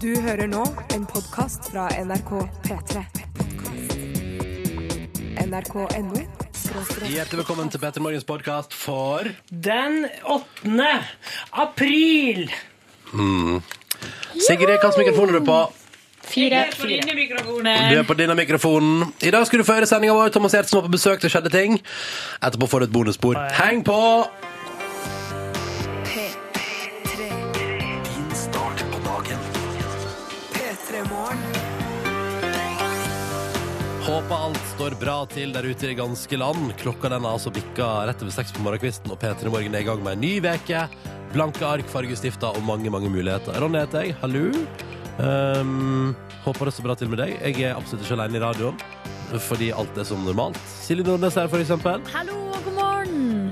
Du hører nå en podkast fra NRK P3. NRK.no Hjertelig velkommen til Petter Morgens podkast for Den 8. april. Sigrid, hvilken mikrofon er du på? Fire, fire. Du er på denne mikrofonen. I dag skal du få høre sendinga vår. Thomas Gjertsen var på besøk til Skjedde ting. Etterpå får du et bonusspor. Heng på! P3. P3 Morgen. Håper alt står bra til der ute i det ganske land. Klokka den har altså bikka rett over seks på morgenkvisten, og P3 Morgen er i gang med en ny veke. Blanke ark, fargestifter og mange, mange muligheter. Ronny heter jeg. Hallo. Um, håper det står bra til med deg. Jeg er absolutt ikke aleine i radioen. Fordi alt er som normalt. Silje Nordnes her, for eksempel. Hallo og god morgen.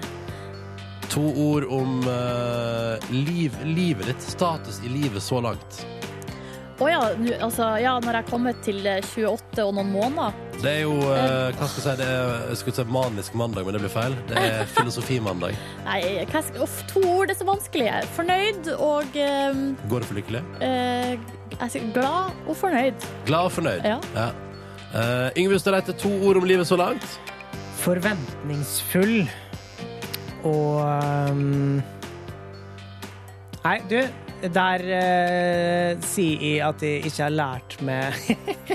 To ord om eh, liv, livet ditt. Status i livet så langt. Å ja, nu, altså, ja, når jeg er kommet til eh, 28 og noen måneder. Det er jo eh, hva skal jeg si, det er, jeg skulle si manisk mandag, men det blir feil. Det er filosofimandag. Nei, hva skal, uff, to ord, det er så vanskelig. Fornøyd og eh, Går det for lykkelig? eh, jeg sier glad og fornøyd. Glad og fornøyd? Ja. Eh, Yngve Hustad Reite, to ord om livet så langt. forventningsfull og um, Nei, du, der eh, sier jeg at jeg ikke har lært meg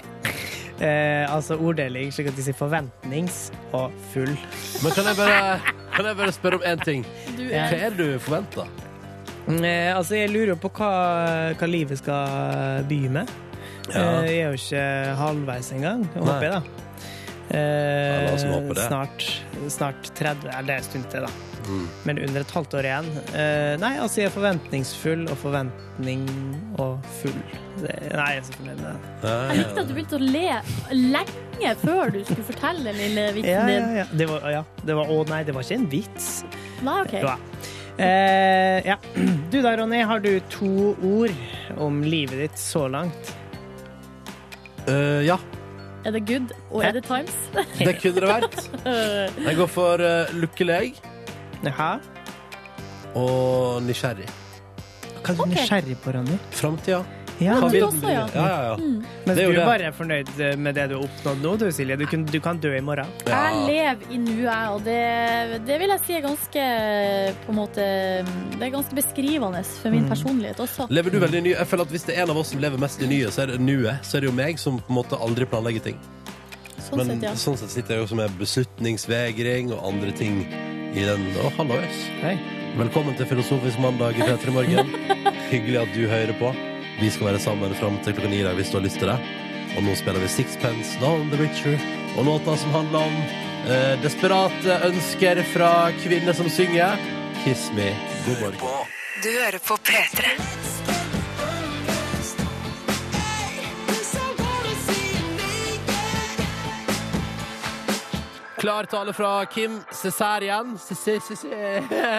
eh, altså orddeling, slik at de sier forventnings og full. Men kan jeg bare, kan jeg bare spørre om én ting? Du eh, Hva er er det du forventer? Eh, altså, jeg lurer på hva, hva livet skal by med. Ja. Eh, jeg er jo ikke halvveis engang, Nei. håper jeg, da. Eh, Ja, la oss håpe det. Snart, snart 30 Eller det er en stund til, da. Mm. Men under et halvt år igjen. Eh, nei, altså, jeg er forventningsfull og forventning og full. Det, nei, jeg er så fornøyd med det. jeg Eh, likte at du begynte å le lenge før du skulle fortelle den lille Ja, vitsen ja, din. ja. Det var, ja, det var Å nei, det var ikke en vits. Nei, OK. Jo da. Eh, ja. Du da, Ronny, har du to ord om livet ditt så langt? Eh, ja, Er det good, og er det times? det kunne det vært. Jeg går for uh, lykkelig Jaha? og nysgjerrig. Hva er du Ok. nysgjerrig på, Ronny? Framtida. Ja, Hva du vil også, den bli? ja. Mm. ja, ja, ja. Mens Det er du jo det. bare er fornøyd eh, med det du har oppnådd nå, du, Silje. Du kan, du kan dø i morgen. Jeg lever i nuet, jeg, og det, det vil jeg si er ganske eh, på en måte, Det er ganske beskrivende for min personlighet også. Lever du veldig ny? Jeg føler at Hvis det er en av oss som lever mest i nye, så er det nuet. Så er det jo meg som på en måte aldri planlegger ting. Sånn Men sett, ja. sånn sett sitter jeg jo som en beslutningsvegring og andre ting i den. Å, hallois. Hei. Velkommen til Filosofisk mandag i P3 Morgen. Hyggelig at du hører på. Vi skal være sammen fram til klokka ni i dag hvis du har lyst til det. Og nå spiller vi Sixpence, Down the Richer og låta som handler om eh, desperate ønsker fra kvinner som synger. Kiss me. God morgen. Du hører på P3. Klar tale fra Kim Cesarian.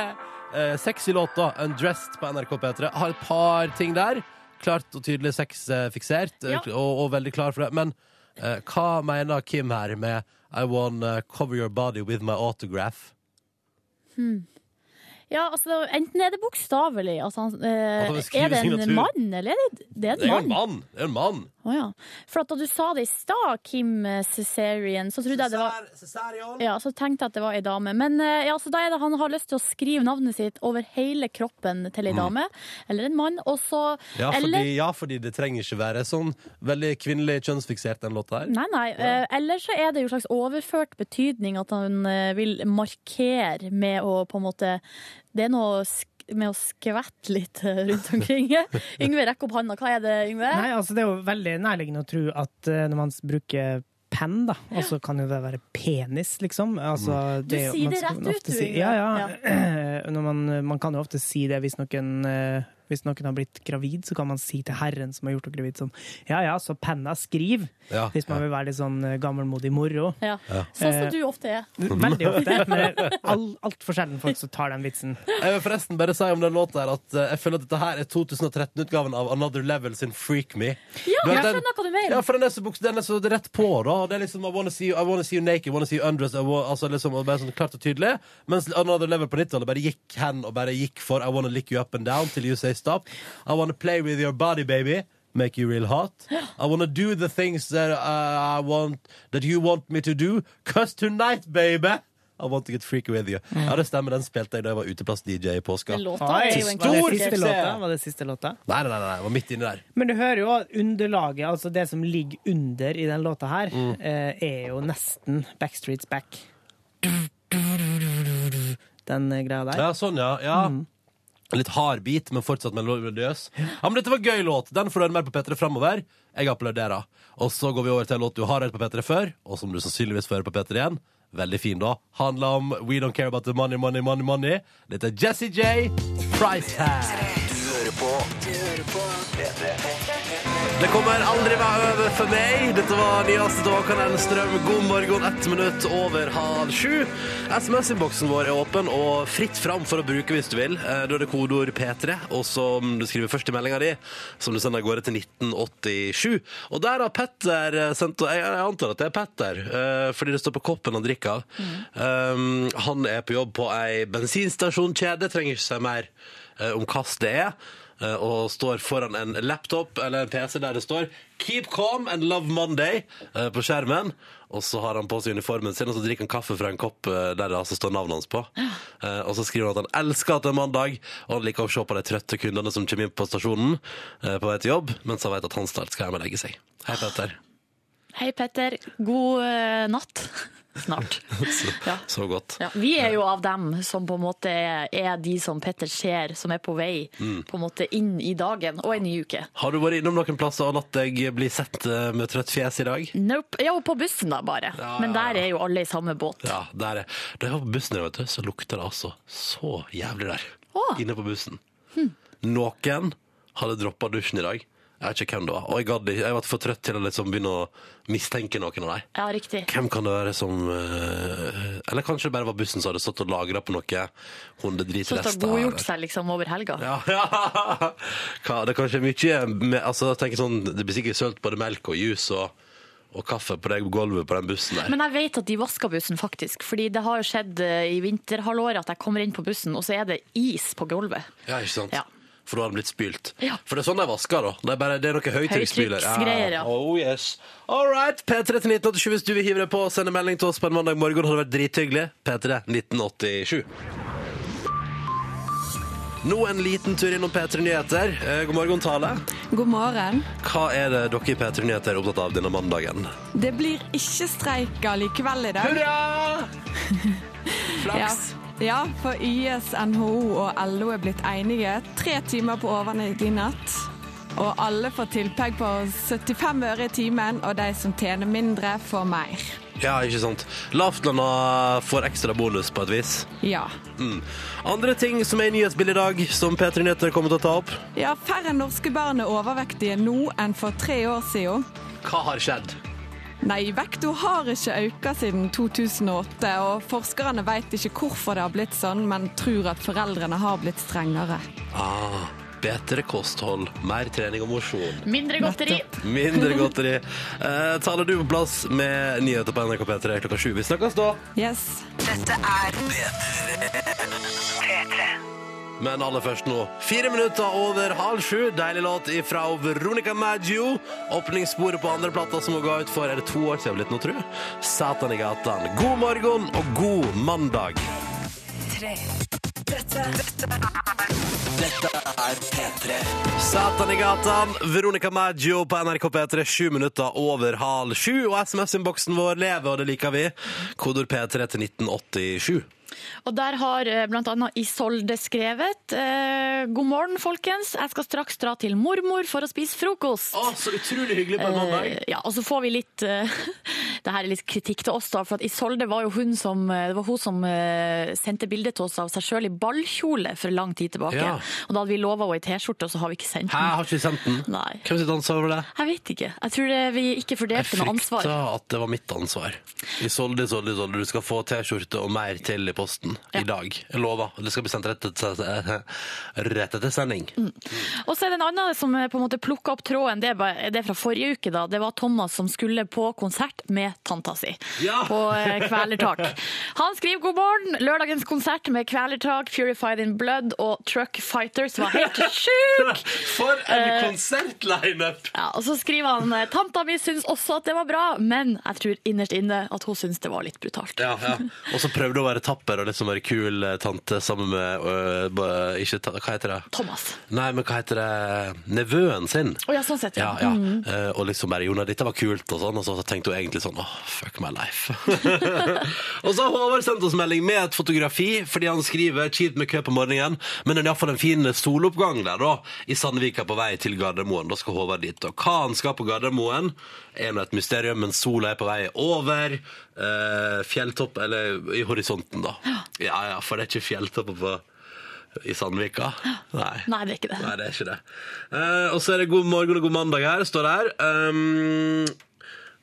Eh, Sexy låta 'Undressed' på NRK P3. Har et par ting der. Klart og tydelig sexfiksert, Ja. og, og veldig klar for det. Men eh, hva mener Kim her med 'I wanna cover your body with my autograph'? ja altså, enten er det bokstavelig altså, han, eh, Han skriver Er det en signatur. mann, eller er det, det er Det er jo en en mann? mann! Det er jo en mann. Å ja. For at da du sa det i stad, Kim eh, Cesarian, så trodde jeg det var ja, så tenkte jeg at det var ei dame. Men eh, ja, så da er det han har lyst til å skrive navnet sitt over hele kroppen til ei dame, eller en mann, og så Mm. Ja eller- fordi, ja, fordi det trenger ikke være sånn veldig kvinnelig kjønnsfiksert, den låta her. Nei, nei. eh, Eller så er det jo en slags overført betydning at han eh, vil markere med å på en måte Det er noe sk med å skvette litt eh, rundt omkring. Yngve, rekk opp handa. Hva er det, Yngve? Nei, altså, det er jo veldig nærliggende å tro at eh, når man s- bruker penn, da, og så kan jo det være penis, liksom. Altså, Mm. Du er jo- sier man det skal rett ofte ut, du, si- Yngve. Ja, ja. Når man, man kan jo ofte si det hvis noen eh, Hvis noen har blitt gravid, så kan man si til herren som har gjort deg gravid, sånn Ja ja, så penna skriv! Ja, Hvis man vil være litt sånn eh, gammelmodig moro. Ja. Sånn Eh, som du ofte er. Veldig ofte, men all, altfor sjelden folk som tar den vitsen. Jeg vil forresten bare si om den låten her at eh, jeg føler at dette her er 2013-utgaven av Another Level sin Freak Me. Ja, Du vet jeg den- skjønner hva du mener. Ja, for den er så, buks- den er så rett på, da. Det er liksom I wanna see you, I wanna see you naked, I wanna see you undressed I wa- altså liksom, og bare sånn klart og tydelig. Mens Another Level på 90-tallet bare gikk hen og bare gikk for I wanna lick you up and down till you say stop. I wanna play with your body, baby. Make you real hot. I wanna do the things that uh, I want That you want me to do. Cause tonight, baby! I want to get freaky with you. Ja, det stemmer. Den spilte jeg da jeg var uteplass-DJ i påska. Den låta Oi, er jo en var stor det siste suksess. låta? Var det siste låta? Nei, nei, nei, nei, jeg var midt inne der. Men du hører jo at underlaget, altså det som ligger under i den låta her, eh, er jo nesten Backstreets Back. Den eh, greia der. Ja, sånn, ja. ja. Litt hard bit, men fortsatt melodiøs. Ja, men Dette var gøy låt. Den får du høre mer på P3 framover. Jeg applauderer. Og så går vi over til en låt du har hørt på P3 før, og som du sannsynligvis får høre på P3 igjen. Veldig fin, da. Handler om We Don't Care About The Money, Money, Money. money Dette er Jesse J. Price Tag. Det kommer aldri være over for meg. Dette var nyeste til Håkan Elstrøm. God morgen, ett minutt over halv sju. SMS-innboksen vår er åpen og fritt fram for å bruke hvis du vil. Eh, Da er det kodeord P3, og som du skriver først i meldinga di, som du sender av gårde til 1987. Og der har Petter eh, sendt og Jeg jeg antar at det er Petter, eh, fordi det står på koppen han drikker av. Um, Han er på jobb på ei bensinstasjonkjede, trenger ikke si mer eh, om hva det er eh, og står foran en laptop eller en PC der det står 'Keep calm and love Monday' eh, på skjermen. Og så har han på seg uniformen sin og så drikker han kaffe fra en kopp eh, der det altså står navnet hans på. Eh, Og så skriver han at han elsker at det er mandag, og han liker å se på de trøtte kundene som kommer inn på stasjonen eh, på vei til jobb, mens han vet at han snart skal hjem og legge seg. Hei, Petter. Hei, Petter. God eh, natt. Snart. Ja. Så godt. Ja, vi er jo av dem som på en måte er de som Petter ser, som er på vei Mm. på en måte inn i dagen og en ny uke. Har du vært innom noen plasser og latt deg bli sett eh, med trøtt fjes i dag? Nope. Ja, og på bussen da, bare. Ja, ja, Men ja. der er jo alle i samme båt. Ja, der er Da jeg var på bussen, her, vet du, så lukta det altså så jævlig der. Åh. Hm. Inne på bussen. Noen hadde droppa dusjen i dag. Jeg vet ikke hvem det var. Og jeg, gadd ikke- jeg var for trøtt til å liksom begynne å mistenke noen av dem. Ja, riktig. Hvem kan det være som eh, Eller kanskje det bare var bussen som hadde stått og lagra på noe Så det har hundedritrester. godgjort seg liksom over helga. Ja, ja. Hva, det er kanskje mye med, altså, jeg tenker sånn, Det blir sikkert sølt både melk og juice og, og kaffe på det gulvet på den bussen der. Men jeg vet at de vasker bussen, faktisk. Fordi det har jo skjedd eh, i vinterhalvåret at jeg kommer inn på bussen, og så er det is på gulvet. Ja, ikke sant? Ja. For da har den blitt spylt. Ja. For det er sånn de vasker, da. Det er, bare, det er noe høytrykksspyler. Høytrykksgreier, ja. Oh yes. All right. P3 til 1987 hvis du vil hive deg på og sende melding til oss på en mandag morgen. Hadde vært drithyggelig. P3 1987. Nå en liten tur innom P3 Nyheter. Eh, God morgen, Tale. God morgen. Hva er det dere i P3 Nyheter er opptatt av denne mandagen? Det blir ikke streiker likevel i dag. Hurra! Flaks. Ja. ja, for YS, NHO og LO er blitt enige. Tre timer på overnitt i natt. Og alle får tilpegg på 75 øre i timen, og de som tjener mindre, får mer. Ja, ikke sant. Lavtlanda får ekstra bonus på et vis. Ja. Mm. Andre ting som er i nyhetsbildet i dag, som P3 Nyheter kommer til å ta opp. ja, færre norske barn er overvektige nå enn for tre år siden. Hva har skjedd? Nei, vekta har ikke økt siden 2008, og forskerne vet ikke hvorfor det har blitt sånn, men tror at foreldrene har blitt strengere. Ah, bedre kosthold, mer trening og mosjon. Mindre godteri. Mindre godteri. Eh, taler du på plass med nyheter på NRK P3 klokka sju. Vi snakkes da. Yes. Men aller først nå, fire minutter over halv sju. Deilig låt ifra Veronica Maggio. Åpningssporet på andre plata som hun ga ut for er det to år siden blitt nå, tru. Satan i gatan. God morgen og god mandag. Satan i gatan, Veronica Maggio på NRK P3, sju minutter over halv sju. Og SMS-innboksen vår lever, og det liker vi. Kodord P3 til 1987. Og der har eh, blant annet Isolde skrevet eh, God morgen, folkens. Jeg skal straks dra til mormor for å spise frokost. Å, så utrolig hyggelig på en mandag. Eh, ja, og så får vi litt eh, Det her er litt kritikk til oss, da. For at Isolde var jo hun som eh, Det var hun som eh, sendte bilde til oss av seg sjøl i ballkjole for lang tid tilbake. Ja. Og da hadde vi lova henne ei T-skjorte, og så har vi ikke sendt Hæ, den. har ikke vi sendt den? Nei. Hvem sitt ansvar var det? Jeg vet ikke. Jeg tror det, vi ikke Jeg fordelte noe ansvar. frykta at det var mitt ansvar. Isolde, Isolde, Isolde, du skal få T-skjorte og mer til i posten i dag. Jeg lover. Det skal bli sendt rett etter, rett etter sending. Mm. Og så er det en annen som eh, på en måte plukka opp tråden, det er, bare, det er fra forrige uke. da, Det var Thomas som skulle på konsert med tanta si Ja. på eh, Kvelertak. Han skriver god morgen. Lørdagens konsert med Kvelertak, Purified in Blood og Truck Fighters var helt sjuk! For Eh. en konsertlineup! Ja, og så skriver han eh, tanta mi syns også at det var bra, men jeg tror innerst inne at hun syns det var litt brutalt. Ja, ja. Og så prøvde hun å være tapper og liksom være kul eh, tante sammen med øh, b- ikke, ta- Hva heter det? Thomas. Nei, men hva heter det? Nevøen sin. Å ja, sånn sett, ja. Ja, ja. Eh, og liksom bare 'Jona, dette var kult', og sånn. Og så tenkte hun egentlig sånn 'Åh, fuck my life'. og så har Håvard sendt oss melding med et fotografi, fordi han skriver 'kjipt med kø på morgenen', men det er iallfall en fin soloppgang der, da. I Sandvika på vei til Gardermoen. Da skal Håvard dit. Og hva han skal på Gardermoen, er nå et mysterium, men sola er på vei over eh, fjelltopp Eller i horisonten, da. Ja ja, for det er ikke fjelltopper på i Sandvika? Nei. Nei, det er ikke det. Nei, det er ikke det. Eh, og så er det god morgen og god mandag her, står det her. Um,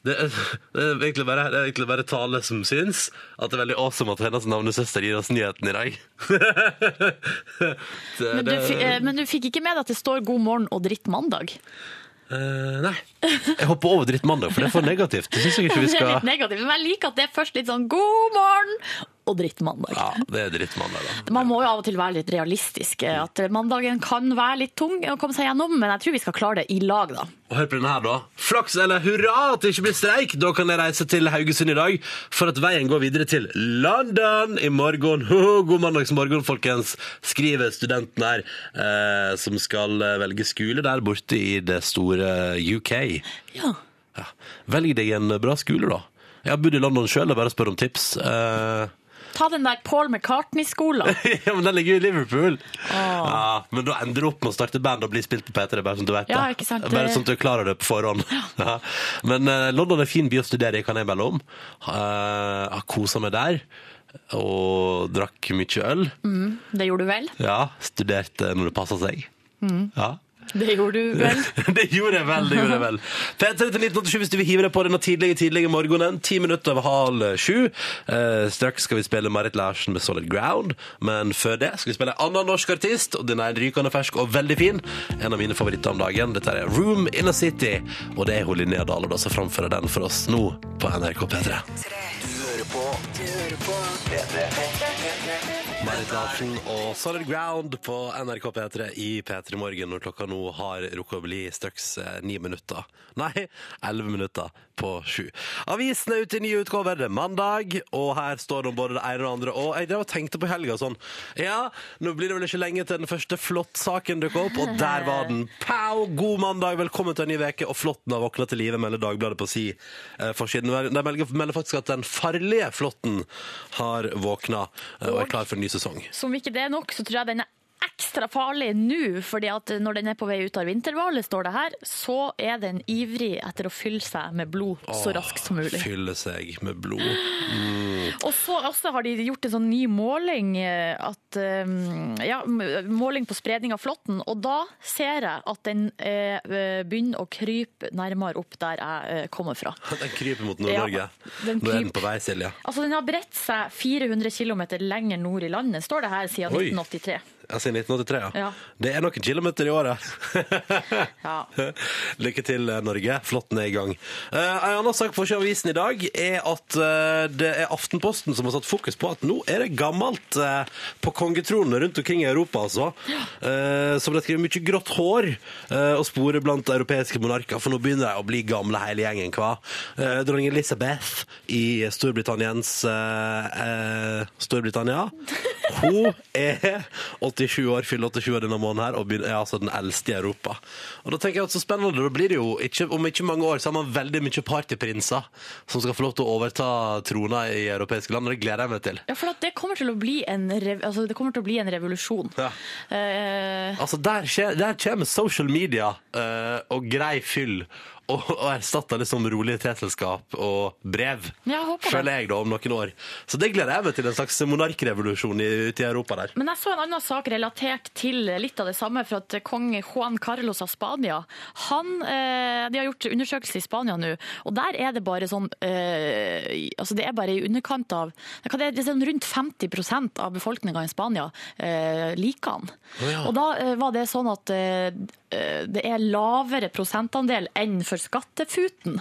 det, er, det, er egentlig bare, det er egentlig bare Tale som syns at det er veldig awesome at hennes navnesøster gir oss nyheten i dag. det, Men du, det- fi- eh, men du fikk ikke med deg at det står 'God morgen' og 'dritt mandag'? Eh, nei. Jeg hopper over drittmandag, for det er for negativt. Det syns jeg ikke vi Det er litt skal negativt, men jeg liker at det er først litt sånn god morgen og drittmandag. Ja, det er drittmandag, da. Man må jo av og til være litt realistisk. eh, At mandagen kan være litt tung å komme seg gjennom, men jeg tror vi skal klare det i lag, da. Og hør på denne her, da. Flaks eller hurra at det ikke blir streik! Da kan jeg reise til Haugesund i dag, for at veien går videre til London i morgen. Ho, ho, God mandagsmorgen, folkens, skriver studenten her, eh, som skal eh, velge skole der borte i det store UK. Ja. Ja. Velg deg en bra skole, da. Jeg har bodd i London sjøl, bare spør om tips. Eh, Ta den der Paul McCartney-skolen. ja, men den ligger jo i Liverpool. Ja, men da ender du opp med å starte band og bli spilt på P3, bare sånn at du vet Ja, det. ikke sant, det- Bare sånn at du klarer det på forhånd. Ja. Men eh, London er fin by å studere i, kan jeg melde om. Uh, har kosa meg der. Og drakk mye øl. Mm. Det gjorde du vel? Ja, studerte når det passa seg. Mm. Ja. Det gjorde du vel. det gjorde jeg vel, det gjorde jeg vel. P3 til 1987 hvis du vil hive deg på denne tidlige, tidlige morgenen. Ti minutter over halv sju. Eh, straks skal vi spille Marit Larsen med Solid Ground, men før det skal vi spille en annen norsk artist, og den er rykende fersk og veldig fin. En av mine favoritter om dagen. Dette er Room in a City, og det er hun Linnea Dahl, og da så framfører den for oss nå på NRK P3. Marit Larsen og Solid Ground på NRK P3 i P3 Morgen når klokka nå har rukket å bli straks eh, ni minutter. Nei, elleve minutter på sju. Avisen er ute i nye utgaver, det er mandag, og her står det om både det ene og det andre. Og jeg drev og tenkte på helga sånn Ja, nå blir det vel ikke lenge til den første flåttsaken dukker opp, og der var den. Pow! God mandag, velkommen til en ny veke, og flåtten har våkna til live, melder Dagbladet på si eh, forsiden. De melder, melder faktisk at den farlige flåtten har våkna eh, og er klar for en ny sesong. Som ikke det er nok, så tror jeg den er ekstra farlig nå, fordi at når den er på vei ut av vinterhvalet, står det her, så er den ivrig etter å fylle seg med blod så raskt som mulig. Fylle seg med blod. Og så også har de gjort en sånn ny måling, eh, at, eh, ja, m- måling på spredning av flåtten, og da ser jeg at den eh, eh, begynner å krype nærmere opp der jeg eh, kommer fra. Den kryper mot Nord-Norge. Ja, den Nå er den kryp- på vei, Silje. Altså, den har bredt seg 400 km lenger nord i landet, står det her siden Oi. 1983. Ja, Siden 1983, ja. Ja. Det er noen kilometer i året. Ja. Lykke til, eh, Norge. Flåtten er i gang. Eh, en annen sak på avisen i dag er at eh, det er Aftenposten som har satt fokus på at nå er det gammelt eh, på kongetronene rundt omkring i Europa, altså. Eh, som de skriver, mye grått hår eh, og sporer blant europeiske monarker, for nå begynner de å bli gamle hele gjengen, hva? Eh, dronning Elizabeth i Storbritanniens eh, eh, Storbritannia. Hun er 85 87 år, fyller 87 år denne måneden her, og begynner- er altså den eldste i Europa. Og da tenker jeg at så spennende, da blir det jo, ikke, om ikke mange år, så har man veldig mye partyprinser som skal få lov til å overta trona i europeiske land, og det gleder jeg meg til. Ja, for at det kommer til å bli en, rev altså, det kommer til å bli en revolusjon. Ja. Eh, Altså, der, skjer, der kommer social media eh, og grei fyll og, og erstatter liksom rolige teselskap og brev, Ja, jeg håper det. føler jeg da, om noen år. Så det gleder jeg meg til, en slags monarkrevolusjon i, ute i Europa der. men jeg så en annen sak relatert til litt av det samme, for at kong Juan Carlos av Spania han, eh, De har gjort undersøkelse i Spania nå, og der er det bare sånn eh, altså Det er bare i underkant av hva det er, det er sånn Rundt 50 av befolkninga i Spania eh, liker han. ja. Og da eh, var det sånn at eh, eh, det er lavere prosentandel enn for skattefuten.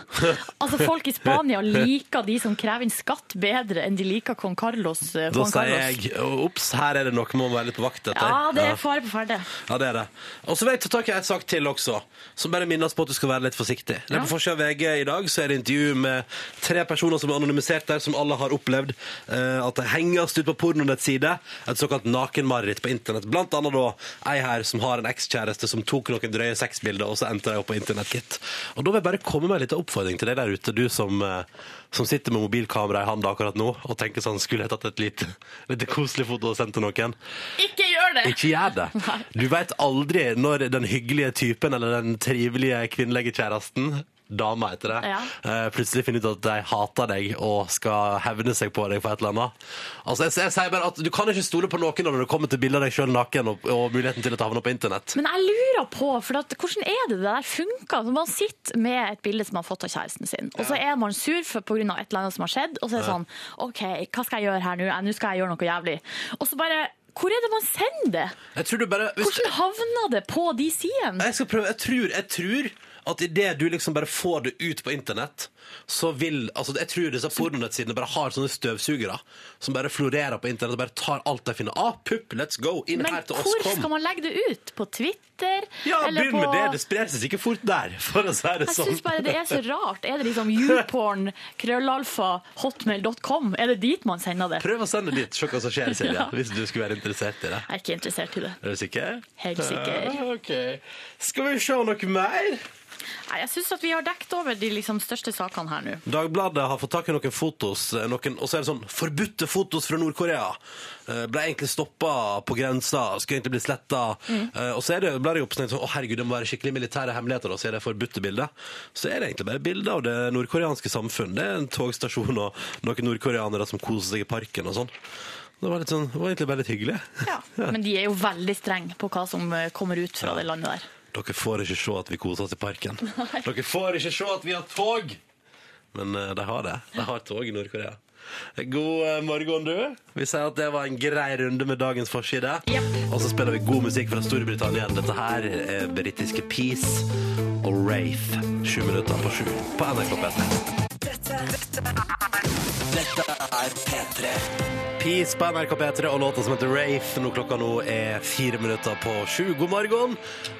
Altså Folk i Spania liker de som krever inn skatt bedre enn de liker kong Carlos. eh, Da Juan sier Carlos. jeg ops, her er det noe man må være litt på vakt etter. Ja, det er fare på ferde. Ja, det er det. Og så vil jeg ta tak i en sak til også, som bare minner oss på at du skal være litt forsiktig. Det er På forsida av VG i dag så er det intervju med tre personer som er anonymisert der, som alle har opplevd eh, at det henges ut på pornonettside. Et såkalt nakenmareritt på internett. Blant annet da ei her som har en ekskjæreste som tok noen drøye sexbilder, og så endte de opp på internett, gitt. Og da vil jeg bare komme med en liten oppfordring til deg der ute, du som, eh, som sitter med mobilkamera i handa akkurat nå, og tenker sånn, skulle jeg tatt et lite, lite koselig foto og sendt til noen? Ikke gjør det! Ikke gjør det. Du veit aldri når den hyggelige typen eller den trivelige kvinnelige kjæresten Dama heter det. Ja. eh, Plutselig finner ut at de hater deg og skal hevne seg på deg for et eller annet. Altså, jeg, jeg sier bare at Du kan ikke stole på noen når det kommer til bilder av deg sjøl naken og, og muligheten til å havne på internett. Men jeg lurer på, for at, hvordan er det det der funker? Når man sitter med et bilde som man har fått av kjæresten sin, og så er man sur for, på grunn av et eller annet som har skjedd, og så er det sånn, ok, hva skal jeg gjøre her nå? Eh, Nå skal jeg gjøre noe jævlig. Og så bare, hvor er det man sender det? Jeg tror du bare hvis, Hvordan havner det på de sidene? Jeg skal prøve. Jeg tror, jeg tror at idet du liksom bare får det ut på internett, så vil altså Jeg tror disse pornonettsidene bare har sånne støvsugere som bare florerer på internett og bare tar alt de finner. Ah, pupp, let's go! Inn Men her til oss, hvor kom! skal man legge det ut? På Twitter? ja, Eller begynn med på- det. Det sprer seg ikke fort der, for å si det Jeg sånn. syns bare det er så rart. Er det liksom youporn, krøllalfa, hotmail.com? Er det dit man sender det? Prøv å sende dit, se hva som skjer, Silje, Ja. hvis du skulle være interessert i det. Jeg er ikke interessert i det. Er du sikker? Helt sikker. Ja, Ah, ok. Skal vi se noe mer? Nei, jeg syns at vi har dekt over de liksom største sakene her nå. Dagbladet har fått tak i noen fotos, eh, noen, og så er det sånn forbudte fotos fra Nord-Korea. Eh, Ble egentlig stoppa på grensa, skulle egentlig bli sletta. Og så er det, ble det jo oppsnakket sånn å herregud, det må være skikkelig militære hemmeligheter, og så er det forbudte bilder. Så er det egentlig bare bilder av det nordkoreanske samfunn. Det er en togstasjon og noen nordkoreanere som koser seg i parken og sånn. Det var, litt sånn, det var egentlig bare litt hyggelig. Men de er jo veldig strenge på hva som eh, kommer ut fra det landet der. Dere får ikke se at vi koser oss i parken. Dere får ikke se at vi har tog! Men eh, de har det. De har tog i Nord-Korea. God eh, morgen, du. Vi sier at det var en grei runde med dagens forside. Yep. Og så spiller vi god musikk fra Storbritannia. Dette her er britiske Peace og Wraith. Sju minutter på sju på NRK P3. Peace på NRK P3 og låta som heter Rafe. Nå klokka nå er fire minutter på sju. God morgen.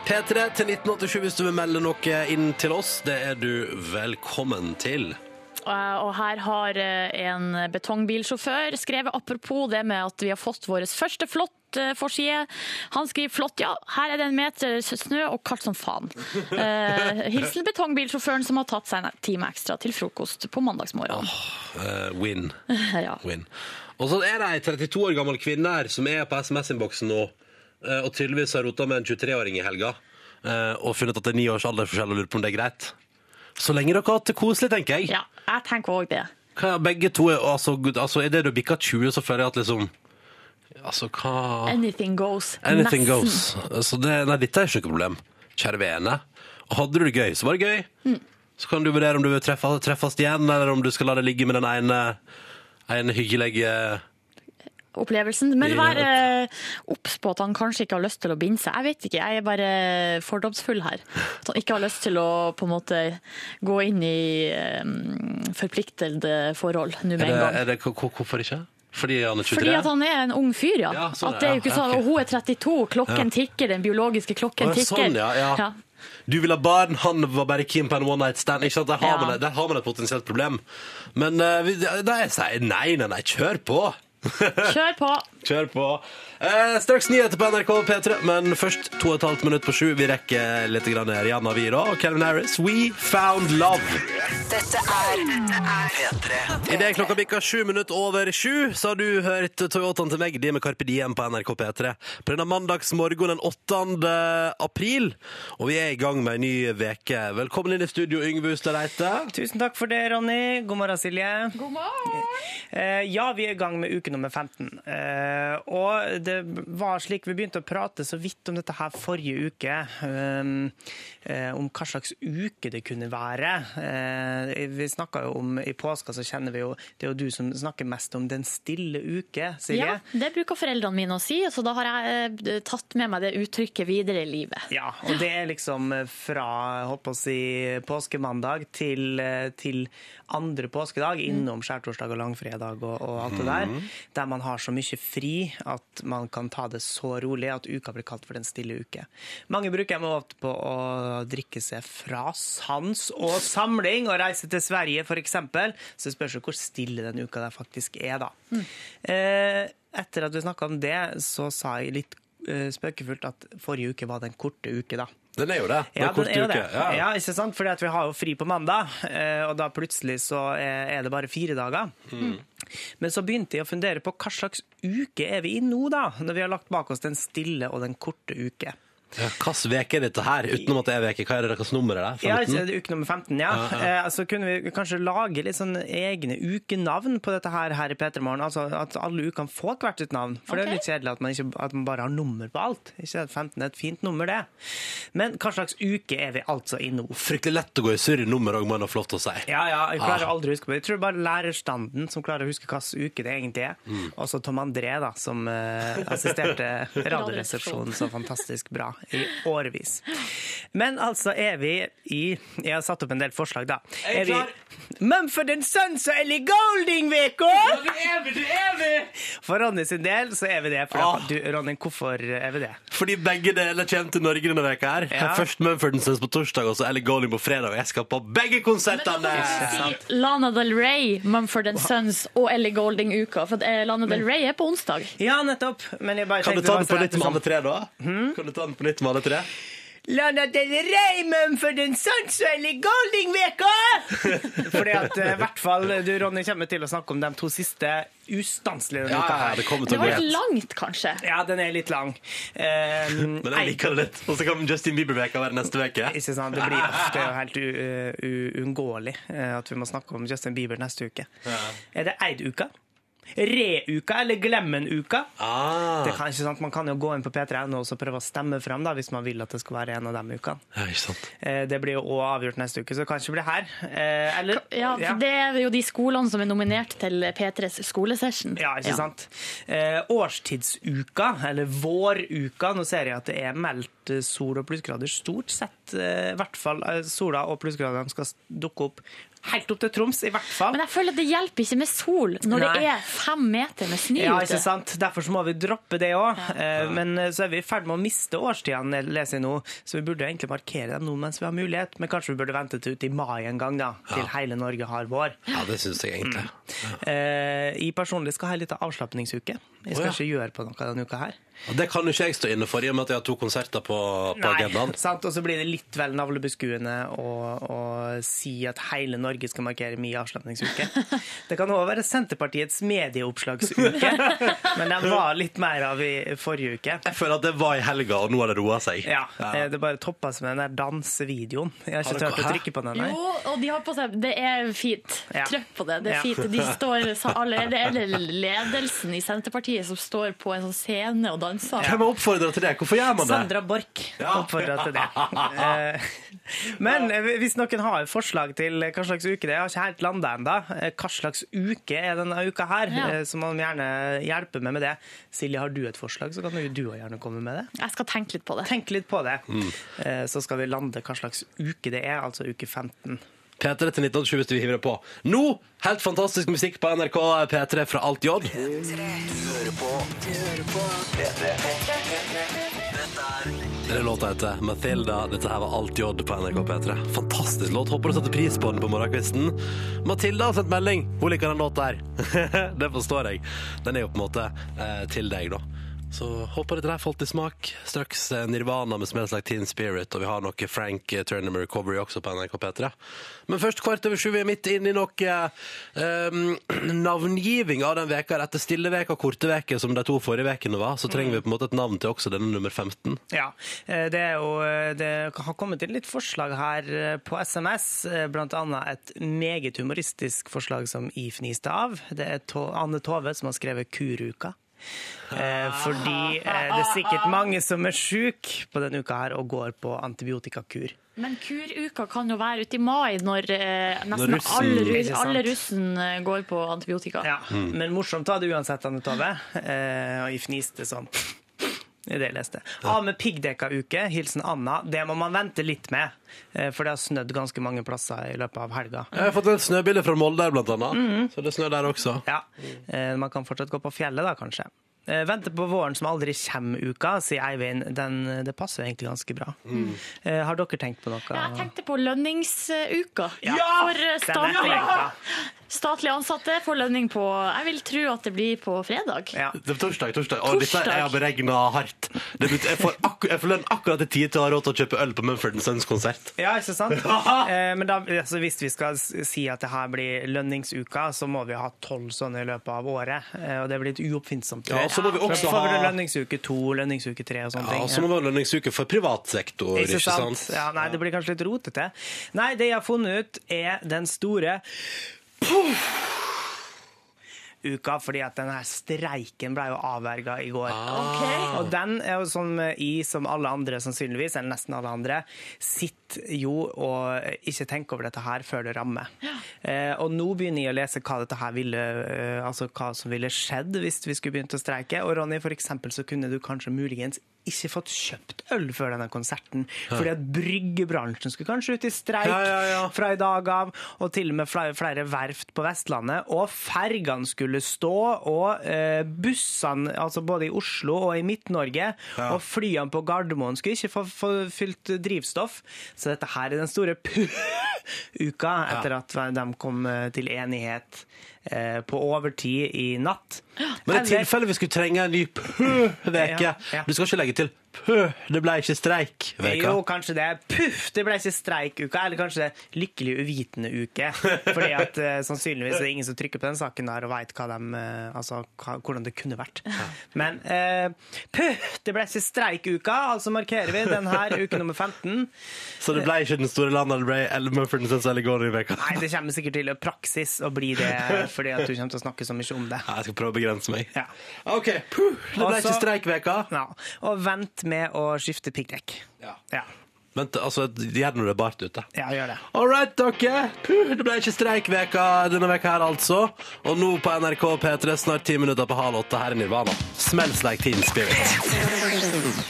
P3 til 1987 hvis du vil melde noe inn til oss. Det er du velkommen til. Og, og her har eh, en betongbilsjåfør skrevet apropos det med at vi har fått vår første flott eh, forside. Han skriver flott, ja, her er det en meter snø og kaldt som faen. Eh, hilsen betongbilsjåføren som har tatt seg en time ekstra til frokost på mandagsmorgen. Eh, win. Ja. Win. Og så er det ei 32 år gammel kvinne her som er på SMS-innboksen nå, eh, og tydeligvis har rota med en 23-åring i helga, eh, og funnet at det er ni års aldersforskjell og lurer på om det er greit. Så lenge dere har hatt det koselig, tenker jeg. ja, jeg tenker òg det. Hva, begge to er altså, gud, altså, Idet du bikker 20, så føler jeg at liksom Altså, hva Anything goes. Anything Nesten. goes. Så det, nei, dette er ikke noe problem. Kjære vene. Og Hadde du det gøy, så var det gøy. Mm. Så kan du vurdere om du vil treffe, treffes igjen, eller om du skal la det ligge med den ene, ene hyggelige opplevelsen. Men Ja. vær eh, obs på at han kanskje ikke har lyst til å binde seg. Jeg vet ikke, jeg er bare fordomsfull her. At han ikke har lyst til å på en måte gå inn i eh, forpliktede forhold er nå med det, en gang. er det, hvor- Hvorfor ikke? Fordi han er 23? Fordi at han er en ung fyr, ja. Ja, sånn, at det er jo ikke ja, sånn, ja, ok. og Hun er 32, klokken tikker, den biologiske klokken Å, ja, tikker. sånn, ja, ja. Du vil ha barn, han var bare keen på en one night stand. Ikke sant? Der, har Ja. man, et- der har man et potensielt problem. Men eh, vi- da jeg sier nei, nei, nei, kjør på. Kjør på! Kjør på. Eh, straks nyheter på NRK P3, men først to og et halvt minutt på sju. Vi rekker litt grann Rihanna vi da, og Calvin Harris. We found love. Dette er, Idet klokka bikka sju minutter over sju, så har du hørt Toyotaen til meg, de med Carpe Diem på NRK P3. På denne mandagsmorgenen den 8. april, og vi er i gang med ei ny veke. Velkommen inn i studio, Yngve Hustad Reite. Tusen takk for det, Ronny. God morgen, Silje. God morgen! Eh, ja, vi er i gang med uke nummer 15. Eh, og det var slik vi begynte å prate så vidt om dette her forrige uke. Um, eh, om hva slags uke det kunne være. Eh, vi snakka jo om I påska så kjenner vi jo Det er jo du som snakker mest om den stille uke, Silje. Ja, det bruker foreldrene mine å si, så da har jeg eh, tatt med meg det uttrykket videre i livet. Ja, og det er liksom fra holdt på å si, påskemandag til, eh, til andre påskedag, innom skjærtorsdag og langfredag og, og alt det der, der man har så mye fri at man kan ta det så rolig at uka blir kalt for den stille uke. Mange bruker jeg måte på å drikke seg fra sans og samling og reise til Sverige f.eks., så det spørs jo hvor stille den uka der faktisk er, da. Eh, etter at vi snakka om det, så sa jeg litt eh, spøkefullt at forrige uke var den korte uke, da. Den er jo det. Den er Ja, den kort er jo uke. det. Ja. ikke sant? Fordi at vi har jo fri på mandag, eh, og da plutselig så eh, er er det bare fire dager. Men så begynte jeg å fundere på hva slags uke er vi i nå, da? Når vi har lagt bak oss den stille og den korte uke. Ja, Hvilken uke er dette her, utenom at det er veke? Hva er det deres nummer er? det? Ja, 15? altså, uke nummer 15, ja. Eh, så kunne vi kanskje lage litt sånn egne ukenavn på dette her her i Petermorgen. Altså at alle ukene får hvert sitt navn. For det Ok. er litt kjedelig at man, ikke, at man bare har nummer på alt. Ikke at 15 er et fint nummer, det. Men hva slags uke er vi altså i nå? Fryktelig lett å gå i surr i nummer òg, må en ha lov til å si. Ja, ja, jeg klarer aldri å huske på det. Jeg tror det er bare lærerstanden som klarer å huske hvilken uke det egentlig er. Og så Tom André, da, som eh, assisterte Radioresepsjonen så fantastisk bra i årevis. Men altså er vi i Jeg har satt opp en del forslag, da. Er vi Mumford Sons og Ellie Golding-veka! Det er vi, det er vi! For Ronny sin del så er vi det. For Ah. at du, Ronny, hvorfor er vi det? Fordi begge deler kommer til Norge denne veka her. Ja. Først Mumford Sons på torsdag og så Ellie Goulding på fredag. Og jeg skal på begge konsertene! Lana Del Rey, Mumford Sons og Ellie Golding-uka. For eh, Lana Del Rey er på onsdag. Mm. Ja, nettopp. Men jeg bare Kan du tenkte ta det den på var så nytt med ettersom- alle tre, da? Hmm? Kan du ta den på nytt med alle tre? Lana Del Rey, Mumford Sons og Ellie Golding-veka! Fordi at eh, i hvert fall du, Ronny, kommer til å snakke om de to siste ustanselig denne Ja, uka ja, her. det kommer Det til å var gå litt helt. langt, kanskje. Ja, den er litt lang. Ehm, Men jeg liker det litt. Og så kan Justin Bieber-veka være neste veke. nei, Ikke sant? Det blir ofte jo helt u- u- uunngåelig eh, at vi må snakke om Justin Bieber neste uke. Er det Eid-uka? Re-uka eller Glemmen-uka? Det Ah, kan, ikke sant? Man kan jo gå inn på P3.no og så prøve å stemme fram da, hvis man vil at det skal være en av de ukene. ja, ikke sant. Eh, Det blir jo også avgjort neste uke, så kanskje det blir her. Eh, Eller, Ja, for Det er jo de skolene som er nominert til P3s skolesession. Ja, ikke sant? Eh, årstidsuka, eller våruka, nå ser jeg at det er meldt eh, sol- og plussgrader stort sett. eh, I hvert fall eh, sola og plussgradene skal s- dukke opp helt opp til Troms, i hvert fall. Men jeg føler at det hjelper ikke med sol når Nei. det er fem meter med snø Ja, ikke ute. sant? Derfor så må vi droppe det òg. Men eh, så er vi i ferd med å miste årstidene, leser jeg nå, så vi burde egentlig markere dem nå mens vi har mulighet. Men kanskje vi burde vente til ut i mai en gang, da, til hele Norge har vår. Ja, det syns jeg egentlig. Mm. Eh, Jeg personlig skal ha en liten avslapningsuke. Jeg Å, skal ja. ikke gjøre på noe denne uka her. Og det kan jo ikke jeg stå inne for, i og med at jeg har to konserter på, på agendaen. sant? Og så blir det litt vel navlebeskuende å, å si at hele Norge skal markere min avslapningsuke. Det kan også være Senterpartiets medieoppslagsuke, men den var litt mer av i forrige uke. Jeg føler at det var i helga, og nå har det roa seg. Ja, eh, Det bare toppa seg med den der dansevideoen. Jeg har Har ikke dere- turt å hæ? trykke på den. Nei. Jo, og de har på seg Det er fint. Ja. Trykk på det. Det er Ja. fint. De står sa alle, Det er det ledelsen i Senterpartiet som står på en sånn scene og danser. Hvem har oppfordra til det? Hvorfor gjør man det? Sandra Borch oppfordra til det. Eh, Men eh, hvis noen har forslag til hva slags uke det er, jeg har ikke helt landa ennå. Hva slags uke er denne uka her? Ja. Eh, Så må de gjerne hjelpe meg med det. Silje, har du et forslag, så kan jo du også gjerne komme med det. Jeg skal tenke litt på det. Tenk litt på det, Eh, så skal vi lande hva slags uke det er, altså uke 15. P3 til 1920 hvis du vil hive deg på. Nå, helt fantastisk musikk på NRK P3 fra Alt J. Du hører på. Du hører på. P3. Dette er Det er låta heter Mathilda. Dette her var Alt J på NRK P3. Fantastisk låt. Håper du setter pris på den på morgenkvisten. Mathilda har sendt melding. Hun liker den låta her. det forstår jeg. Den er jo på en måte eh, til deg, da. Så håper dette her falt i smak. Straks eh, Nirvana med 'Smells Like Teen Spirit', og vi har noe Frank eh, Turner med 'Recovery' også på NRK P3. Men først kvart over sju, vi er midt inne i noe eh, navngiving av den veka. Etter stille veka og korte veker som de to forrige vekene var, så trenger vi på en måte et navn til også denne nummer 15. Ja, eh, det er jo eh, Det har kommet inn litt forslag her eh, på SMS, eh, blant annet et meget humoristisk forslag som jeg fniste av. Det er To- Anne Tove som har skrevet Kuruka. Eh, fordi eh, det er sikkert mange som er sjuke på denne uka her og går på antibiotikakur. Men kuruka kan jo være ute i mai, når eh, nesten Når russen- alle, Ikke ru- sant? alle russen eh, går på antibiotika. Ja, Men morsomt var det uansett, Anne Tove. Eh, og jeg fniste sånn. Det er det jeg leste. Av med piggdekka-uke, hilsen Anna. Det må man vente litt med, eh, for det har snødd ganske mange plasser i løpet av helga. Jeg har fått et snøbilde fra Molde her, blant annet. Så det snør der også. Mm. Ja, eh, Man kan fortsatt gå på fjellet, da, kanskje. Eh, Vente på våren som aldri kommer-uka, sier Eivind. Den, det passer jo egentlig ganske bra. Mm. Eh, Har dere tenkt på noe? Ja, Jeg tenkte på lønningsuka. Ja! For eh, Den er statlig, flink, statlig ansatte får lønning på Jeg vil tro at det blir på fredag. da. Ja. Det er torsdag. torsdag. Og dette Torsdag. jeg har beregna hardt. Det betyr, jeg, får akku, jeg får lønn akkurat til tid til å ha råd til å kjøpe øl på Mumford Sons konsert. Ja, ikke sant? Eh, Men da, altså, hvis vi skal s- si at det her blir lønningsuka, så må vi ha tolv sånne i løpet av året. Eh, Og det blir litt uoppfinnsomt. Ja, så må vi Så også får vi ha lønningsuke to, lønningsuke tre og sånne ja, ting. så må vi ha lønningsuke for privat sektor, Ikke sant? Ja. Ja, nei, det blir kanskje litt rotete. Nei, det jeg har funnet ut, er den store uka, fordi at denne streiken ble jo avverga i går. Og den er jo som i, som alle andre sannsynligvis, eller nesten alle andre, sitter jo og ikke tenker over dette her før det rammer. Eh, og nå begynner jeg å lese hva dette her ville, eh, altså hva som ville skjedd hvis vi skulle begynt å streike. Og Ronny, for eksempel så kunne du kanskje muligens ikke fått kjøpt øl før denne konserten, fordi at bryggebransjen skulle kanskje ut i streik Ja, ja, ja. fra i dag av, og til og med flere, flere verft på Vestlandet. Og fergene skulle stå, og eh, bussene, altså både i Oslo og i Midt-Norge, og flyene på Gardermoen skulle ikke få, få fylt drivstoff. Så dette her er den store pu-uka etter at de kom eh, til enighet eh, på overtid i natt. Men i Eller- tilfelle vi skulle trenge en ny pø-veke Ja, ja. Du skal ikke legge til pø, det ble ikke streik-veka. Jo, kanskje det. Puff, det ble ikke streikuka. Eller kanskje det lykkelig uvitende uke. Fordi at eh, sannsynligvis er det ingen som trykker på den saken der og veit hva dem, eh, altså, hva, hvordan det kunne vært. Men eh, puff, det ble ikke streikuka, altså markerer vi denne uke nummer 15. Så det ble ikke Den store landa, det ble eller Mumford Sons eller Gårdøy-veka. Nei, det kommer sikkert til å praksis å bli det, fordi at du kommer til å snakke så mye om det. Ja, Jeg skal prøve å begrense meg. Ja. Altså- OK. Puh, det ble Og ikke så- streik-veka. Ja. Og vent med å skifte piggdekk. Ja. Ja. Vent, altså, gjør det når det er bart ute. ja, gjør det. All right, dere. Puh, det ble ikke streikveka denne veka her, altså. Og nå på NRK P3, snart ti minutter på halv åtte. Her er Nirvana. Smells like teen spirit.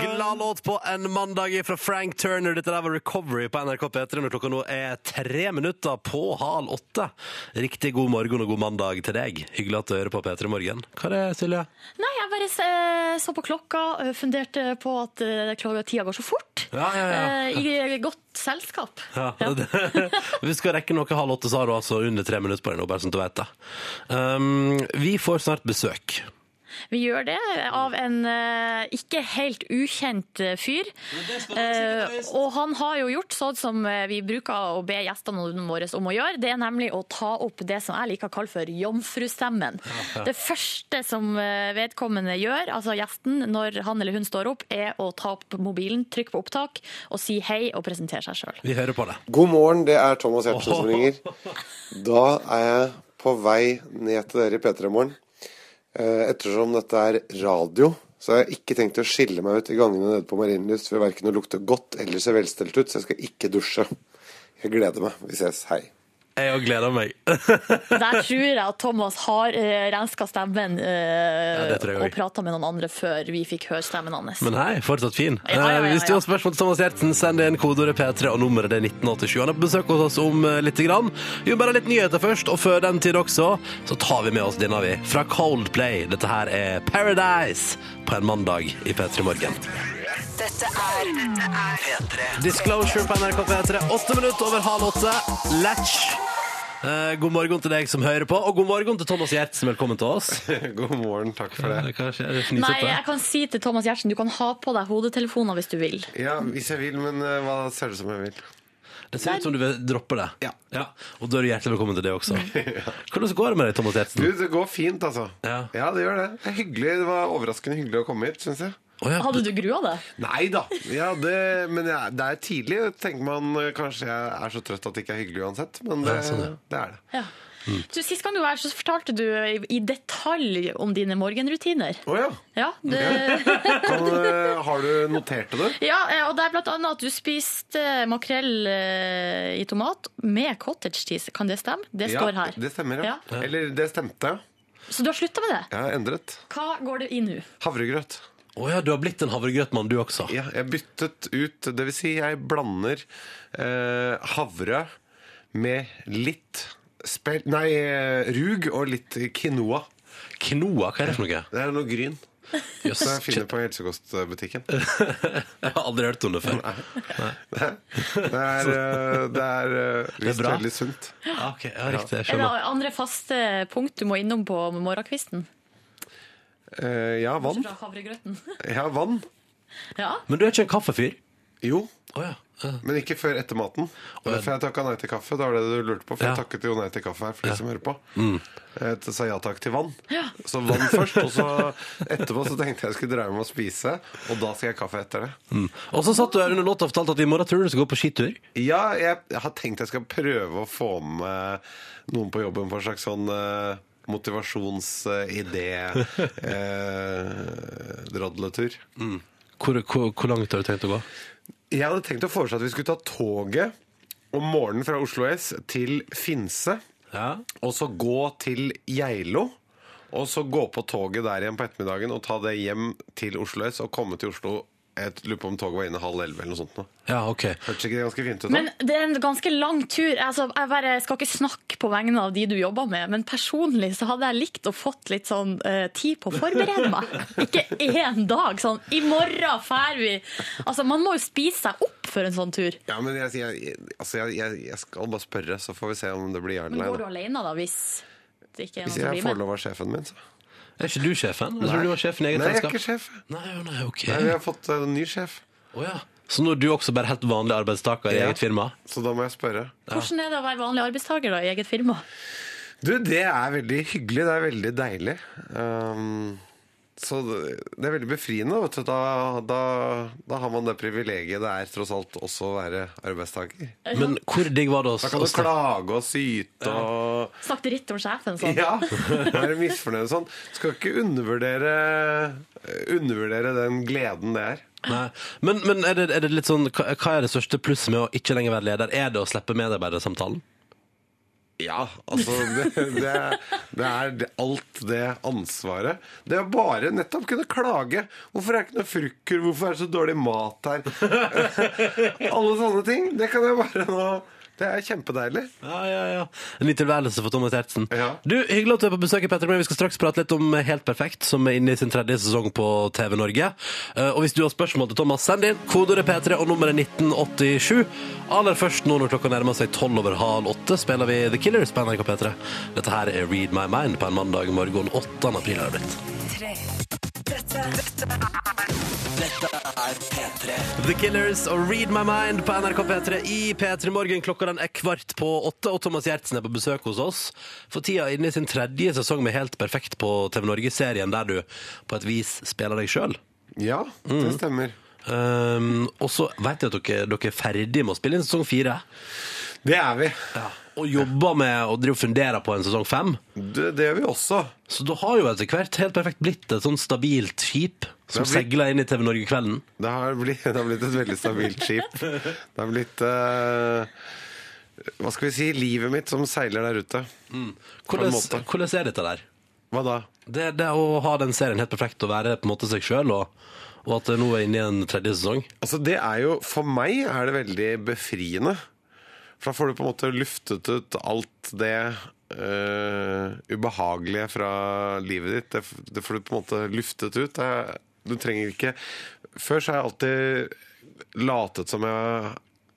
Glad låt på en mandag fra Frank Turner. Dette der var Recovery på NRK P3 når klokka nå er tre minutter på halv åtte. Riktig god morgen og god mandag til deg. Hyggelig at du hører på P3 Morgen. Hva er det, Silje? Nei, jeg bare eh, så på klokka, eh, funderte på at eh, klokka tida går så fort. Ja, ja, ja. Eh, I godt selskap. Ja. Vi skal rekke noe halv åtte, så har du altså under tre minutter på deg nå, bare sånn at du vet det. Um, vi får snart besøk. Vi gjør det av en eh, ikke helt ukjent eh, fyr. Eh, og han har jo gjort sånn som eh, vi bruker å be gjestene våre om å gjøre. Det er nemlig å ta opp det som jeg liker å kalle for jomfrustemmen. Det første som eh, vedkommende gjør, altså gjesten, når han eller hun står opp, er å ta opp mobilen, trykke på opptak og si hei og presentere seg sjøl. Vi hører på det. God morgen, det er Thomas Hjertsen som ringer. Da er jeg på vei ned til dere i P3 Morgen. Eh, Ettersom dette er radio, så har jeg ikke tenkt å skille meg ut i gangene nede på Marienlyst ved verken å lukte godt eller se velstelt ut, så jeg skal ikke dusje. Jeg gleder meg. Vi ses. Hei. Jeg òg gleder meg. Der tror jeg at Thomas har uh, renska stemmen eh, Ja, det tror jeg og også. prata med noen andre før vi fikk høre stemmen hans. Men hei, fortsatt fin. Ja, ja, ja, ja. Eh, Hvis du har spørsmål til Thomas Gjertsen, send inn kodeordet P3 og nummeret det er 1987. Han er på besøk hos oss om eh, litt. Grann. Jo, bare litt nyheter først, og før den tid også, så tar vi med oss denne, vi. Fra Coldplay. Dette her er Paradise på en mandag i P3 Morgen. Disclosure på NRK P3. Åtte minutter over halv åtte. Latch. Eh, God morgen til deg som hører på, og god morgen til Thomas Gjertsen. Velkommen til oss. God morgen, takk for det. Hva skjer? Nei, jeg kan si til Thomas Gjertsen, du kan ha på deg hodetelefoner hvis du vil. Ja, hvis jeg vil, men eh, hva ser det ut som jeg vil? Det ser ut som du vil droppe det. Ja. Og da er du hjertelig velkommen til det også. Hvordan går det med deg, Thomas Du, Gjertsen? det går fint, altså. Ja. det gjør det. Det er hyggelig, det var overraskende hyggelig å komme hit, syns jeg. Å ja. Hadde du grua deg? Nei da. Ja, det, men jeg, det er tidlig. Tenker man eh, kanskje jeg er så trøtt at det ikke er hyggelig uansett. Men det, Ja, sånn, ja. det er det. Ja. Du, sist gang du var her, så fortalte du i detalj om dine morgenrutiner. Å ja. Ja, det, Kan, eh, har du notert det? ja, eh, og det er blant annet at du spiste eh, makrell eh, i tomat med cottage cheese. Kan det stemme? Det står her. Ja, det stemmer, ja. Eller det stemte. Så du har slutta med det. Jeg har endret. Hva går det i nå? Havregrøt. Å ja, du har blitt en havregrøtmann, du også. Ja, jeg byttet ut Det vil si, jeg blander eh, havre med litt spel... Nei, eh, rug og litt quinoa. Knoa, hva er det for noe? Det er noe gryn Jøss, som jeg shit, finner på helsekostbutikken. jeg har aldri hørt om det før. Det er, eh, det er eh, visst bra. veldig sunt. Ja, ok, ja, riktig, jeg Er det skjønner. andre faste punkt du må innom på morgenkvisten? Eh, ja, vann. Fra havregrøten. Ja, vann. Ja. Men du er ikke en kaffefyr? Jo, Å ja. Eh, men ikke før etter maten. Og derfor jeg takka nei til kaffe. Det var det du lurte på, for Ja. jeg takket jo nei til kaffe her for de som hører på. Jeg t- sa ja takk til vann. Så vann først, og så etterpå så tenkte jeg jeg skulle dreie meg og spise, og da skal jeg ha kaffe etter det. mm. Og så satt du her under låta og fortalte at i morgen tror du du skal gå på skitur. Ja, jeg har tenkt jeg skal prøve å få med noen på jobben for en slags sånn eh, eh, motivasjonsidé-drodletur. Hvor, hvor, hvor langt har du tenkt å gå? Jeg hadde tenkt å foreslå at vi skulle ta toget om morgenen fra Oslo S til Finse. Ja. Og så gå til Geilo. Og så gå på toget der igjen på ettermiddagen og ta det hjem til Oslo S og komme til Oslo. Jeg lurer på om toget var inne halv elleve eller noe sånt. nå. Ja, ok. Hørtes ikke det ganske fint ut? da? Men det er en ganske lang tur. Altså, jeg bare skal ikke snakke på vegne av de du jobber med, men personlig så hadde jeg likt å fått litt sånn eh, tid på å forberede meg. Ikke én dag sånn 'i morgen fær vi'. Altså, man må jo spise seg opp for en sånn tur. Ja, men jeg, jeg, altså jeg, jeg, jeg skal bare spørre, så får vi se om det blir ja Men eller går du nei. da. alene da, hvis det ikke er noen Hvis som jeg blir får med? lov av sjefen min, så. Er ikke du sjefen? Jeg tror du var sjefen i eget Nei, jeg er selskap. ikke sjef. Nei, jo, nei, ok. Nei, vi har fått eh, en ny sjef, Å ja. Så nå er du også bare helt vanlig arbeidstaker i Ja. eget firma? så da må jeg spørre. Hvordan er det å være vanlig arbeidstaker da, i eget firma? Du, det er veldig hyggelig. Det er veldig deilig. Um, så det det er veldig befriende. Vet du. Da, da, da har man det privilegiet det er tross alt også å være arbeidstaker. Men hvor digg var det å Da kan du snakke- klage og syte og Snakket dritt om sjefen sånn. Ja! Være misfornøyd og sånn. Skal ikke undervurdere, undervurdere den gleden det er. Nei. Men, men er, det, er det litt sånn, hva hva er det største plusset med å ikke lenger være leder? Er det å slippe medarbeidersamtalen? Ja, altså det, det, det er det- alt det ansvaret. Det er bare nettopp kunne klage. Hvorfor er det ikke noe frukker? Hvorfor er det så dårlig mat her? Alle sånne ting. Det kan jeg bare nå Det er kjempedeilig. Ja, ja, ja. En ny tilværelse for Thomas Gjertsen. Ja. Du, Hyggelig at du er på besøk. i Petter Morgen. Vi skal straks prate litt om Helt perfekt, som er inne i sin tredje sesong på TV Norge. Eh, Og hvis du har spørsmål til Thomas, send inn kodeordet P3 og nummeret 1987. Aller først nå når klokka nærmer seg tolv over halv åtte, spiller vi The Killers på NRK P3. Dette her er Read My Mind på en mandag morgen 8. april. har det blitt. The Killers og Read My Mind på NRK P3 i P3 Morgen. Klokka den er kvart på åtte, og Thomas Gjertsen er på besøk hos oss. For tida inne i sin tredje sesong med Helt perfekt på TV Norge-serien, der du på et vis spiller deg sjøl. Ja, det stemmer. Um, og så veit jeg at dere, dere er ferdig med å spille inn sesong fire. Det er vi. Og jobber med og driver og funderer på en sesong fem. Det, det gjør vi også. Så da har jo etter hvert Helt perfekt blitt et sånn stabilt skip som Det har blitt- seiler inn i TV Norge-kvelden. Det har blitt, det har blitt et veldig stabilt skip. Det har blitt eh, hva skal vi si, livet mitt som seiler der ute. Hvordan, måte. hvordan er dette der? Hva da? Det, det å ha den serien helt perfekt og være på en måte seg sjøl, og, og at det nå er inne i en tredje sesong Altså, det er jo For meg er det veldig befriende. For da får du på en måte luftet ut alt det eh, ubehagelige fra livet ditt. Det, f- det får du på en måte luftet ut. Det, er- du trenger ikke Før så har jeg alltid latet som jeg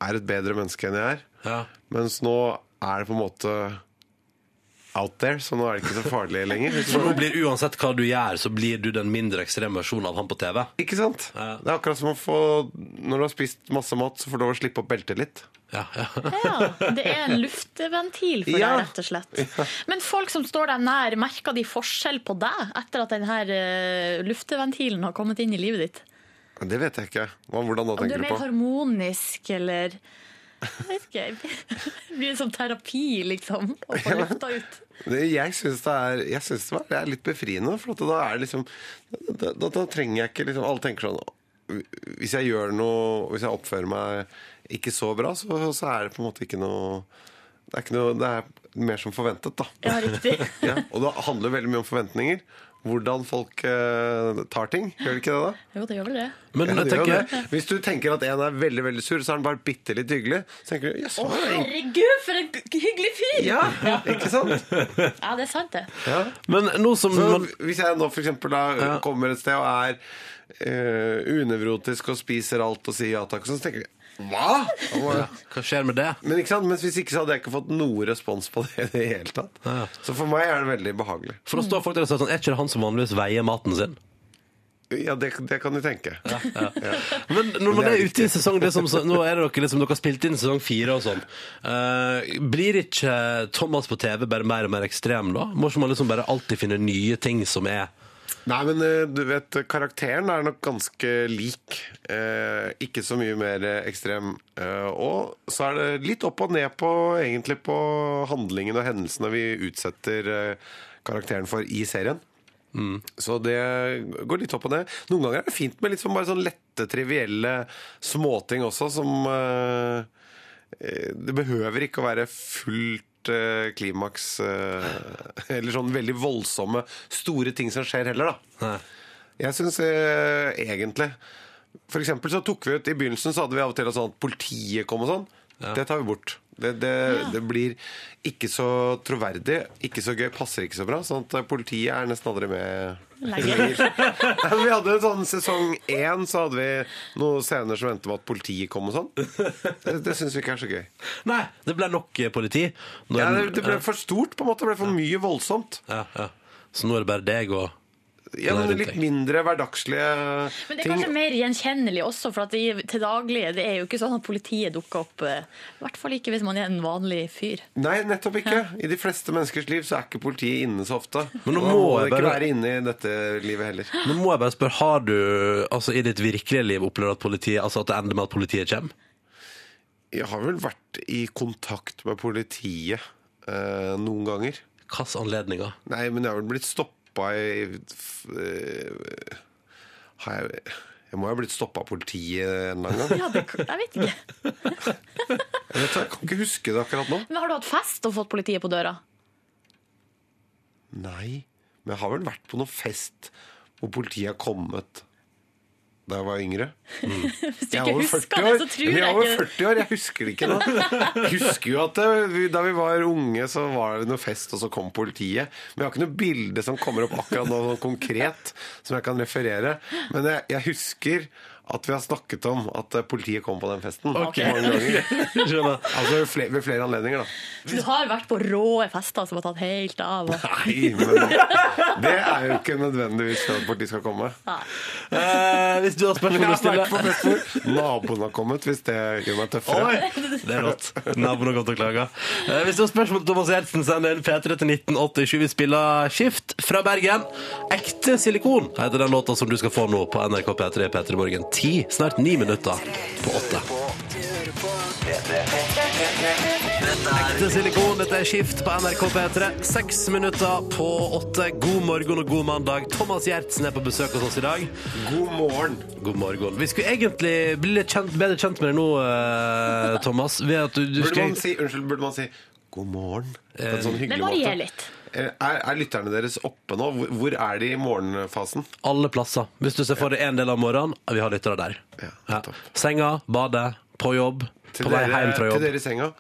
er et bedre menneske enn jeg er. Ja. Mens nå er det på en måte out there, så nå er det ikke så farlig lenger. Hvis du For nå blir uansett hva du gjør, så blir du den mindre ekstreme versjonen av han på TV. Ikke sant? Det er akkurat som å få Når du har spist masse mat, så får du lov å slippe opp beltet litt. Ja, ja. Ja, det er en luftventil for Ja. deg, rett og slett. Men folk som står deg nær, merker de forskjell på deg etter at denne luftventilen har kommet inn i livet ditt? Men Det vet jeg ikke. Hva, hvordan da, Om du er tenker du mer på? harmonisk, eller Jeg vet ikke. Det blir som terapi, liksom. Å få lufta ut. Det, jeg syns det, er, jeg synes det, var- det er litt befriende, for at da er det liksom da, da, da trenger jeg ikke liksom Alle tenker sånn Hvis jeg gjør noe Hvis jeg oppfører meg ikke så bra, så, så er det på en måte ikke noe Det er, ikke noe, det er mer som forventet, da. Ja, riktig. Ja, og det handler veldig mye om forventninger. Hvordan folk eh, tar ting. Gjør det ikke det, da? Jo, det gjør vel det. Men Ja, jeg det gjør tenker det. Hvis du tenker at en er veldig veldig sur, så er han bare bitte litt hyggelig. Så tenker du, jøss, han er egentlig- Herregud, for en hyggelig fyr! Ja, ja, ikke sant? det er sant, det. Men nå som Så man, hvis jeg nå for eksempel da, kommer et sted og er eh, unevrotisk og spiser alt og sier ja takk, så tenker jeg hva? Da må jeg- Hva skjer med det? Men ikke sant? Mens hvis ikke så hadde jeg ikke fått noe respons på det i det hele tatt. Ja. Så for meg er det veldig behagelig. For da står folk der og sier sånn Er ikke det han som vanligvis veier maten sin? Ja, det, det kan du tenke. Men når man Det er er ute i sesong det er som, så- Nå er det dere, liksom, dere har spilt inn sesong fire og sånn. Eh, blir ikke Thomas på TV bare mer og mer ekstrem da? Må ikke man liksom bare alltid finne nye ting som er Nei, men eh, du vet, karakteren er nok ganske lik. Eh, ikke så mye mer eh, ekstrem. Eh, og så er det litt opp og ned på, egentlig, på handlingen og hendelsene vi utsetter eh, karakteren for i serien. Så det går litt opp og ned. Noen ganger er det fint med litt sånn, bare sånn lette, trivielle småting også, som eh, eh, Det behøver ikke å være fullt eh, klimaks eh, eller sånn veldig voldsomme, store ting som skjer heller, da. Nei. Jeg syns eh, egentlig For eksempel så tok vi ut I begynnelsen så hadde vi av og til sånn at politiet kom og sånn. Det tar vi bort. Det, det, det blir ikke så troverdig, ikke så gøy, passer ikke så bra. Sånn at politiet er nesten aldri med. Lenge. Nei, men Vi hadde en sånn sesong én, så hadde vi noen scener som endte med at politiet kom og sånn. Det, det syns vi ikke er så gøy. Nei, det ble nok eh, politi. Nå Ja, er den- det, det ble for stort, på en måte. Det ble for mye voldsomt. ja, ja. Så nå er det bare deg og Ja, Nei, men rundt litt deg. mindre hverdagslige Men det er ting. kanskje mer gjenkjennelig også, for at i, til daglig det er jo ikke sånn at politiet dukker opp. eh, I hvert fall ikke hvis man er en vanlig fyr. Nei, nettopp ikke. I de fleste menneskers liv så er ikke politiet inne så ofte. Men nå Og da må det jeg ikke bare- være inne i dette livet heller. Nå må jeg bare spørre, har du altså, i ditt virkelige liv opplevd at, politiet, altså, at det ender med at politiet kommer? Jeg har vel vært i kontakt med politiet eh, noen ganger. Hvilke anledninger? Nei, men jeg har vel blitt stoppa i f- eh, Har jeg Jeg må jo ha blitt stoppa av politiet en eller annen gang. Ja, det, jeg vet ikke. Jeg, vet, jeg kan ikke huske det akkurat nå. Men har du hatt fest og fått politiet på døra? Nei. Men jeg har vel vært på noen fest hvor politiet har kommet da jeg var yngre. Hvis du Jeg er ikke over husker 40 det, så tror jeg år. Men jeg er over ikke 40 år, jeg husker det ikke nå. Jeg husker jo at det, vi- da vi var unge, så var det noe fest, og så kom politiet. Men jeg har ikke noe bilde som kommer opp akkurat nå, sånn konkret, som jeg kan referere. Men jeg, jeg husker at vi har snakket om at eh, politiet kom på den festen. Mange ganger. Skjønner. Altså fle- ved flere anledninger, da. Du har vært på rå fester som har tatt helt av. Og... Nei, men det er jo ikke nødvendigvis for at politiet skal komme. Eh, hvis du har Jeg spørsmål har å stille vært på fest hvor naboen har kommet, hvis det gjør meg tøffere. Oi! Det er rått. Naboen har kommet og klaga. Eh, hvis du har spørsmål til Thomas Gjertsen, send en P3 til 1987. Vi spiller Skift fra Bergen. Ekte silikon heter den låta som du skal få nå på NRK P3 P3 Morgen. Ti, snart ni minutter på åtte. Ekte silikon, dette er Skift på NRK P3. Seks minutter på åtte. God morgen og god mandag. Thomas Gjertsen er på besøk hos oss i dag. God morgen. God morgen. Vi skulle egentlig bli litt kjent, bedre kjent med deg nå, eh, Thomas. Ved at du, du Burde skal, Eh, man si, unnskyld, burde man si god morgen? På en sånn Det hyggelig måte. varierer litt. Er, er lytterne deres oppe nå? Hvor, hvor er de i morgenfasen? alle plasser. Hvis du ser for deg en del av morgenen, vi har lyttere der. Ja, Ja. nettopp. Senga, badet, på jobb, på vei hjem fra til jobb. dere i senga?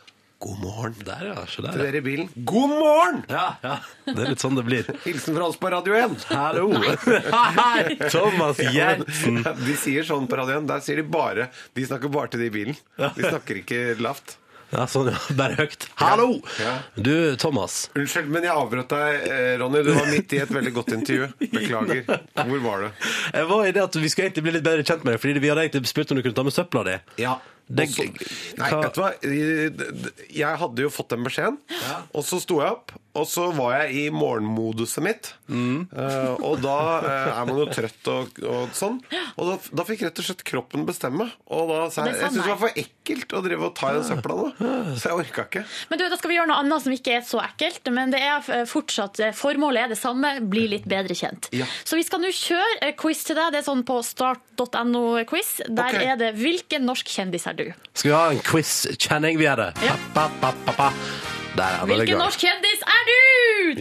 God morgen. Der, ja. Se Til der. ja. dere i bilen? God morgen! Ja, ja. Det er litt sånn det blir. Hilsen fra oss på Radio 1. Hallo! Hei, Thomas Gjertsen. De sier sånn på Radio 1. Der sier de bare De snakker bare til de i bilen. De snakker ikke lavt. Ja, sånn, ja. Bare høyt. Hallo! Ja. Du, Thomas. Unnskyld, men jeg avbrøt deg, eh, Ronny. Du var midt i et veldig godt intervju. Beklager. Hvor var du? Jeg var i det at Vi skal egentlig bli litt bedre kjent med deg, Fordi vi hadde egentlig spurt om du kunne ta med søpla di. Ja. Det- Også, nei, hva- vet du hva? Jeg hadde jo fått den beskjeden, og så sto jeg opp. Og så var jeg i morgenmoduset mitt, Mm. Eh, og da eh, er man jo trøtt og, og sånn. Og da, da fikk rett og slett kroppen bestemme. Og da sa Og jeg det sa jeg syntes det nei. var for ekkelt å drive og ta i den søpla nå, så jeg orka ikke. Men du, Da skal vi gjøre noe annet som ikke er så ekkelt. Men det er eh, fortsatt eh, formålet er det samme, bli litt bedre kjent. Ja. Så vi skal nå kjøre eh, quiz til deg. Det er sånn på start.no-quiz. Der Ok. er det 'Hvilken norsk kjendis er du?' Skal vi ha en quiz-kjenning? Vi gjør det. Ja. Pa, pa, pa, pa, pa. Der er vi i Hvilken gang. norsk kjendis er du?!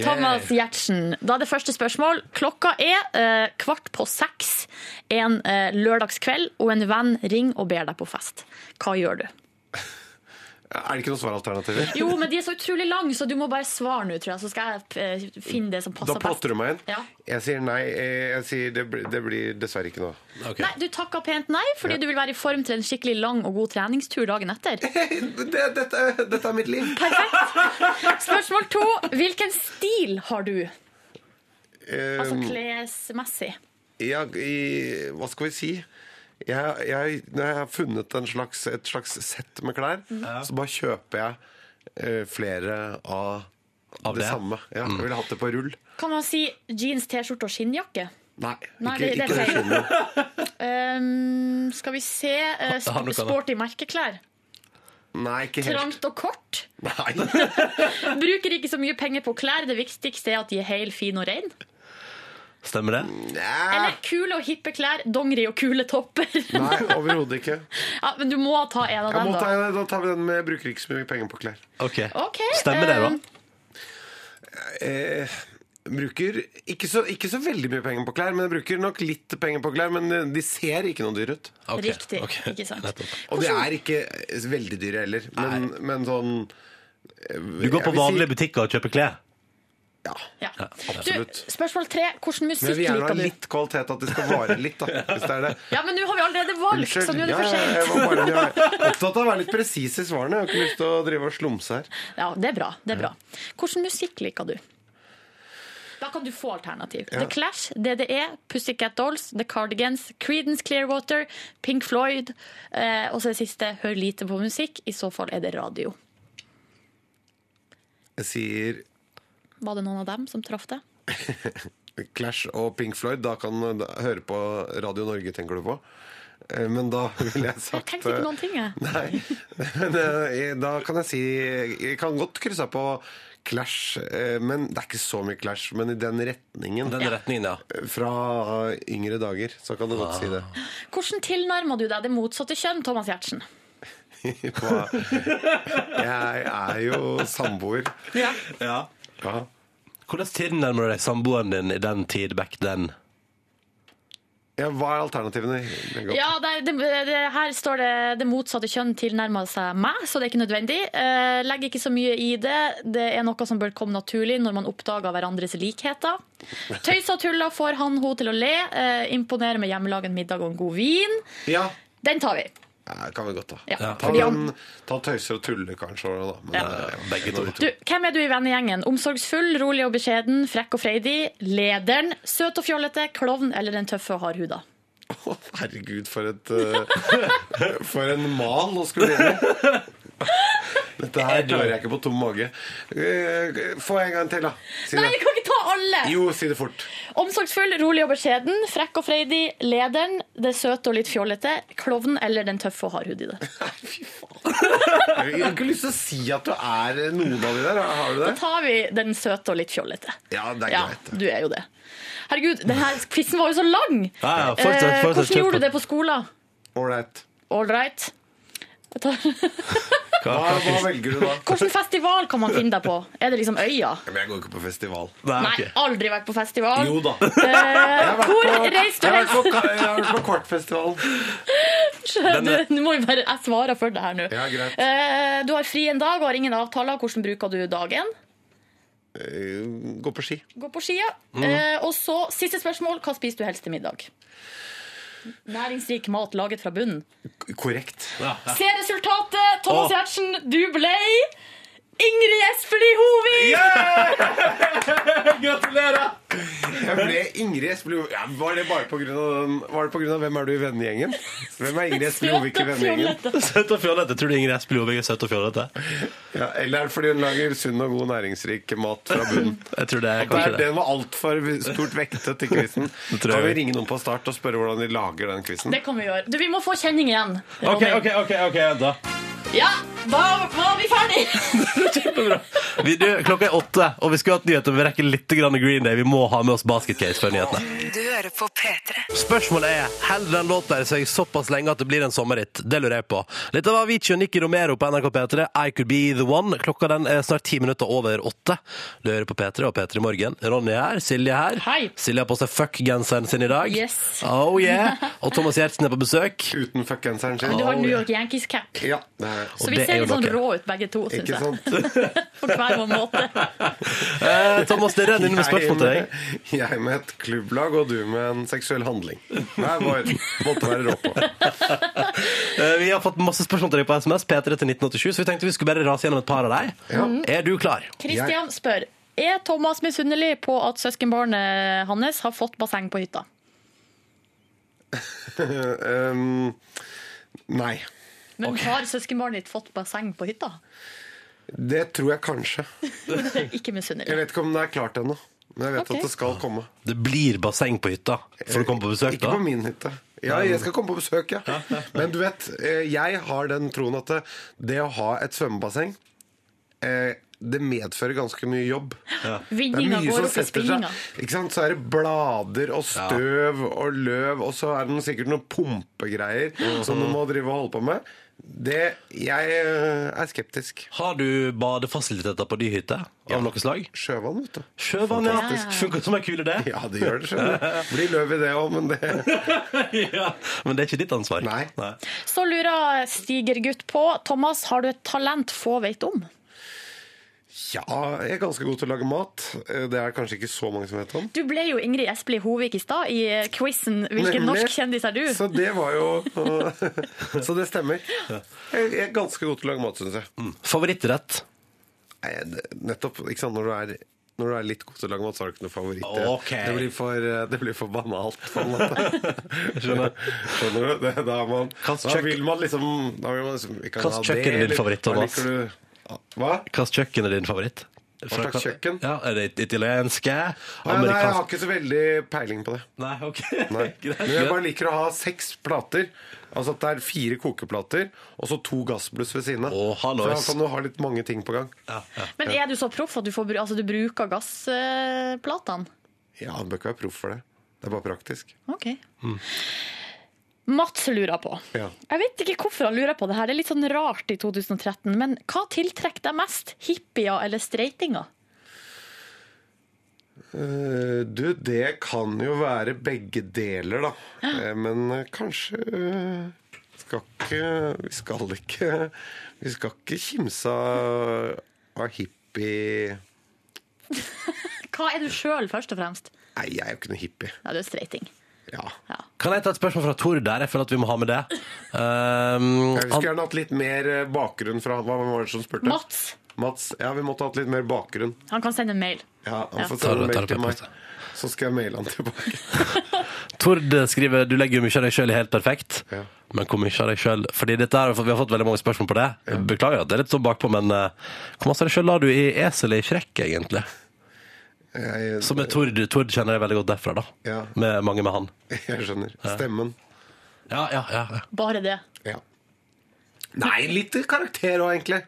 Thomas Giertsen. Da er det første spørsmål. Klokka er eh, kvart på seks en eh, lørdagskveld, og en venn ringer og ber deg på fest. Hva gjør du? Er det ikke noen svaralternativer? Jo, men de er så utrolig lange, så du må bare svare nå, tror jeg. Så skal jeg eh, finne det som passer Da plotter du meg inn. Ja. Jeg sier nei. eh, Jeg sier det, blir- det blir dessverre ikke noe. Ok. Nei, du takka pent nei, fordi du vil være i form til en skikkelig lang og god treningstur dagen etter. Det, dette, dette er mitt liv. Spørsmål to. Hvilken stil har du? Eh, Altså klesmessig. jeg, i, hva skal vi si? Jeg, jeg, når jeg har funnet en slags, et slags sett med klær, så bare kjøper jeg eh, flere av, Av det, Mm. det? samme. Ja, Jeg ville hatt det på rull. Kan man si jeans, T-skjorte og skinnjakke? Nei, Nei, ikke det- det ikke det, sier jeg. skinnet. Ehm, skal vi se eh, Jeg har noe av det. Sporty merkeklær. Nei, ikke helt. Trangt og kort. Nei. Bruker ikke så mye penger på klær. Det viktigste er at de er hel, fin og rein. Stemmer det? Nei, Eller kule og hippe klær. Dongeri og kule topper. Nei overhodet ikke. ja, men du må ta en av Jeg dem, må ta, da. da tar vi den med 'bruker ikke så mye penger på klær'. Ok. Ok, Stemmer det, ehm, da? Eh, bruker ikke så, ikke så veldig mye penger på klær, men jeg bruker nok litt penger på klær. Men eh, de ser ikke noe dyre ut. Ok, Riktig. ok. Ikke sant. Nettopp. Og de er ikke veldig dyre heller. Men, men sånn Du går på vanlige butikker og kjøper klær? Ja. Ja. absolutt. Du, spørsmål tre. Hvordan Men musikk jeg vil gjerne liker ha du? litt kvalitet, at det skal vare litt, da. Hvis det er det. Ja, men nå har vi allerede valgt, så nå er det Ja, for ja, jeg sent. var bare jeg var opptatt av å være litt presis i svarene. Jeg har ikke lyst til å drive og slumse her. Ja, det er bra. det er bra. Hvordan musikk liker du? Da kan du få alternativ. The Clash, DDE, Pussycat Dolls, The Cardigans, Creedence Clearwater, Pink Floyd. Eh, og så det siste, hør lite på musikk. I så fall er det radio. Jeg sier Var det noen av dem som traff deg? Clash og Pink Floyd. Da kan du høre på Radio Norge, tenker du på. Eh, Men da ville jeg Jeg sagt tenkte ikke eh, noen ting, jeg. Nei, men eh, da kan jeg si Jeg kan godt krysse av på Clash, eh, men det er ikke så mye Clash. Men i den retningen. Eh, Den retningen, ja. Fra yngre dager, så kan du godt si det. Hvordan tilnærmer du deg det motsatte kjønn, Thomas Giertsen? Ah. På- Jeg er jo samboer. Ja. Hvordan tilnærmer du deg samboeren din i den tid back then? Ja, hva er alternativene? Legg opp. Ja, det, er- det, det, her står det det motsatte kjønn tilnærmer seg meg, så det er ikke nødvendig. Eh, legger ikke så mye i det. Det er noe som bør komme naturlig når man oppdager hverandres likheter. Tøys og tuller får han ho til å le. Eh, imponerer med hjemmelagen middag og en god vin. Ja. Den tar vi. Ja, kan vi godt ta. Ja. Ta, Fordi han- den, ta tøyser og tuller, kanskje. Da. Men, Ja. eh, Begge to. Du, hvem er du i vennegjengen? Omsorgsfull, rolig og beskjeden, frekk og freidig, lederen, søt og fjollete, klovn eller den tøffe og hardhuda? Å, herregud, for et eh, For en mal å skulle leve. Dette her klarer jeg ikke på tom mage. Eh, Få en gang til, da. Si Nei, det. jeg kan ikke ta alle. Jo, si det fort. Omsorgsfull, rolig og beskjeden, frekk og freidig, lederen, det søte og litt fjollete, klovnen eller den tøffe og hardhudede. Jeg har ikke lyst til å si at du er noen av de der. Har du det? Da tar vi den søte og litt fjollete. Ja, det er Ja, greit. du er jo det. Herregud, denne quizen var jo så lang! Ja, ja, fortsett, Eh, fortsett, Hvordan kjør på. gjorde du det på skolen? Ålreit. All right. Jeg tar- Ah, Hva, hva velger du da? Hvilken festival kan man finne deg på? Er det liksom Øya? Men jeg går ikke på festival. Nei, aldri vært på festival. Jo da. Eh, hvor Jeg reiste du har vært helst? på, jeg har vært på kvartfestival. Du- Nå må vi bare, jeg svarer for deg her nå. Ja, greit. Eh, du har fri en dag og har ingen avtaler. Hvordan bruker du dagen? Eh, Gå på ski. Gå på skia. Mhm. Eh, og så, siste spørsmål, hva spiser du helst til middag? Næringsrik mat laget fra bunnen. Korrekt. Se resultatet! Thomas Åh. Giertsen, du ble Ingrid Espelid Hovig! Gratulerer! Jeg ble Ingrid Espelid Hovig. ja, Var det bare på grunn av den Var det på grunn av hvem er du i vennegjengen? Hvem er Ingrid Espelid Hovig i vennegjengen? Søt og fjollete. Tror du Ingrid Espelid Hovig er søt og fjollete? Ja, eller er det fordi hun lager sunn og god næringsrik mat fra bunnen? Jeg tror det er Der, kanskje det. den var altfor stort vektet til quizen. Det tror jeg Kan vi vi- ringe noen på start og spørre hvordan de lager den quizen? Det kan vi gjøre. Du, vi må få kjenning igjen. Ok, Ronny. ok, ok, ok, da. Ja, da var vi ferdige! Kjempebra. Vi, du, klokka er åtte, og vi skulle hatt nyheter. men Vi rekker litt grann Green Day. Vi må ha med oss basketcase før nyhetene. Du hører på P3. Spørsmålet er holder den låta her seg såpass lenge at det blir en sommerhit. Det lurer jeg på. Litt av Avicii og Nikki Romero på NRK P3. I Could Be The One. Klokka den er snart ti minutter over åtte. Du hører på P3 og P3 Morgen. Ronny er her. Silje er her. Hei. Silje har på seg fuck-genseren sin i dag. Yes. Oh yeah. Og Thomas Giertsen er på besøk. Uten fuckgenseren Du sin? har New York Yankees-cap. Ja, det er Så Og vi det er ser jo litt sånn dere. rå ut begge to, syns ikke jeg. sant? På hver vår måte. Eh, Thomas, det renner inn med spørsmål til deg. Jeg med- Jeg med et klubblag, og du med en seksuell handling. Hver vår måtte være rå på. Eh, Vi har fått masse spørsmål til deg på SMS, P3 til 1987, så vi tenkte vi skulle bare rase gjennom et par av deg. Er du klar? Christian spør Er Thomas misunnelig på at søskenbarnet hans har fått basseng på hytta. Um, nei. Men har søskenbarnet ditt fått basseng på hytta? Det tror jeg kanskje. Ikke Jeg misunnelig. vet ikke om det er klart ennå. Men jeg vet Ok. at det skal komme. Det blir basseng på hytta. Får du komme på besøk, Ikke da? på min hytte. Ja, jeg skal komme på besøk, ja. Men du vet, eh, jeg har den troen at det, det å ha et svømmebasseng eh, det medfører ganske mye jobb. Det er Vinninga mye går som opp i setter seg. spinninga. Ikke sant? Så er det blader og støv og løv, og så er det sikkert noen pumpegreier som du må drive og holde på med. Det, jeg eh, er skeptisk. Har du badefasiliteter på de hytter av noe slag? Sjøvann, vet du. Sjøvann, ja. Funker som ei kule, det. Ja, det gjør det, skjønner du. Blir løv i det òg, men det Ja. Men det er ikke ditt ansvar. Nei. Så lurer Stiger-gutt på Thomas, har du et talent få vet om? Ja, jeg er ganske god til å lage mat. Eh, Det er kanskje ikke så mange som vet om. Du ble jo Ingrid Espelid Hovig i stad i eh, quizen 'Hvilken Nemlig. norsk kjendis er du?' Så det var jo Så det stemmer. Jeg jeg er ganske god til å lage mat, syns jeg. Favorittrett? Nei, det- Nettopp, ikke sant, når du er når du er litt god til å lage mat, så har du ikke noe favoritt. Ok. Det, blir for, eh, det blir for banalt, på en måte. Skjønner. Skjønner du? Det, da, er man, Hvilket da kjøkken- vil man liksom Da vil man liksom vi kan Hvilket ha kjøkken det, er din eller- favoritt, Hva Thomas? liker du? Hva? Hvilket kjøkken er din favoritt? Fra- slags kjøkken? Ja, Er det italienske? Ah, ja, nei, jeg har Amerikansk? ikke så veldig peiling på det. Nei, ok. Nei. Men jeg bare liker å ha seks plater. Altså at det er fire kokeplater og så to gassbluss ved siden av. Å, hallois. For da kan du ha litt mange ting på gang. Men er du så proff at du, får, bru- altså, du bruker gassplatene? Ja, du bør ikke være proff for det. Det er bare praktisk. Ok. Mm. Mats lurer på. Ja. Jeg vet ikke hvorfor han lurer på det her. Det er litt sånn rart i 2013. Men hva tiltrekker deg mest? Hippier eller streitinga? Eh, Du, det kan jo være begge deler, da. Eh, Men eh, kanskje eh, skal ikke Vi skal ikke Vi skal ikke kimse av av hippie Hva er du sjøl, først og fremst? Nei, jeg er jo ikke noe hippie. Ja, du er streiting. Ja. Kan jeg ta et spørsmål fra Tor der? Jeg føler at vi må ha med det. Um, Jeg skulle gjerne hatt litt mer eh, bakgrunn fra Hva var det som spurte? Mats, Mats. Ja, vi måtte hatt litt mer bakgrunn. han kan sende en mail. Ja, han Ja. får Tar sende det- tar mail det til på meg. posten. Så skal jeg maile han tilbake. Tord skriver du legger jo mye av deg sjøl i helt perfekt. Ja. Men hvor mye av deg sjøl Fordi dette her, har vi fått- vi har fått veldig mange spørsmål på det. Beklager at det er litt sånn bakpå, men eh, hvor masse av deg sjøl la du i eselet i Shrek, egentlig? Jeg, Som er Tord. Tord kjenner jeg veldig godt derfra, da. Ja. Med mange med han. jeg skjønner. Stemmen. Ja, ja, ja. ja. Bare det. Ja. Nei, litt karakter òg, egentlig.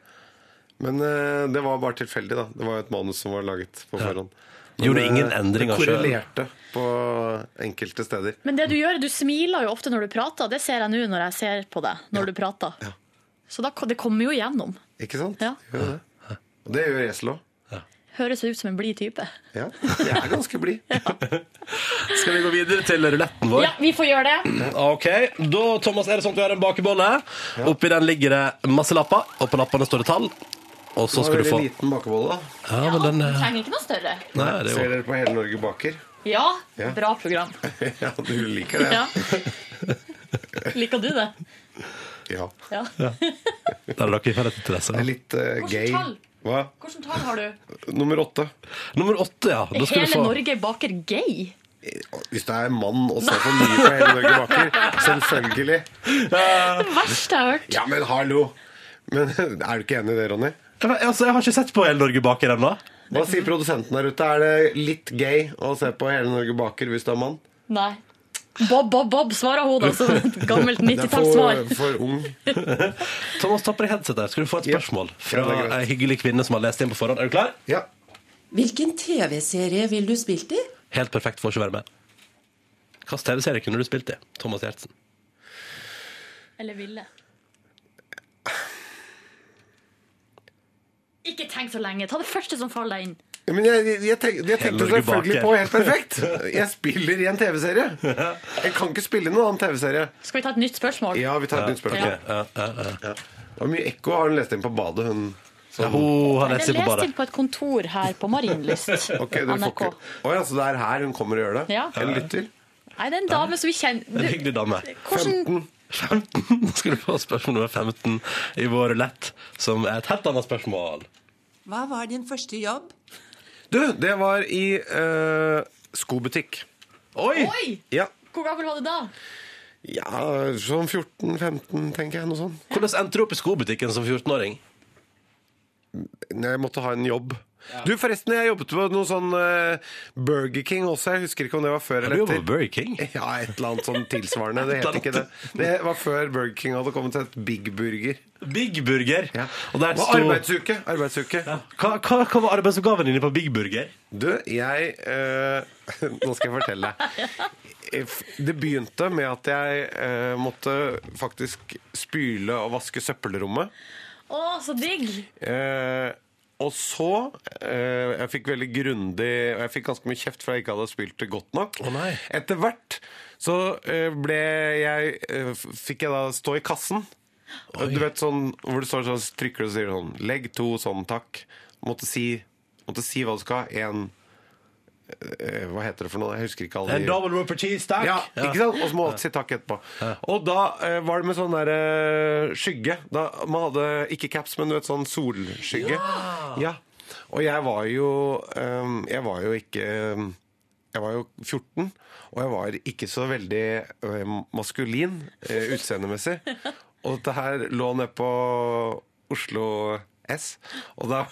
Men eh, det var bare tilfeldig, da. Det var jo et manus som var laget på forhånd. Men, Gjorde ingen eh, endringer Det selv. korrelerte på enkelte steder. Men det du gjør, du smiler jo ofte når du prater. Det ser jeg nå når jeg ser på deg når du prater. Så da, det kommer jo igjennom. Ikke sant? Ja. Gjør det. Og det gjør Esel òg. Høres ut som en blid type. Ja, jeg er ganske blid. Sånn Skal vi gå videre til ruletten vår? Ah, Ja, vi får gjøre det. Ok, da Thomas, er det sånn at du har en bakebolle. Oppi den ligger det masse lapper, og på lappene står det tall. Og så skal du få Veldig liten bakebolle, da. Ja, men den eh, trenger ikke noe større. Nei, det Ser er jo dere på Hele Norge baker? Ja, Ja. bra program. ja, du liker det? Ja. Liker du det? Ja. Ja. Der er dere i felles interesse. Det er litt eh, Hvilket gay. tall? Hva? Hvilket tall har du? Nummer åtte. Nummer åtte, ja. Da skal Hele du få Norge baker gay. Hvis det er mann og ser for mye på Hele Norge baker, selvfølgelig. Det verste jeg har hørt. Ja, men hallo! Men er du ikke enig i det, Ronny? Jeg vet- altså, Jeg har ikke sett på Hele Norge baker ennå. Hva sier produsenten der ute? Er det litt gay å se på Hele Norge baker hvis du er mann? Nei. Bob, Bob, Bob, svarer hun, da. Som et gammelt Det er for, 90-tallssvar. for ung. Thomas, ta på deg headset der. Skal du få et Ja. spørsmål Ja, det er greit. fra ei hyggelig kvinne som har lest inn på forhånd. Er du klar? Ja. Hvilken TV-serie vil du spilt i? Helt perfekt, får ikke være med. Hvilken TV-serie kunne du spilt i? Thomas Gjertsen. Eller ville. Ikke tenk så lenge. Ta det første som faller deg inn. Ja, Men jeg, jeg, tenk, jeg Hele tenkte Norge selvfølgelig baker. på Helt perfekt. Jeg spiller i en TV-serie. Jeg kan ikke spille i noen annen TV-serie. Skal vi ta et nytt spørsmål? Ja, vi tar et nytt spørsmål. Ok, ja, ja, ja. Det var mye ekko har hun lest inn på badet, hun. Så, Hun har Det lest er seg på lest badet. inn på et kontor her på Marienlyst. Ok, du får NRK. ikke. Å ja, så det er her hun kommer og gjør det? Ja. En lytter? Nei, det er en dame som vi En kjenner du, hyggelig dame. hvordan, 15. Nå skal du få spørsmål nummer 15 i vår rulett, som er et helt annet spørsmål. Hva var din første jobb? Du, det var i eh, skobutikk. Oi! Oi! Ja. Hvor gammel var du da? ja, sånn 14-15, tenker jeg. Noe sånt. Hvordan endte du opp i skobutikken som 14-åring? Nei, Jeg måtte ha en jobb. Du, forresten, jeg jobbet på noe sånn eh, Burger King også. Jeg husker ikke om det var Du før eller jobber etter. på Burger King. Ja, et eller annet sånn tilsvarende. Det het ikke det. Det var før Burger King hadde kommet til et Big Burger. Big Burger. Ja. Og der Det var sto- arbeidsuke. arbeidsuke. hva, hva, hva var arbeidsoppgaven din på Big Burger? Du, jeg eh, Nå skal jeg fortelle deg. If- Det begynte med at jeg eh, måtte faktisk spyle og vaske søppelrommet. Å, så digg! Eh, og så eh, Jeg fikk veldig grundig Og jeg fikk ganske mye kjeft for jeg ikke hadde spilt det godt nok. Å, nei. Etter hvert så eh, ble jeg eh, f- Fikk jeg da stå i kassen. Du vet sånn hvor du står sånn, så trykker du og sier sånn Legg to, sånn, takk. Måtte si, måtte si hva du skal. En eh, Hva heter det for noe? Jeg husker ikke alle En de- double rupper cheese, takk! ja, ikke sant? Og så må alt si takk etterpå. Og da eh, var det med sånn der eh, skygge. Da, man hadde ikke caps, men du vet, sånn solskygge. Ja. Og jeg var jo ehm, Jeg var jo ikke ehm, Jeg var jo 14, og jeg var ikke så veldig eh, maskulin eh, utseendemessig. Og dette her lå nede på Oslo S, og da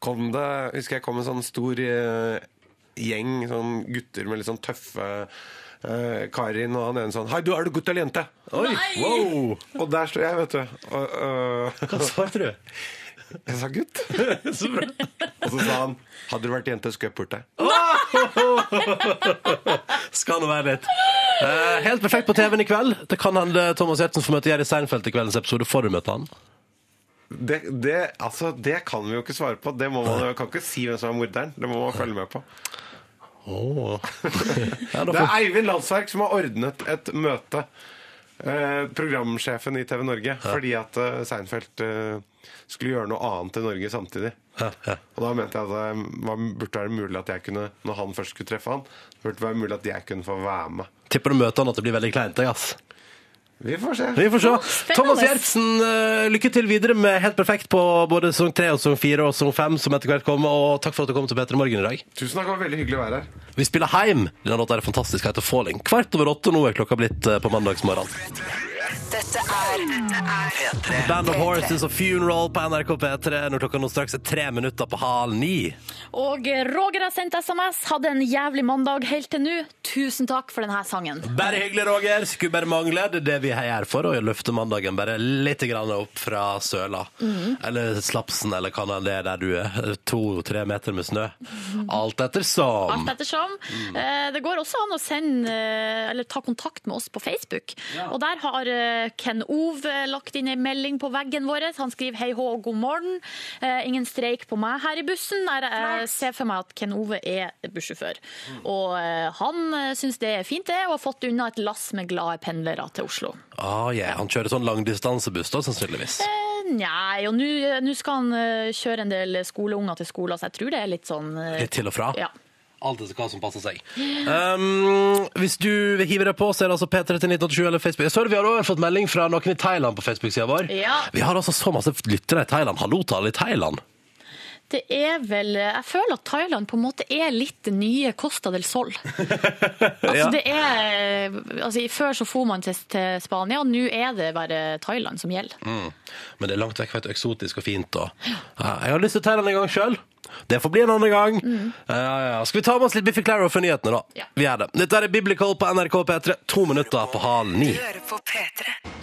kom det Husker jeg kom en sånn stor eh, gjeng sånn gutter med litt sånn tøffe eh, Karin og han ene sånn Hei, du, er du gutt eller jente? Oi, wow! Og der står jeg, vet du. Og, og, Hva svarte du? jeg sa gutt. Så bra. Og så sa han Hadde du vært jente, skulle jeg pult deg. Skal nå være litt. Eh, helt perfekt på TV-en i kveld. Det kan hende eh, Thomas Gjertsen får møte Jerry Seinfeld i kveldens episode. Får du møte han? Det, det, altså, det kan vi jo ikke svare på. Det må man, man kan ikke si hvem som er morderen. Det må man følge med på. Åh. ja, da Det får... er Eivind Landsverk som har ordnet et møte. Eh, programsjefen i TV Norge. Fordi at eh, Seinfeld eh, skulle gjøre noe annet i Norge samtidig. Ja, ja. Og da mente jeg at det var- burde være mulig at jeg kunne Når han først skulle treffe han, burde det være mulig at jeg kunne få være med. Tipper du møter han at det blir veldig kleint. jeg, ass. Vi får se. Vi får se. spennende. Thomas Gjertsen, eh, lykke til videre med Helt perfekt på både sesong tre og sesong fire og sesong fem, som etter hvert kommer. Og takk for at du kom til Petter i morgen i dag. Tusen takk, det var veldig hyggelig å være her. Vi spiller Heim. Denne låta er fantastisk, heter Falling. Kvart over åtte nå er klokka blitt eh, på mandagsmorgen. Dette Band of Horses og Funeral på NRK P3 når klokka nå straks er tre minutter på halv ni. Og Roger har sendt SMS. Hadde en jævlig mandag helt til nå. Tusen takk for denne sangen. Bare hyggelig, Roger. Skulle bare mangle. Det er det vi er her for, å løfte mandagen bare litt grann opp fra søla. Mhm. Eller slapsen, eller hva nå enn det er der du er. To-tre meter med snø. Alt etter som. Alt ettersom. Eh, Det går også an å sende, eh, eller ta kontakt med oss på Facebook. Og der har eh, Ken Ov eh, lagt inn en melding på veggen vår. Han skriver hei hå, god morgen. Eh, Ingen streik på meg her i bussen. Nei, Jeg ser for meg at Ken Ove er bussjåfør. Og eh, han syns det er fint, det, og har fått unna et lass med glade pendlere til Oslo. Ah, yeah. Han kjører sånn langdistansebuss, da, sannsynligvis. Eh, Nei, og nå nå skal han eh, kjøre en del skoleunger til skolen, så jeg tror det er litt sånn eh, Litt til og fra. Ja. Alt etter hva som passer seg. Um, hvis du vil hive deg på, så er det altså P3 til 1987 eller Facebook. Jeg så vi har også fått melding fra noen i Thailand på Facebook-sida vår. Ja. Vi har altså så masse lyttere i Thailand. Hallo til alle i Thailand. Det er vel Jeg føler at Thailand på en måte er litt det nye Costa del Sol. Altså, Ja. det er Altså, i- før så for man til, til Spania, og nå er det bare Thailand som gjelder. Mm. Men det er langt vekk fra et eksotisk og fint. Og. Ja, Jeg har lyst til Thailand en gang sjøl. Det får bli en annen gang. Ja, ja, ja. Skal vi ta med oss litt Biffy Claro for nyhetene, da? Mm. Ja. Vi gjør det. Dette er Biblical på NRK P3, to minutter på halv ni.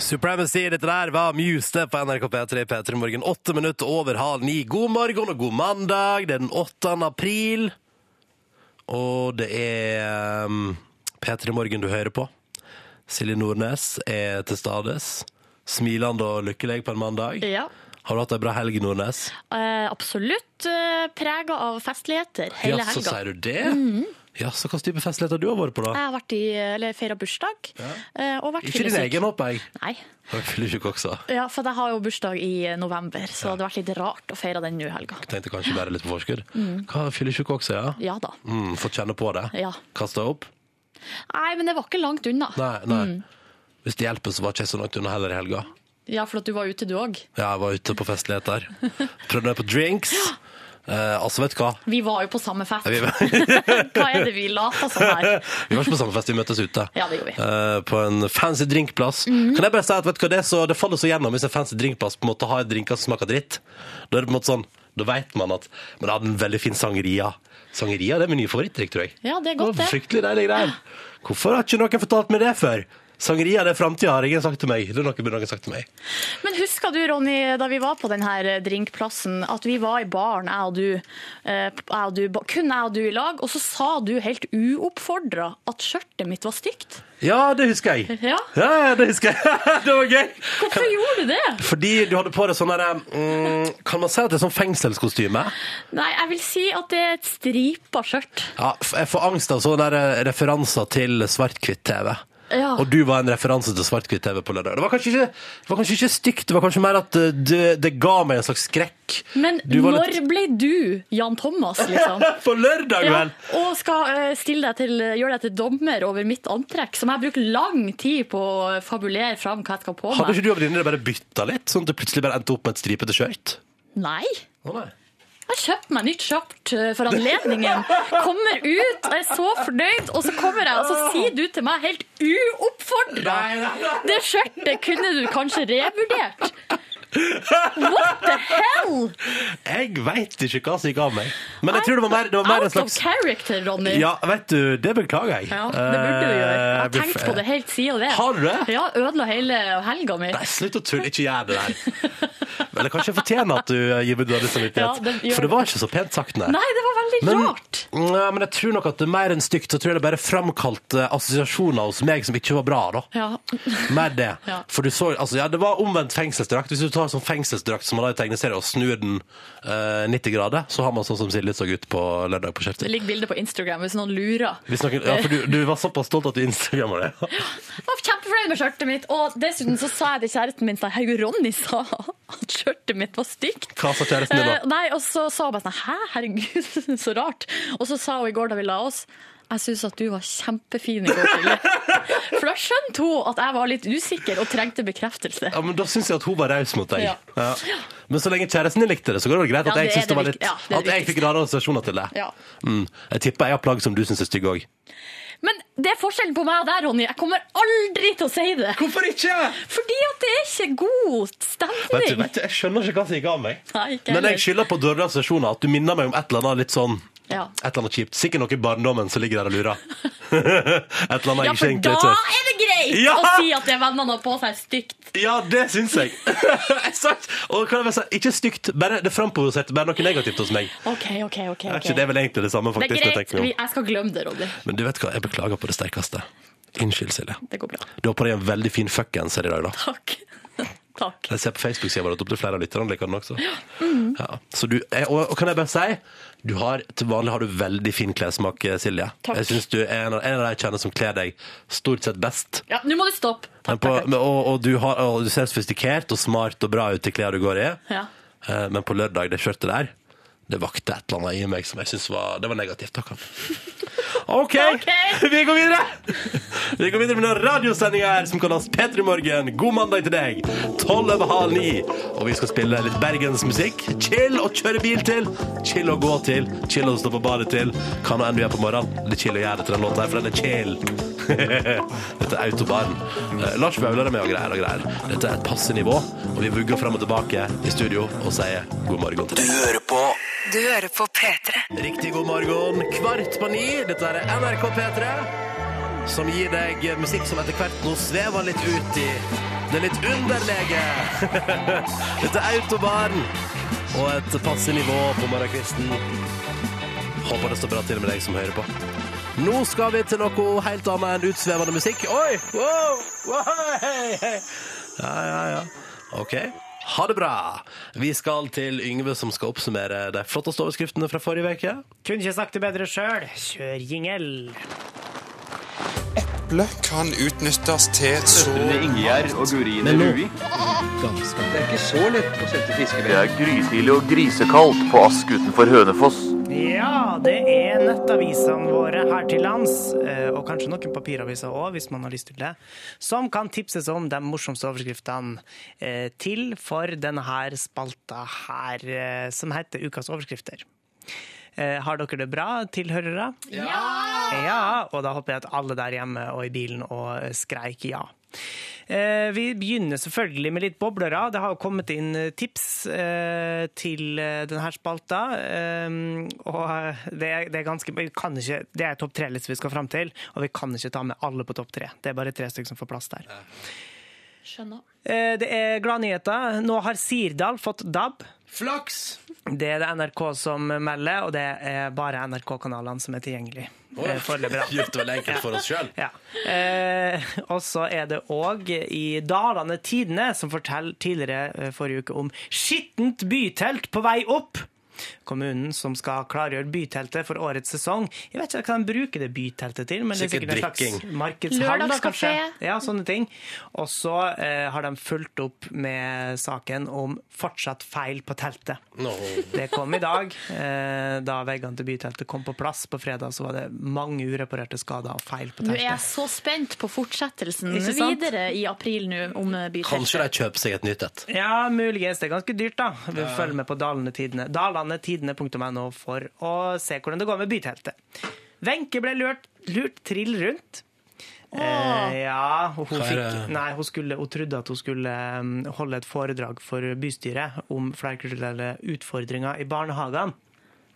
Supremacy, dette der var Muse det på NRK P3 i P3 Morgen. Åtte minutter over halv ni. God morgen og god mandag. Det er den 8. april. Og det er um, P3 Morgen du hører på. Silje Nordnes er til stades. Smilende og lykkelig på en mandag. Ja. Har du hatt ei bra helg, Nordnes? Eh, absolutt eh, prega av festligheter hele ja, så helga. sier du det? Ja, så hva type festligheter har du vært på, da? Jeg har vært i, eller feira bursdag. eh, Og vært Ikke din fyllesyk. egen, håper jeg. Nei. Jeg fyller ikke også. Ja, for jeg har jo bursdag i eh, november, så det hadde vært litt rart å feire den nå i helga. Tenkte kanskje bare litt på forskudd. Hva, fyller ikke også, ja? Ja da. Mm, Fått kjenne på det? Ja. Kasta opp? Nei, men det var ikke langt unna. Nei, nei. Hvis det hjelper, så var ikke jeg så langt unna heller i helga. Ja, for at du var ute, du òg. Ja, jeg var ute på festligheter. Prøvde meg på drinks. Eh, altså, vet du hva? Vi var jo på samme fest. Vi var, Hva er det vi later som her? vi var ikke på samme fest, vi møttes ute. Ja, det gjorde vi. Eh, Mhm. på en fancy drinkplass. Kan jeg bare si at vet du hva, det, er så, det faller så gjennom hvis en fancy drinkplass på en måte har drinker som smaker dritt. Da er det på en måte sånn, da vet man at Men det hadde en veldig fin sangeria. Sangeria det er min nye favorittdrikk, tror jeg. Ja, det er godt, var det. Ah. Fryktelig deilig greier. Hvorfor har ikke noen fortalt meg det før? Sangeria det er framtida, har ingen sagt til meg. Det er noe burde noen sagt til meg. Men husker du, Ronny, da vi var på denne drinkplassen, at vi var i baren, jeg og du, eh, jeg og du ba- kun jeg og du i lag, og så sa du helt uoppfordra at skjørtet mitt var stygt. Ja, det husker jeg. Ja. ja, ja, det husker jeg. det var gøy. Hvorfor gjorde du det? Fordi du hadde på deg sånn derre mm, Kan man si at det er sånn fengselskostyme? Nei, jeg vil si at det er et stripa skjørt. Ja, f- jeg får angst altså, av sånne der eh, referanser til svart-hvitt-TV. Ja. Og du var en referanse til svart-hvitt-TV på lørdag. Det var kanskje ikke, det var kanskje ikke stygt, det var kanskje mer at eh, det, det ga meg en slags skrekk. Men Du var når litt- ble du Jan Thomas, liksom? På lørdag, Ja, vel! og skal eh, stille deg til, gjøre deg til dommer over mitt antrekk, som jeg bruker lang tid på å fabulere fram hva jeg skal ha på Hadde meg. ikke du og venninnene bare bytta litt, sånn at det plutselig bare endte opp med et stripete skjørt? Nei. Å, nei. Jeg har kjøpt meg nytt skjørt eh, for anledningen. Kommer ut, og er så fornøyd, og så kommer jeg, og så sier du til meg helt uoppfordra Det skjørtet kunne du kanskje revurdert. What the hell? Jeg veit ikke hva som gikk av meg. Men jeg tror det var mer, det var mer en Out of slags character, Ronny. Ja, vet du, det beklager jeg. Ja, det burde du gjøre. Jeg har Eh, tenkt på det helt siden det. Har du det? Ja, ødela hele helga mi. Nei, slutt å tulle. Ikke gjør det der. Eller kanskje jeg fortjener at du eh, gir meg dårlig Ja, samvittighet. det gjør For det var ikke så pent sagt, nei. Nei, det var veldig Men, rart. Nei, men jeg tror nok at det er mer enn stygt, så tror jeg det bare framkalte assosiasjoner hos meg som ikke var bra, da. Ja. Mer det. Ja. For du så, altså, ja, det var omvendt fengselsdrakt. Hvis du tar sånn fengselsdrakt som man har i tegneserie og snur den eh, 90 grader, så har man sånn som Silje så ut på lørdag på Det Kjersti. ligger bilder på Instagram hvis noen lurer. Hvis noen, ja, for du, du var såpass stolt at du instagrammer det. Jeg var kjempefornøyd med skjørtet mitt, og dessuten så sa jeg til kjæresten min sånn, herregud, Ronny sa at skjørtet mitt var stygt. Hva sa kjæresten din da? Eh, Nei, og så sa hun bare sånn, hæ, herregud, så rart. Og så sa hun i går da vi la oss, jeg synes at du var kjempefin i går tidlig. For da skjønte hun at jeg var litt usikker og trengte bekreftelse. Ja, men Da syns jeg at hun var raus mot deg. Ja. Ja. Men så lenge kjæresten din likte det, så går det vel greit at Ja, det jeg er synes det det var vik- litt ja, det er At jeg det fikk rare assosiasjoner til det. Ja. Mm. Jeg tipper jeg har plagg som du syns er stygge òg. Men Det er forskjellen på meg og deg, Ronny. Jeg kommer aldri til å si det. Hvorfor ikke? Fordi at det er ikke god Vet du, stemning. vet du, jeg skjønner ikke hva som gikk av meg. Nei, ikke Men heller. jeg skylder på Dørdals versjoner at du minner meg om et eller annet litt sånn Ja. Et eller annet kjipt. Sikkert noe i barndommen som ligger der og lurer. et eller annet Ja, jeg ikke for egentlig da tør. er det greit Ja! å si at det vennene har på seg stygt. Ja, det syns jeg. jeg sa, og kan jeg bare si, ikke stygt, bare det framprovoserte, bare noe negativt hos meg. OK, OK, OK. Er ok. ikke det vel egentlig det samme, Det faktisk? er når jeg greit. tenker meg om? Vi- Jeg skal glemme det, Ronny. Men du vet hva, jeg beklager på det sterkeste. Unnskyld, Silje. Det går bra. Du har på deg en veldig fin fuckgenser i dag, da. Takk. Takk. Jeg ser på Facebook-sida vår at opptil flere av lytterne liker den også. Ja. Så du, eh, og, og kan jeg bare si, du har, til vanlig har du veldig fin klessmak, eh, Silje. Takk. Jeg syns du er en av, en av de jeg kjenner som kler deg stort sett best. Ja, nå må du stoppe. Men Takk, på, takk, men- og, og, du har, og du ser sofistikert og smart og bra ut i klær du går i. takk. Ja. Eh, Men på lørdag, det skjørtet der, det vakte et eller annet i meg som jeg syns var, det var negativt. Takk. OK, Ok. vi går videre! Vi går videre med noen radiosendinger her som kalles P3 Morgen. God mandag til deg. Tolv over halv ni. Og vi skal spille litt bergensmusikk. Chill å kjøre bil til. Chill å gå til. Chill å stå på badet til. Hva nå enn du gjør på morgenen. Det er chill å gjøre det til den låta her, for den er chill. Dette er Autobaren. Eh, Lars Vaular er med og greier og greier. Dette er et passe nivå, og vi vugger fram og tilbake i studio og sier god morgen til deg. Du hører på P3. Riktig god morgen, kvart på ni. Dette er NRK P3, som gir deg musikk som etter hvert nå svever litt ut i det litt underlege. Dette er Autobahn og et passe nivå på morgenkvisten. Håper det står bra til med deg som hører på. Nå skal vi til noe helt annet enn utsvevende musikk. Oi! Wow! wow, hei, hei. Ja, ja, ja. OK. Ha det bra. Vi skal til Yngve, som skal oppsummere de flotteste overskriftene fra forrige uke. Kunne ikke sagt det bedre sjøl. Kjør jingel. Ja, det er nettavisene våre her til lands, eh, og kanskje noen papiraviser òg, hvis man har lyst til det, som kan tipses om de morsomste overskriftene eh, til for denne her spalta her, eh, som heter Ukas overskrifter. Eh, Har dere det bra, tilhørere? Ja, og da håper jeg at alle der hjemme og i bilen og skreik ja. Eh, Vi begynner selvfølgelig med litt boblere. Det har jo kommet inn eh, tips eh, til eh, denne spalta. eh, Og eh, det er, det er ganske vi kan ikke, Det er topp tre-liste vi skal fram til, og vi kan ikke ta med alle på topp tre. Det er bare tre stykker som får plass der. Skjønner. Eh, Det er gladnyheter. Nå har Sirdal fått DAB. Flaks! Det er det NRK som melder, og det er bare NRK-kanalene som er tilgjengelig. eh, Foreløpig, da. Gjort det veldig enkelt for oss sjøl. Ja. Eh, og så er det òg i Dalane Tidende, som forteller tidligere eh, forrige uke om skittent bytelt på vei opp. Kommunen som skal klargjøre byteltet for årets sesong. Jeg vet ikke hva de bruker det byteltet til, men det er Sikkert sikkert en slags drikking. markedshall. da, kanskje. Lørdagskafé. Ja, sånne ting. Og så eh, har de fulgt opp med saken om fortsatt feil på teltet. No. Det kom i dag. Eh, da veggene til byteltet kom på plass på fredag, så var det mange ureparerte skader og feil på Nå teltet. er jeg så spent på fortsettelsen Ikke sant? videre i april nå om eh, byteltet. Kanskje de kjøper seg et nytt et. Ja, muligens. Det er ganske dyrt, da. Vi følger med på Dalane Tidene. Dalanetidene.no for å se hvordan det går med byteltet. Wenche ble lurt, lurt trill rundt. Eh, ja, og hun, Hva er fikk, det? nei, hun, skulle, hun trodde at hun skulle mm, holde et foredrag for bystyret om flerkulturelle utfordringer i barnehagene.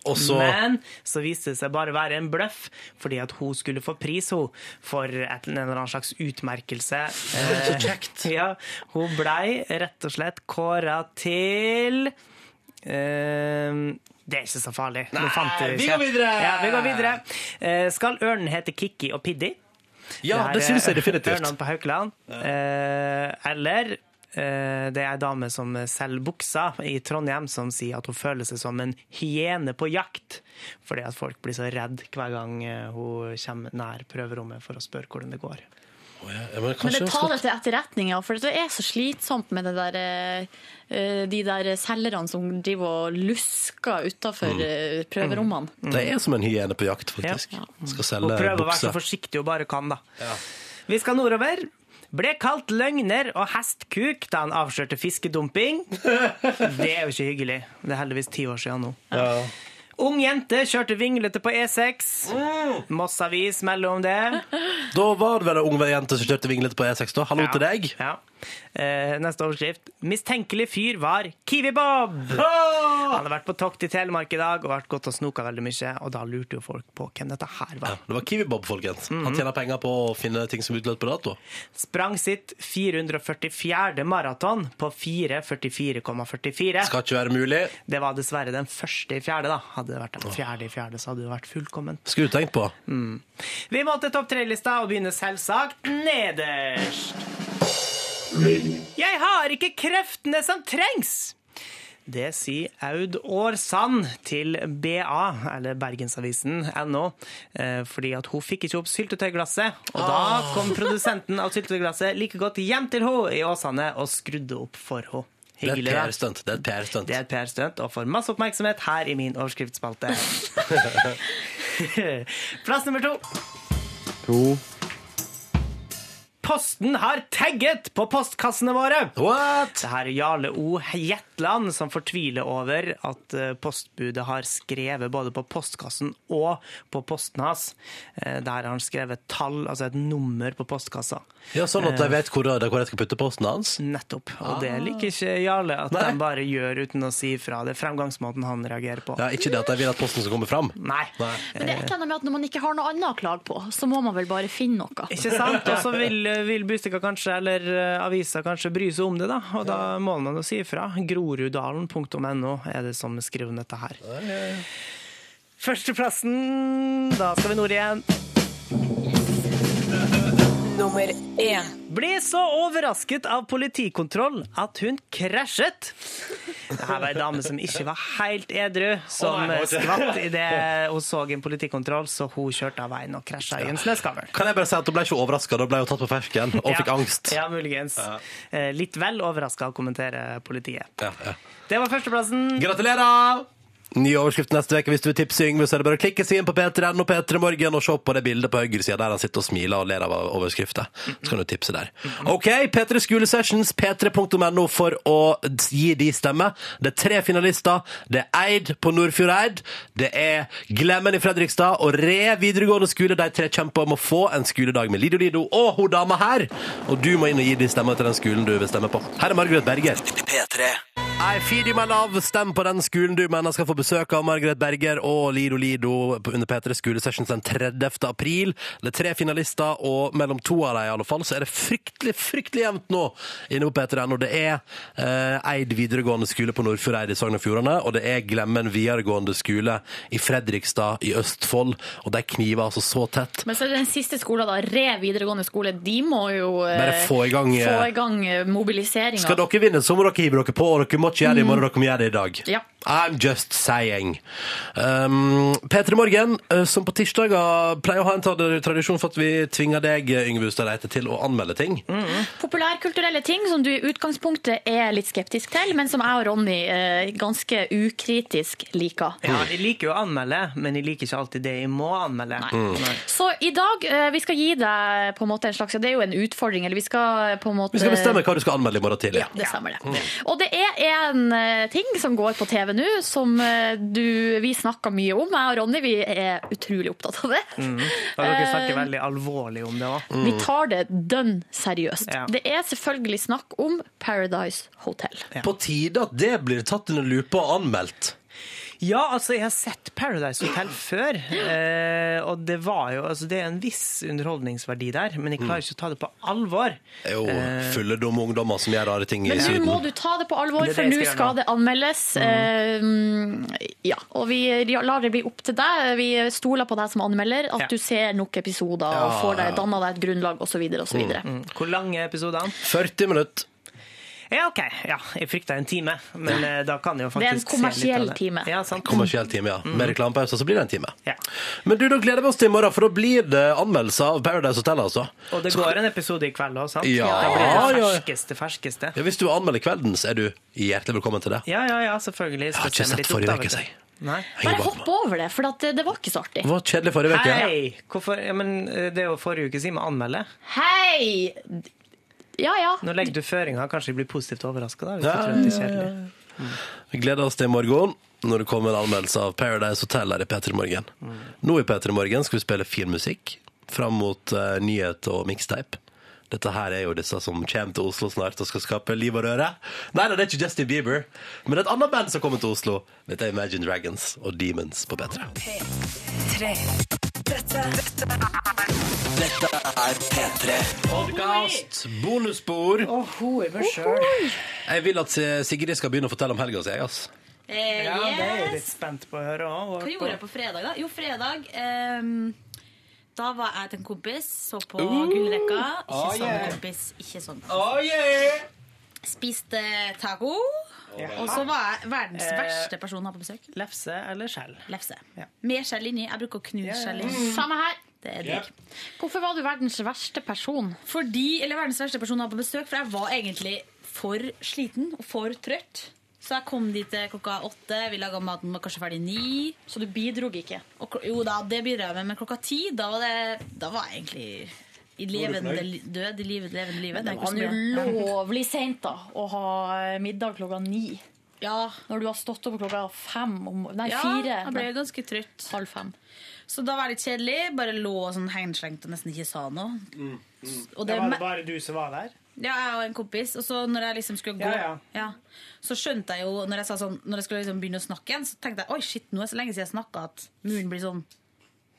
Og så Men så viste det seg bare å være en bløff, fordi at hun skulle få pris hun, for et, en eller annen slags utmerkelse. Så kjekt. Ja, hun blei rett og slett kåra til eh, det er ikke så farlig. Nå fant jeg det vi ikke. går videre! Ja, vi går videre. Eh, skal ørnen hete Kikki og Piddi? Ja, her det er syns jeg definitivt. Ørnene på Haukeland. Eh, eller eh, det er ei dame som selger bukser i Trondheim, som sier at hun føler seg som en hyene på jakt. Fordi at folk blir så redd hver gang eh, hun kommer nær prøverommet for å spørre hvordan det går. Å, ja, ja, men Men kanskje det tar det det til etterretning, ja. For det er så slitsomt med det der, eh, eh, de der selgerne som driver og lusker Mm. utafor prøverommene. de er som en hyene på jakt, faktisk. Ja. Skal Hun selge prøver å være så bukser. forsiktig hun bare kan, da. Vi skal nordover. Ble kalt løgner og hestkuk da han avslørte fiskedumping. Det er jo ikke hyggelig. Det er heldigvis ti år siden nå. Ung jente kjørte vinglete på E6. Mm. Mossavis melder om det. Da var det vel en ung jente som kjørte vinglete på E6, da. Hallo til deg. Ja. Eh, neste overskrift. Mistenkelig fyr var Kiwi-Bob. Han hadde vært på tokt i Telemark i dag og vært gått og snoka veldig mye. Og da lurte jo folk på hvem dette her var. Det var Kiwi-Bob, folkens. Mhm. Han tjener penger på å finne ting som er utløpt på dato. Sprang sitt 444. maraton på 4.44,44. Skal ikke være mulig. Det var dessverre den første i fjerde, da. Hadde det vært den fjerde i fjerde, så hadde det jo vært fullkomment. Skulle du tenkt på. Vi må til topp tre-lista og begynner selvsagt nederst. Jeg har ikke kreftene som trengs! Det sier Aud Aarsand til BA, eller Bergensavisen NO, eh, fordi at hun fikk ikke opp syltetøyglasset. Og da Ah. kom produsenten av syltetøyglasset like godt hjem til henne i Åsane og skrudde opp for henne. Det er et Hyggelig. da. PR-stunt. Det er et PR-stunt. Det er et PR-stunt og får masse oppmerksomhet her i min overskriftsspalte. Plass nummer to. To. Posten har tagget på postkassene våre! What? Det her er Jarle O. Jetland som fortviler over at eh, postbudet har skrevet både på postkassen og på posten hans. Eh, Der har han skrevet tall, altså et nummer på postkassa. Ja, sånn at jeg Eh. vet hvor, hvor jeg skal putte posten hans. Nettopp. Og det liker ikke Jarle at Ah. Nei. de bare gjør uten å si ifra. Det er fremgangsmåten han reagerer på. Ja, ikke det at jeg vil at posten skal komme fram. Nei. Nei. Men det er et eller annet med at når man ikke har noe annet å klage på, så må man vel bare finne noe. Ikke sant? Og så vil, vil Bustika kanskje, eller eh, avisa kanskje, bry seg om det, da. Og da må man jo si ifra. Groruddalen.no er det som skriver om dette her. Førsteplassen Da skal vi nord igjen. Nummer én. Ble så overrasket av politikontroll at hun krasjet. Det her var ei dame som ikke var helt edru, som Å, nei, nå- skvatt idet hun så en politikontroll, så hun kjørte av veien og krasja i en snøskavl. Kan jeg bare si at hun ble ikke overraska, da ble hun tatt på fersken og fikk Ja. angst. Ja, muligens. Eh, Litt vel overraska å kommentere politiet. Ja, ja. Det var førsteplassen. Gratulerer! Ny overskrift neste uke. Hvis du vil tipse Yngve, så er det bare å klikke seg inn på P3N og P3 Morgen og se på det bildet på høyresida der han sitter og smiler og ler av overskrifta. Så kan du tipse der. OK, P3 Skolesessions, p3.no for å gi de stemme. Det er tre finalister. Det er Eid på Nordfjordeid. Det er Glemmen i Fredrikstad og Re videregående skole. De tre kjemper om å få en skoledag med Lido Lido og hun dama her. Og du må inn og gi de stemme til den skolen du vil stemme på. Her er Margaret Berger. I feed you my love. Stem på den skolen du mener skal få besøk av Margaret Berger og Lido Lido på- under P3 Skolesessions den 30. april. Det er tre finalister, og mellom to av dem i alle fall, så er det fryktelig, fryktelig jevnt nå inne på P3 Når det er eh, Eid videregående skole på Nordfjordeid i Sogn og Fjordane, og det er Glemmen videregående skole i Fredrikstad i Østfold, og de kniver altså så tett. Men så er det den siste skolen, da. Re videregående skole. De må jo eh, Bare få i gang, eh, få i gang eh, mobiliseringa. Skal dere vinne, så må dere hive dere på, og dere må ikke gjøre det i morgen, dere må gjøre det i dag. Mm. Ja. I'm just saying. Um, P3 Morgen, eh, som på tirsdager pleier å ha en trad- tradisjon for at vi tvinger deg, eh, Yngve Hustad Reite, til å anmelde ting. Mm. Populærkulturelle ting som du i utgangspunktet er litt skeptisk til, men som jeg og Ronny eh, ganske ukritisk liker. Ja, jeg liker jo å anmelde, men jeg liker ikke alltid det jeg må anmelde. Nei. Mm. Så i dag, eh, vi skal gi deg på en måte en slags ja, Det er jo en utfordring, eller vi skal eh, på en måte Vi skal bestemme Mm. hva du skal anmelde i morgen tidlig. Ja, det stemmer det. Og det er en eh, ting som går på TV nå, som eh, du, vi snakker mye om. Jeg og Ronny vi er utrolig opptatt av det. Eh, Og dere snakker veldig alvorlig om det òg. Vi tar det dønn seriøst. Mm. Ja. Det er selvfølgelig snakk om Paradise Hotel. På tide at det blir tatt under lupa og anmeldt. Ja, altså, jeg har sett Paradise Hotel før, eh, og det var jo Altså, det er en viss underholdningsverdi der, men jeg Mm. klarer ikke å ta det på alvor. Det er jo fulle dumme ungdommer som gjør rare ting i Eh. Men nå Syden. må du ta det på alvor, Det er for det nå jeg skal Mm. skal det anmeldes. Eh, ja, og vi lar det bli opp til deg. Vi stoler på deg som anmelder, at Ja. du ser nok episoder og Ja, får deg, ja. danner deg et grunnlag osv. osv. Mm. Hvor lange er episodene? 40 minutter. Ja, OK. Ja, jeg frykta en time, men eh, da kan jeg jo er en faktisk se litt av kommersiell det. time. Ja, sant. Mm. Kommersiell time, ja. Med reklamepauser så blir det en time. Ja. Men du, da gleder vi oss til i morgen, for da blir det anmeldelser av Paradise Hotel, altså. Og det Så- går en episode i kveld òg, sant? Ja, Da blir det ja, ja. ferskeste, ferskeste. Ja, hvis du anmelder kvelden, så er du hjertelig velkommen til det. Ja, ja, ja, selvfølgelig. Jeg har ikke sett forrige uke, sier jeg. Nei. Henger Bare bak hopp meg. over det, for at eh, det, det var ikke så artig. Det var kjedelig forrige uke. Hei! Hvorfor? Ja, men eh, det er jo forrige uke siden vi anmelder. Hei! Ja ja. Nå legger du føringer, kanskje jeg blir positivt overraska. Ja, ja, ja. Vi gleder oss til i morgen når det kommer en anmeldelse av Paradise Hotel her i P3 Morgen. Nå i P3 Morgen skal vi spille fin musikk fram mot eh, nyhet og mixtape. Dette her er jo disse som kommer til Oslo snart og skal skape liv og røre. Nei, nei, det er ikke Justin Bieber, men det er et annet band som kommer til Oslo. Dette er Imagine Dragons og Demons på P3. Podcast, bonusspor. Og hore meg sjøl. Jeg vil at eh, Sigrid skal begynne å fortelle om helga si. ass. Eh, Ja, det er jeg yes. litt spent på å høre Hva gjorde jeg òg. på fredag, da? Jo, fredag ehm, Da var jeg til en kompis, så på Uh! gullrekka. Ikke Ah, Oh, sånn yeah. kompis, ikke sånn. Spiste taco. Og så var jeg verdens Eh. verste person å ha på besøk. Lefse eller skjell? Lefse. Ja. Med skjell inni. Jeg bruker å knuse skjell inni. Samme her. Det er digg. Hvorfor var du verdens verste person? Fordi, eller verdens verste person å ha på besøk, for jeg var egentlig for sliten og for trøtt. Så jeg kom dit eh, klokka åtte, vi laga maten var kanskje ferdig ni. Så du bidro ikke? Og, kl- jo da, det bidrar jeg med, men klokka ti, da var, det, da var jeg egentlig i levende li- død. I livet, levende livet. Det er ikke var så jo mye. lovlig seint, da, å ha eh, middag klokka ni. Ja, Når du har stått opp klokka fem om, Nei, ja, fire. jeg ble Nei, ganske trøtt. halv fem. Så da var jeg litt kjedelig. Bare lå sånn hengslengt og nesten ikke sa noe. Og Det det, mm, var det bare du som var der? Ja, jeg og en kompis. Og så når jeg liksom skulle gå, Ja, så skjønte jeg jo Når jeg, sa sånn, når jeg skulle liksom begynne å snakke igjen, så tenkte jeg oi shit, nå er det så lenge siden jeg snakka at muren blir sånn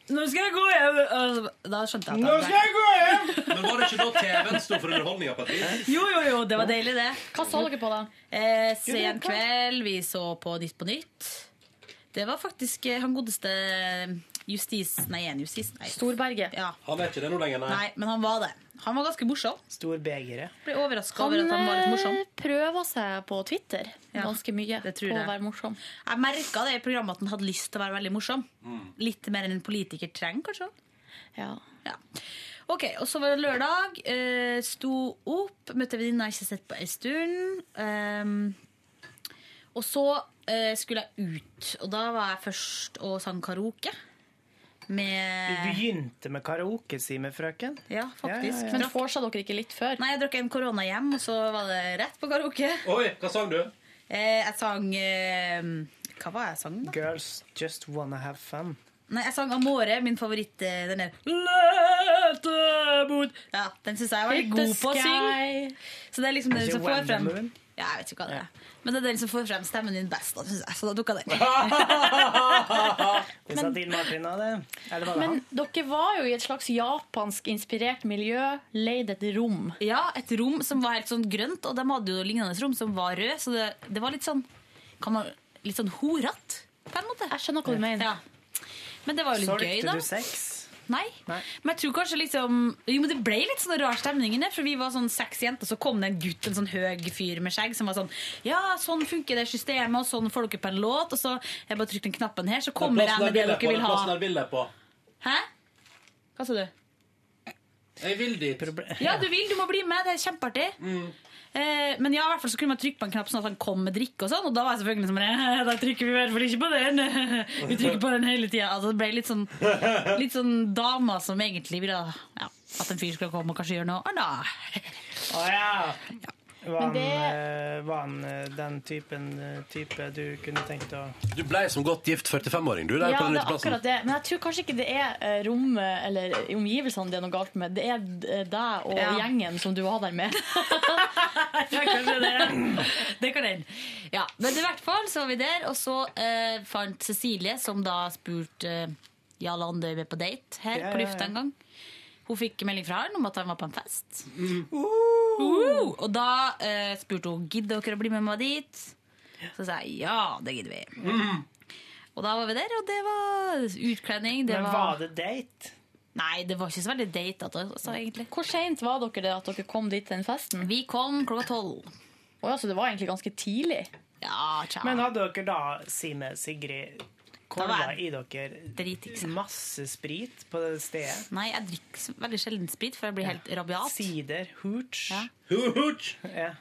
Nå skal jeg gå hjem! Og så- Da skjønte jeg at jeg- jeg gå hjem! Men var det ikke da TV-en sto for underholdninga? Jo, jo, jo, det var deilig, det. Hva sa dere på da? Eh, sen kveld, vi så på Nytt på Nytt. Det var faktisk eh, han godeste justis... Nei, en justis. Nei. Storberget. Ja. Han er ikke det nå lenger, nei. nei, men han var det. Han var ganske morsom. Stor begeret. Ble overraska Han, over at han var litt morsom. eh, prøver seg på Twitter Ja, ganske mye det tror på å jeg. være morsom. Jeg merka det i programmet at han hadde lyst til å være veldig morsom. Mm. Litt mer enn en politiker trenger, kanskje. Ja. Ja. Ok, og Så var det lørdag. Eh, sto opp, møtte venninna jeg ikke har sett på en stund. Ehm, og så eh, skulle jeg ut, og da var jeg først og sang karaoke. Du Med begynte med karaoke, sier med frøken. Ja, faktisk. Ja, ja, ja. Men forsa dere ikke litt før? Nei, jeg drakk en korona hjem, og så var det rett på karaoke. Oi, hva sang du? Eh, jeg sang eh, Hva var jeg sang, da? Girls just wanna have fun. Nei, jeg sang Amore, min favoritt. eh, Den der Lete mot Ja, den syns jeg jeg var litt god på å synge. Så det er liksom den Ikke som får Wonder frem Woman? Ja, jeg vet ikke hva det er. Men det liksom er den som får frem stemmen din best, da, synes jeg. Så da dukka den. Det sa Dean Martin av det. Eller var det Men han? dere var jo i et slags japansk-inspirert miljø, leid et rom. Ja, et rom som var helt sånn grønt, og de hadde jo lignende rom som var rød, så det, det var litt sånn kan man, Litt sånn horete, på en måte. Jeg skjønner hva du mener. Ja. Men det var jo Så litt gøy, likte da. du sex. Nei. Nei. Men jeg tror kanskje liksom Jo, men det ble litt sånn rar stemning inne, for vi var sånn seks jenter, så kom det en gutt, en sånn høy fyr med skjegg, som var sånn Ja, sånn funker det systemet, og sånn får dere på en låt, og så Jeg bare trykk den knappen her, så kommer jeg med det dere vil ha. Hæ? Hva sa du? Jeg vil dit. Ja, du vil, du må bli med, det er kjempeartig. Eh, men ja, i hvert fall så kunne man trykke på en knapp sånn at han kom med drikke og sånn, og da var jeg selvfølgelig sånn «Eh, Da trykker vi i hvert fall ikke på den. Vi trykker på den hele tida. Altså, det ble litt sånn, litt sånn dama som egentlig ville ja, at en fyr skulle komme og kanskje gjøre noe. Å, da. Å ja! Var han, Men det- eh, var han eh, den typen eh, type du kunne tenkt å Du ble som godt gift 45-åring, du. Der Ja, på den det er uteplassen. akkurat det. Men jeg tror kanskje ikke det er eh, rommet eller omgivelsene det er noe galt med. Det er eh, deg og Ja. gjengen som du var der med. Ja, kanskje det. Det kan hende. Ja, men i hvert fall så var vi der, og så eh, fant Cecilie, som da spurte eh, Jarl Andøy med på date her Ja, på ja, lufta ja. en gang. Hun fikk melding fra han om at han var på en fest. Uh, og da eh, spurte hun gidder dere å bli med meg dit. Så sa jeg ja, det gidder vi. Og da var vi der, og det var utkledning. Det Men var, var det date? Nei, det var ikke så veldig date, altså, egentlig. Hvor seint var dere det at dere kom dit til den festen? Vi kom klokka tolv. Å ja, så det var egentlig ganske tidlig. Ja, tja. Men hadde dere da, sier med Sigrid, kolva jeg i dere Dritings. masse sprit på det stedet? Nei, jeg drikker s- veldig sjelden sprit, for jeg blir helt rabiat. Sider, hooch. Ja. Hooch! Ja.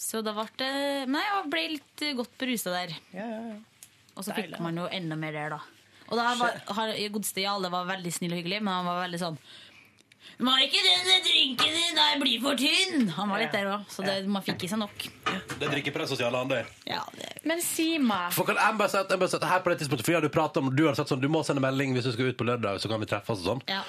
Så da ble det Men jeg ble litt eh, godt berusa der. Ja, ja, ja. Og så Deilig. fikk man jo enda mer der, da. Og da var har- godeste Jarle var veldig snill og hyggelig, men han var veldig sånn Var ikke den drinken din der blir for tynn? Han var litt der òg, så det, man fikk i seg nok. Det drikker på den sosiale andøy. Men si meg For kan jeg bare si at, jeg bare si at her på det tidspunktet For jeg hadde pratet om, du hadde sagt sånn Du må sende melding hvis du skal ut på lørdag Så kan vi treffes og sånn Ja.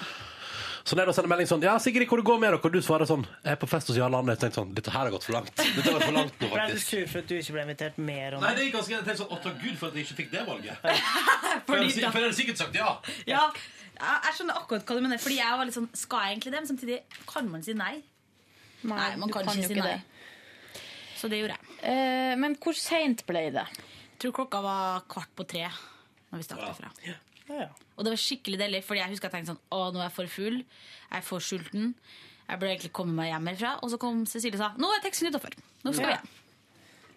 Så når jeg da sender melding sånn Ja, Sigrid, hvor det går med dere? Og du svarer sånn Jeg er på fest hos Jarl Arne Jeg tenkte sånn Dette her har gått for langt Dette har gått for langt nå Ble du faktisk sur for at du ikke ble invitert mer? Nei, Ronny? det gikk ganske Jeg tenkte sånn Å, takk Gud for at jeg ikke fikk det valget For Fordi jeg da- hadde sikkert sagt ja Ja, jeg jeg skjønner akkurat hva du mener. Fordi jeg var litt sånn, Skal jeg egentlig det? Men samtidig kan man si nei. Nei, man du kan ikke jo si nei. Så det gjorde jeg. Eh, men hvor seint ble det? Jeg tror klokka var kvart på tre når vi stakk derfra. Ja, ja. Og det var skikkelig deilig, fordi jeg husker jeg tenkte sånn Å, nå er jeg for full. Jeg er for sulten. Jeg burde egentlig komme meg hjem herfra. Og så kom Cecilie og sa Nå er taxien utafor. Nå skal vi hjem.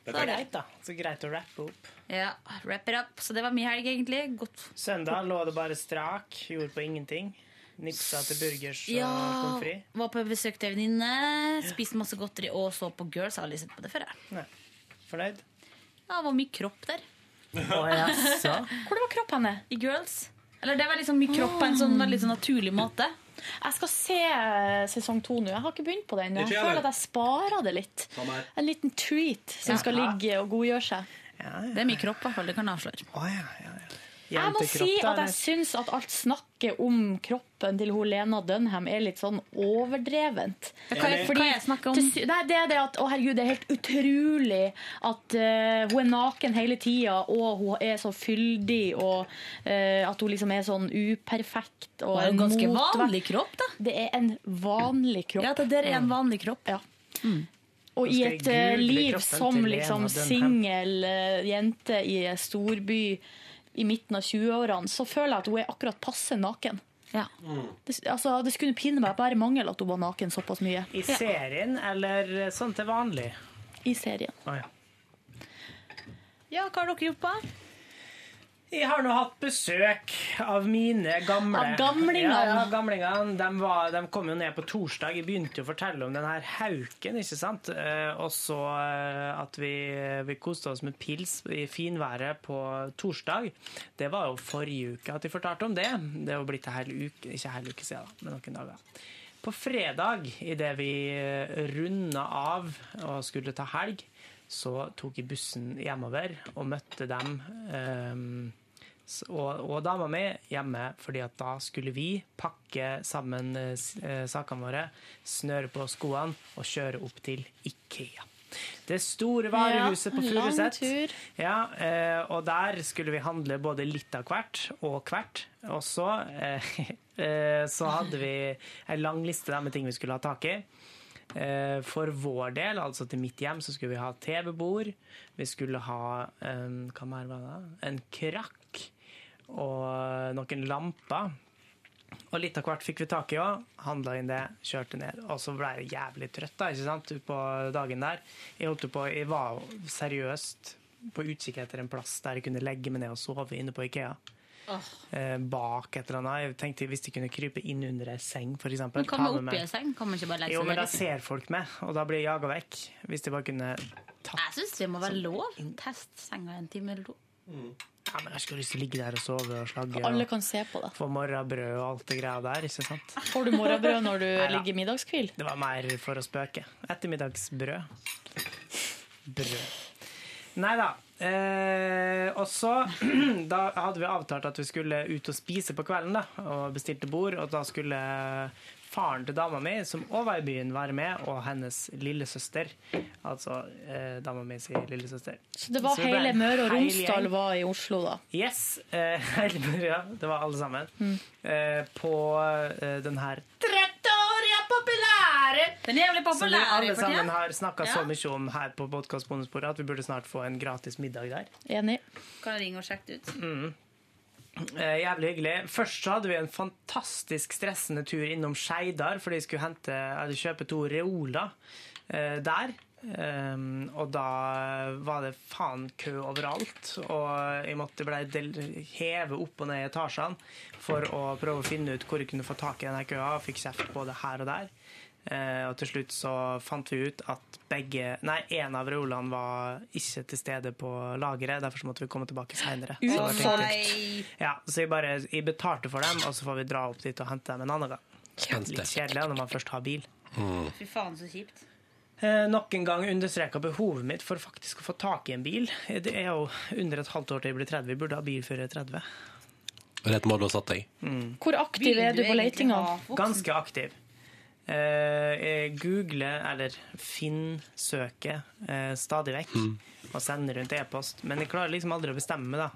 Det er greit, da. Så greit å rappe opp. Ja, wrap it up. Så det var min helg, egentlig. Godt. Søndag lå det bare strak, gjorde på ingenting. Nipsa til burgers og Ja, pommes frites. var på besøk til ei venninne, spiste masse godteri og så på Girls. Jeg har aldri sett på det før. jeg. Nei. Fornøyd? Ja, det var mye kropp der. Å jaså? Hvor var kroppen henne? I Girls. Eller det var liksom mye kropp på en sånn veldig sånn naturlig måte. Jeg skal se eh, sesong to nå. Jeg har ikke begynt på den. Jeg Ikke jeg heller. føler at jeg sparer det litt. Samme her. En liten treat som skal ligge og godgjøre seg. Det er mye kropp, i hvert fall. Det kan jeg avsløre. Å ja, ja, ja. Jeg må si Jentekropp, da, at jeg eller? syns at alt snakket om kroppen til hun Lena Dunham er litt sånn overdrevent. Hva er hva er jeg snakker Til om? sy- Nei, det er det at Å herregud, det er helt utrolig at eh, hun er naken hele tida, og hun er så fyldig, og eh, at hun liksom er sånn uperfekt. Og Det er en en ganske motvekt. vanlig kropp, da. Det er en vanlig kropp. Ja, det der er en vanlig kropp. Ja. Og i skal jeg et eh, google liv kroppen som til liksom Lena Dunham. singel eh, jente i en storby i midten av 20-årene, så føler jeg at hun er akkurat passe naken. Ja. Det, altså, det skulle pinne meg bare mangel at hun var naken såpass mye I serien eller sånn til vanlig? i serien. Å ja. ja, hva har dere gjort på? Jeg har nå hatt besøk av mine gamle. Av gamlingene. Ja, ja, gamlingene. De, var, de kom jo ned på torsdag. Jeg begynte jo å fortelle om den her hauken, ikke sant? Eh, og så eh, at vi, vi koste oss med pils i finværet på torsdag. Det var jo forrige uke at de fortalte om det. Det er jo blitt en hel uke, ikke en hel uke siden, da, men noen dager. På fredag, idet vi runda av og skulle ta helg, så tok jeg bussen hjemover og møtte dem eh, s- og, og dama mi hjemme, fordi at da skulle vi pakke sammen eh, s- eh, sakene våre, snøre på skoene og kjøre opp til Ikea. Det store varehuset på lang Furuset. tur. Ja, eh, og der skulle vi handle både litt av hvert og hvert. Og så, eh, eh, så hadde vi en lang liste der med ting vi skulle ha tak i. Eh, for vår del, altså til mitt hjem, så skulle vi ha TV-bord. Vi skulle ha en, hva mer var det? en krakk og noen lamper. Og litt av hvert fikk vi tak i òg. Handla inn det, kjørte ned. Og så ble jeg jævlig trøtt da, ikke sant, på dagen der. Jeg holdt jo på, jeg var jo seriøst på utkikk etter en plass der jeg kunne legge meg ned og sove inne på Ikea. Eh, bak et eller annet. Jeg tenkte hvis de kunne krype inn under ei seng, f.eks. Men hva med oppi en seng? Kan man ikke bare legge Jo, men da seg ned? ser folk meg, og da blir jeg jaga vekk. Hvis de bare kunne tatt Jeg syns det må være lov. Test senga en time eller to. Ja, men jeg har ikke lyst til å ligge der og sove og slagge Alle og kan se på det. få morrabrød og alt det greia der, ikke sant? Får du morgenbrød når du da. ligger i middagskvil? Det var mer for å spøke. Ettermiddagsbrød. Brød. Nei da. Eh, og så Da hadde vi avtalt at vi skulle ut og spise på kvelden, da, og bestilte bord. Og da skulle faren til dama mi, som òg var i byen, være med, og hennes lillesøster. Altså eh, dama mi sin lillesøster. Så det var Så det ble hele en Møre og hel Romsdal gjeng. var i Oslo, da. Yes. Eh, Elmer, ja, det var alle sammen. Eh, på eh, den her Trattoria populære! Den er Som jævlig vi populære alle i for sammen tida. har snakka Ja. så mye om her på Podkast Bonusbordet, at vi burde snart få en gratis middag der. Enig. Kan ringe og sjekke det ut. Eh, jævlig hyggelig. Først så hadde vi en fantastisk stressende tur innom Skeidar, fordi jeg skulle hente, eller kjøpe to reoler eh, der. Um, og da var det faen kø overalt, og jeg måtte ble del heve opp og ned i etasjene for å prøve å finne ut hvor jeg kunne få tak i denne køa, og fikk kjeft både her og der. Eh, og til slutt så fant vi ut at begge, nei, en av reolene var ikke til stede på lageret, derfor så måtte vi komme tilbake seinere. Ja, så jeg bare jeg betalte for dem, og så får vi dra opp dit og hente dem en annen gang. Spent Litt det kjedelig når man først har bil. Fy faen, så kjipt. eh, nok en gang understreka behovet mitt for faktisk å få tak i en bil. Eh, Det er jo under et halvt år til jeg blir 30. Vi burde ha bil før jeg er 30. Rett mål du har satt deg. Hvor aktiv Vil er du du på egentlig letinga? ha voksen? Ganske aktiv. Eh, jeg googler, eller finnsøker, eh, stadig vekk og sender rundt e-post. Men jeg klarer liksom aldri å bestemme meg, da.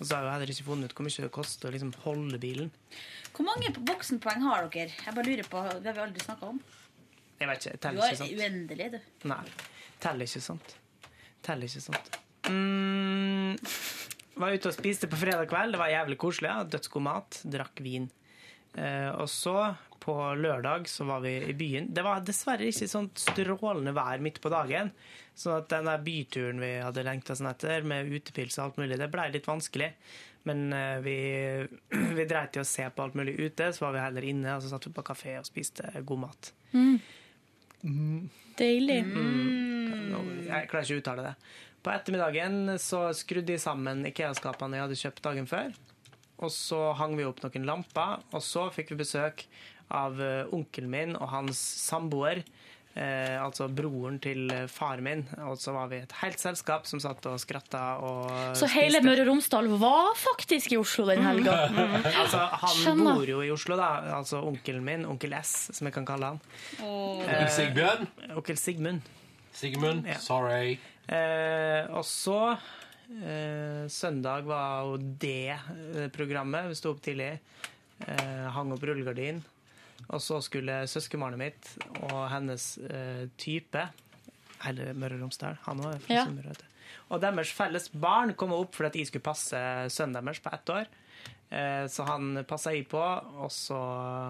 Og så har jeg jo heller ikke funnet ut hvor mye det koster å liksom holde bilen. Hvor mange voksenpoeng har dere? Jeg bare lurer på, Det har vi aldri snakka om. Jeg vet ikke, jeg Du teller har ikke sånt. uendelig, du. Nei, teller ikke sånt. Teller ikke sånt. Mm, var ute og spiste på fredag kveld. Det var jævlig koselig. Ja. Dødsgod mat. Drakk vin. Eh, og så, på lørdag, så var vi i byen. Det var dessverre ikke sånt strålende vær midt på dagen. Så at den der byturen vi hadde lengta sånn etter, med utepils og alt mulig, det blei litt vanskelig. Men eh, vi, vi dreit i å se på alt mulig ute, så var vi heller inne, og så satt vi på kafé og spiste god mat. Deilig. Mm. Nå, jeg klarer ikke å uttale det. På ettermiddagen så skrudde de sammen IKEA-skapene jeg hadde kjøpt dagen før. Og så hang vi opp noen lamper, og så fikk vi besøk av eh, onkelen min og hans samboer. Eh, altså broren til eh, faren min. Og så var vi et helt selskap som satt og skratta og Så hele Møre og Romsdal var faktisk i Oslo den helga. Altså, han Skjønner. bor jo i Oslo, da. Altså onkelen min. Onkel S, som jeg kan kalle han. Onkel Sigbjørn. Onkel Sigmund. Sigmund, sorry. Eh, og så eh, Søndag var jo det eh, programmet. Vi sto opp tidlig, eh, hang opp rullegardin. Og så skulle søskenbarnet mitt og hennes eh, type Eller Møre og Romsdal, han også er fra Ja. Sunnmøre, vet du. Og deres felles barn kom opp fordi at jeg skulle passe sønnen deres på ett år. Eh, så han passa jeg på, og så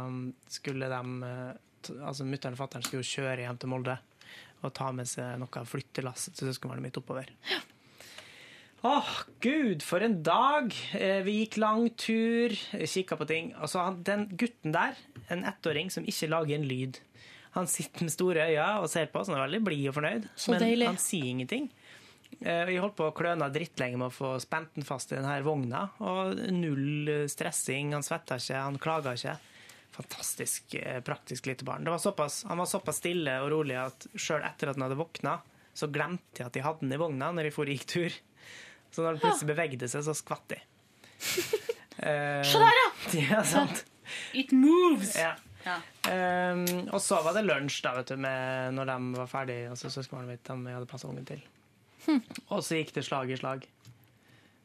um, skulle de eh, t- Altså mutter'n og fatter'n skulle jo kjøre hjem til Molde og ta med seg noe av flyttelasset til søskenbarnet mitt oppover. Åh, gud, for en dag! Eh, Vi gikk lang tur, kikka på ting. Og så han, den gutten der, en ettåring som ikke lager en lyd. Han sitter med store øyne og ser på oss, han er veldig blid og fornøyd, Så men deilig. han sier ingenting. Eh, Vi holdt på å kløne drittlenge med å få spent den fast i denne vogna, og null eh, stressing, han svetter ikke, han klager ikke. Fantastisk eh, praktisk lite barn. Det var såpass, han var såpass stille og rolig at sjøl etter at han hadde våkna, så glemte jeg at jeg hadde den i vogna når jeg for og gikk tur. Så når den plutselig bevegde seg, så skvatt de. Se der, ja! Ja, sant. It moves! Ja. Ja. Ehm, og så var det lunsj da, vet du, med, når de var ferdige, altså søskenbarnet mitt, dem jeg hadde passet ungen til. Hm. Og så gikk det slag i slag.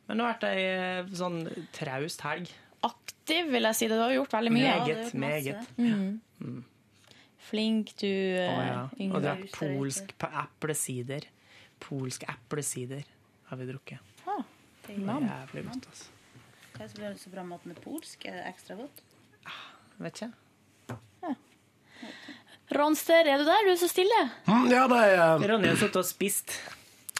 Men det har vært ei eh, sånn traust helg. Aktiv, vil jeg si. Det du har gjort veldig mye. Ja, det er Meget, jo masse. meget. Flink du, Å, ja. eh, Og Yngve. drakk polsk pa- eplesider. Polsk eplesider har vi drukket. Ah, Det er Jævlig godt, altså. Hva er det som blir så bra med at den er polsk? Er det ekstra godt? Ah, Vet ikke. Ronster, er du der? Du er så stille. Mm, ja, nei, eh, Ronny har sittet og spist.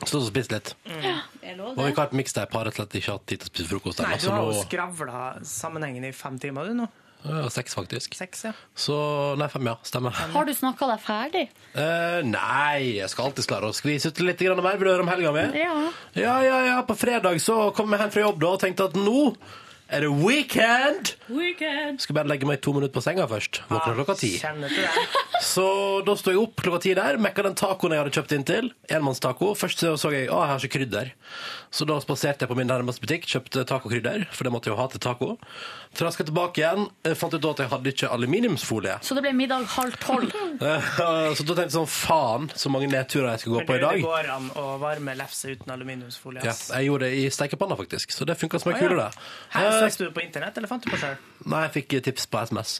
stått og spist litt. Er det lov, Og vi det? har et mixtape, har rett og slett ikke hatt tid til å spise frokost Nei, ennå. du Så har nå jo skravla sammenhengende i fem timer, du nå. ja, Seks, faktisk. Seks, ja. Så Nei, fem, ja. Stemmer. Har du snakka deg ferdig? Eh, nei, jeg skal alltid klare å skvise ut litt grann mer. Vil du høre om helga mi? Ja. Ja, ja, ja. På fredag så kom jeg hjem fra jobb da og tenkte at nå er det weekend! Weekend! Skal bare legge meg to minutter på senga først. Våkner klokka ti. Kjenner til det. Så da sto jeg opp klokka ti der, mekka den tacoen jeg hadde kjøpt inn til. Enmannstaco. Først så, så jeg å, jeg har ikke krydder. Så da spaserte jeg på min nærmeste butikk, kjøpte tacokrydder, for det måtte jeg jo ha til taco. Traska tilbake igjen, eh, fant ut da at jeg hadde ikke aluminiumsfolie. Så det ble middag halv tolv. Eh, Så da tenkte jeg sånn faen, så mange nedturer jeg skal gå Men på i du, det dag. går an å varme lefse uten aluminiumsfolie. Ja, ass. jeg gjorde det i steikepanna, faktisk. Så det funka som ei Å, kule, ja. det. Her Eh, søkte du på internett, eller fant du på sjøl? Nei, jeg fikk tips på SMS.